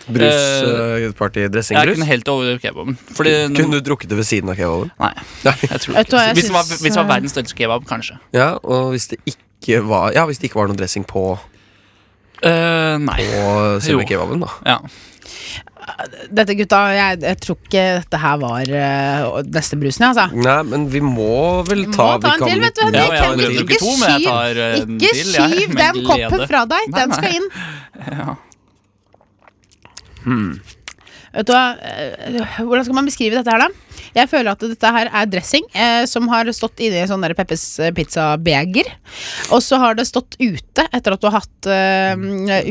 Speaker 5: Brus,
Speaker 4: Eh,
Speaker 5: eh, party, dressing,
Speaker 4: Jeg
Speaker 5: brus.
Speaker 4: kunne helt over kebaben. Fordi
Speaker 5: Kunne du drukket det ved siden av kebaben?
Speaker 4: Nei,
Speaker 5: Nei.
Speaker 4: jeg tror
Speaker 3: Vet du
Speaker 4: ikke
Speaker 3: hva, jeg
Speaker 4: Hvis det var,
Speaker 3: syns,
Speaker 4: hvis det var
Speaker 3: eh,
Speaker 4: verdens største kebab, kanskje.
Speaker 5: Ja, og hvis det ikke var Ja, hvis det ikke var noe dressing på,
Speaker 4: Eh, nei.
Speaker 5: på selve
Speaker 4: Jo.
Speaker 5: kebaben, da.
Speaker 4: Ja.
Speaker 3: Dette gutta, jeg, jeg tror ikke dette her var eh, neste brusen, jeg, altså.
Speaker 5: Nei, men vi må vel
Speaker 3: Vi må
Speaker 5: ta
Speaker 3: ta en til, vet du,
Speaker 4: Ja,
Speaker 3: Henrik.
Speaker 4: men jeg har allerede
Speaker 3: Henrik,
Speaker 4: drukket
Speaker 3: ikke
Speaker 4: to, men jeg
Speaker 3: skyv-
Speaker 4: tar eh, en
Speaker 3: Ikke
Speaker 4: til, jeg,
Speaker 3: skyv
Speaker 4: med
Speaker 3: den
Speaker 4: glede.
Speaker 3: koppen fra deg.
Speaker 4: Nei,
Speaker 3: Den
Speaker 4: nei.
Speaker 3: skal inn.
Speaker 5: Hmm.
Speaker 3: Vet du hva, eh, Hvordan skal man beskrive dette her, da? Jeg føler at dette her er dressing eh, som har stått inni en sånn der Peppes eh, pizza-beger. Og så har det stått ute etter at du har hatt eh,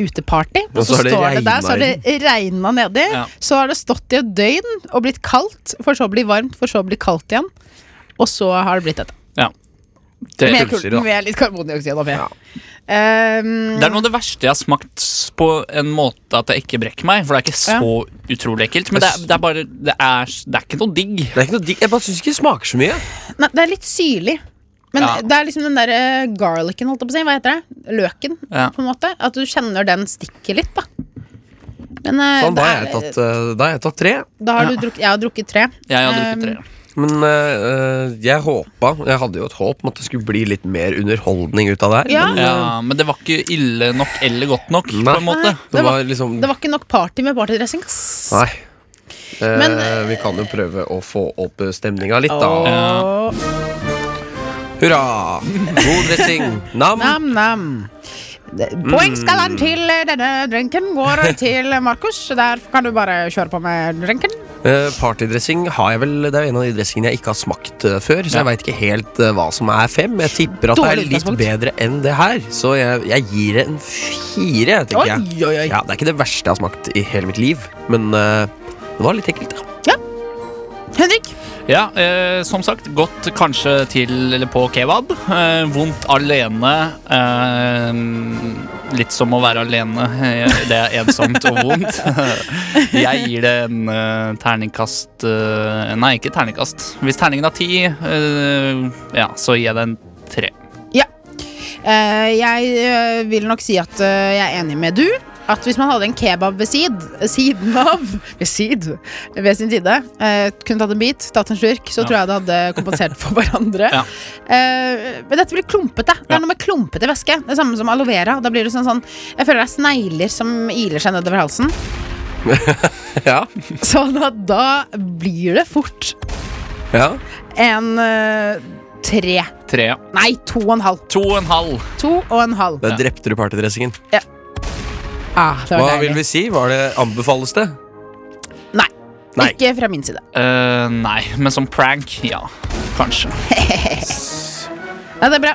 Speaker 3: uteparty.
Speaker 5: Hmm. Og
Speaker 3: Og
Speaker 5: så
Speaker 3: så
Speaker 5: har det
Speaker 3: står det der, så har
Speaker 5: regnet
Speaker 3: det regna nedi.
Speaker 4: Ja.
Speaker 3: Så har det stått i et døgn og blitt kaldt, for så å bli varmt, for så å bli kaldt igjen. Og så har det blitt dette.
Speaker 4: Det,
Speaker 3: Med,
Speaker 5: pølser,
Speaker 3: kul-
Speaker 5: da.
Speaker 3: med litt karbondioksid oppi.
Speaker 5: Ja.
Speaker 3: Ehm,
Speaker 4: det er noe av det verste jeg har smakt på en måte at jeg ikke brekker meg. For det er ikke så utrolig ekkelt. Men det er, det er bare det er, det er ikke noe digg.
Speaker 5: Det er ikke noe digg. Jeg bare syns ikke det smaker så mye.
Speaker 3: Nei, det er litt syrlig. Men
Speaker 4: Ja.
Speaker 3: det er liksom den der eh, garlicen, holdt jeg på å si. Hva heter det? Løken,
Speaker 4: Ja.
Speaker 3: på en måte. At du kjenner den stikker litt, da. Men eh,
Speaker 5: Sånn,
Speaker 3: det
Speaker 5: da har jeg
Speaker 3: er-
Speaker 5: tatt, eh, da har jeg tatt tre.
Speaker 3: da har
Speaker 4: Ja.
Speaker 3: du drukket Jeg har drukket tre. Ehm,
Speaker 4: Jeg har drukket tre.
Speaker 5: Men eh, eh, jeg håpa Jeg hadde jo et håp om at det skulle bli litt mer underholdning ut av det her.
Speaker 3: Ja.
Speaker 5: men, eh,
Speaker 4: Ja, men det var ikke ille nok eller godt nok,
Speaker 5: Nei.
Speaker 4: på en måte.
Speaker 5: Det
Speaker 3: Det var-
Speaker 5: var liksom
Speaker 3: Det var ikke nok party med partydressing, ass.
Speaker 5: Nei. Eh,
Speaker 3: Men, eh,
Speaker 5: vi kan jo prøve å få opp stemninga litt, da.
Speaker 3: Åh,
Speaker 5: Hurra! God dressing. Nam.
Speaker 3: Nam-nam. Det- Poengskalaen til eh, denne drinken går til Markus. Der kan du bare kjøre på med drinken.
Speaker 5: Eh, Partydressing har jeg vel Det er jo en av de dressingene jeg ikke har smakt eh, før, så
Speaker 4: Ja.
Speaker 5: jeg veit ikke helt eh, hva som er fem. Jeg tipper at det er
Speaker 3: Dårlig
Speaker 5: litt
Speaker 3: utgangspunkt.
Speaker 5: bedre enn det her, så jeg, jeg gir det en fire, tenker
Speaker 3: Oi,
Speaker 5: jeg.
Speaker 3: oi, oi.
Speaker 5: Ja, Det er ikke det verste jeg har smakt i hele mitt liv, men eh, det var litt ekkelt. da.
Speaker 3: Henrik.
Speaker 4: Ja, eh, som sagt, godt kanskje til eller på kebab. Eh, vondt alene. Eh, litt som å være alene. Eh, Det er ensomt og vondt. Jeg gir det en eh, terningkast eh, Nei, ikke terningkast. Hvis terningen er ti, eh, ja, så gir jeg det en tre.
Speaker 3: Eh, jeg eh, vil nok si at eh, jeg er enig med du. At hvis man hadde en kebab ved sid, siden av Ved sid? Ved sin side. eh, kunne tatt en bit, tatt en slurk, så
Speaker 4: Ja.
Speaker 3: tror jeg det hadde kompensert for hverandre.
Speaker 4: Ja.
Speaker 3: Eh, men dette blir klumpete. Det
Speaker 4: Ja.
Speaker 3: er noe med klumpete væske. Det samme som aloe vera. Da blir det sånn, sånn Jeg føler det er snegler som iler seg nedover halsen.
Speaker 5: Ja,
Speaker 3: Så Sånn da, da blir det fort
Speaker 5: ja.
Speaker 3: en eh, tre.
Speaker 4: Tre.
Speaker 3: Nei, to og en halv.
Speaker 4: To og en halv.
Speaker 3: To og en halv.
Speaker 5: Der drepte du partydressingen.
Speaker 3: Ah, det var
Speaker 5: Hva vil
Speaker 3: deilig.
Speaker 5: vi si? Var det anbefales det?
Speaker 3: Nei.
Speaker 5: Nei.
Speaker 3: Ikke fra min side.
Speaker 4: Eh, nei, men som prank, ja. Kanskje.
Speaker 3: Nei, det er bra.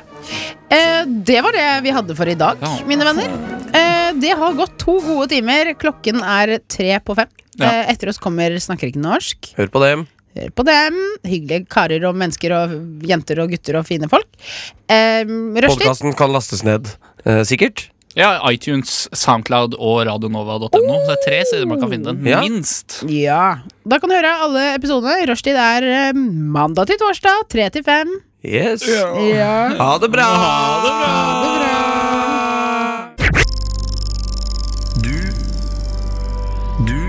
Speaker 3: Eh, det var det vi hadde for i dag,
Speaker 4: Ja.
Speaker 3: mine venner. Eh, det har gått to gode timer. Klokken er tre på fem.
Speaker 4: Ja.
Speaker 3: Eh, etter oss kommer Snakker ikke norsk.
Speaker 5: Hør på dem.
Speaker 3: Hør på dem. Hyggelige karer og mennesker og jenter og gutter og fine folk. Eh, Rushtid.
Speaker 5: Podkasten kan lastes ned. eh, sikkert.
Speaker 4: Ja, iTunes, Soundcloud og radionova.no. Så det er tre steder man kan finne den.
Speaker 5: Ja.
Speaker 4: Minst.
Speaker 3: Ja. Da kan du høre alle episodene. Rushtid er eh, mandag til torsdag, tre til fem.
Speaker 5: Yes.
Speaker 3: Ja.
Speaker 5: Ha det bra!
Speaker 2: Du Du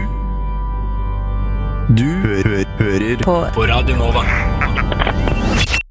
Speaker 2: Du hø hø hører på. på Radio Nova.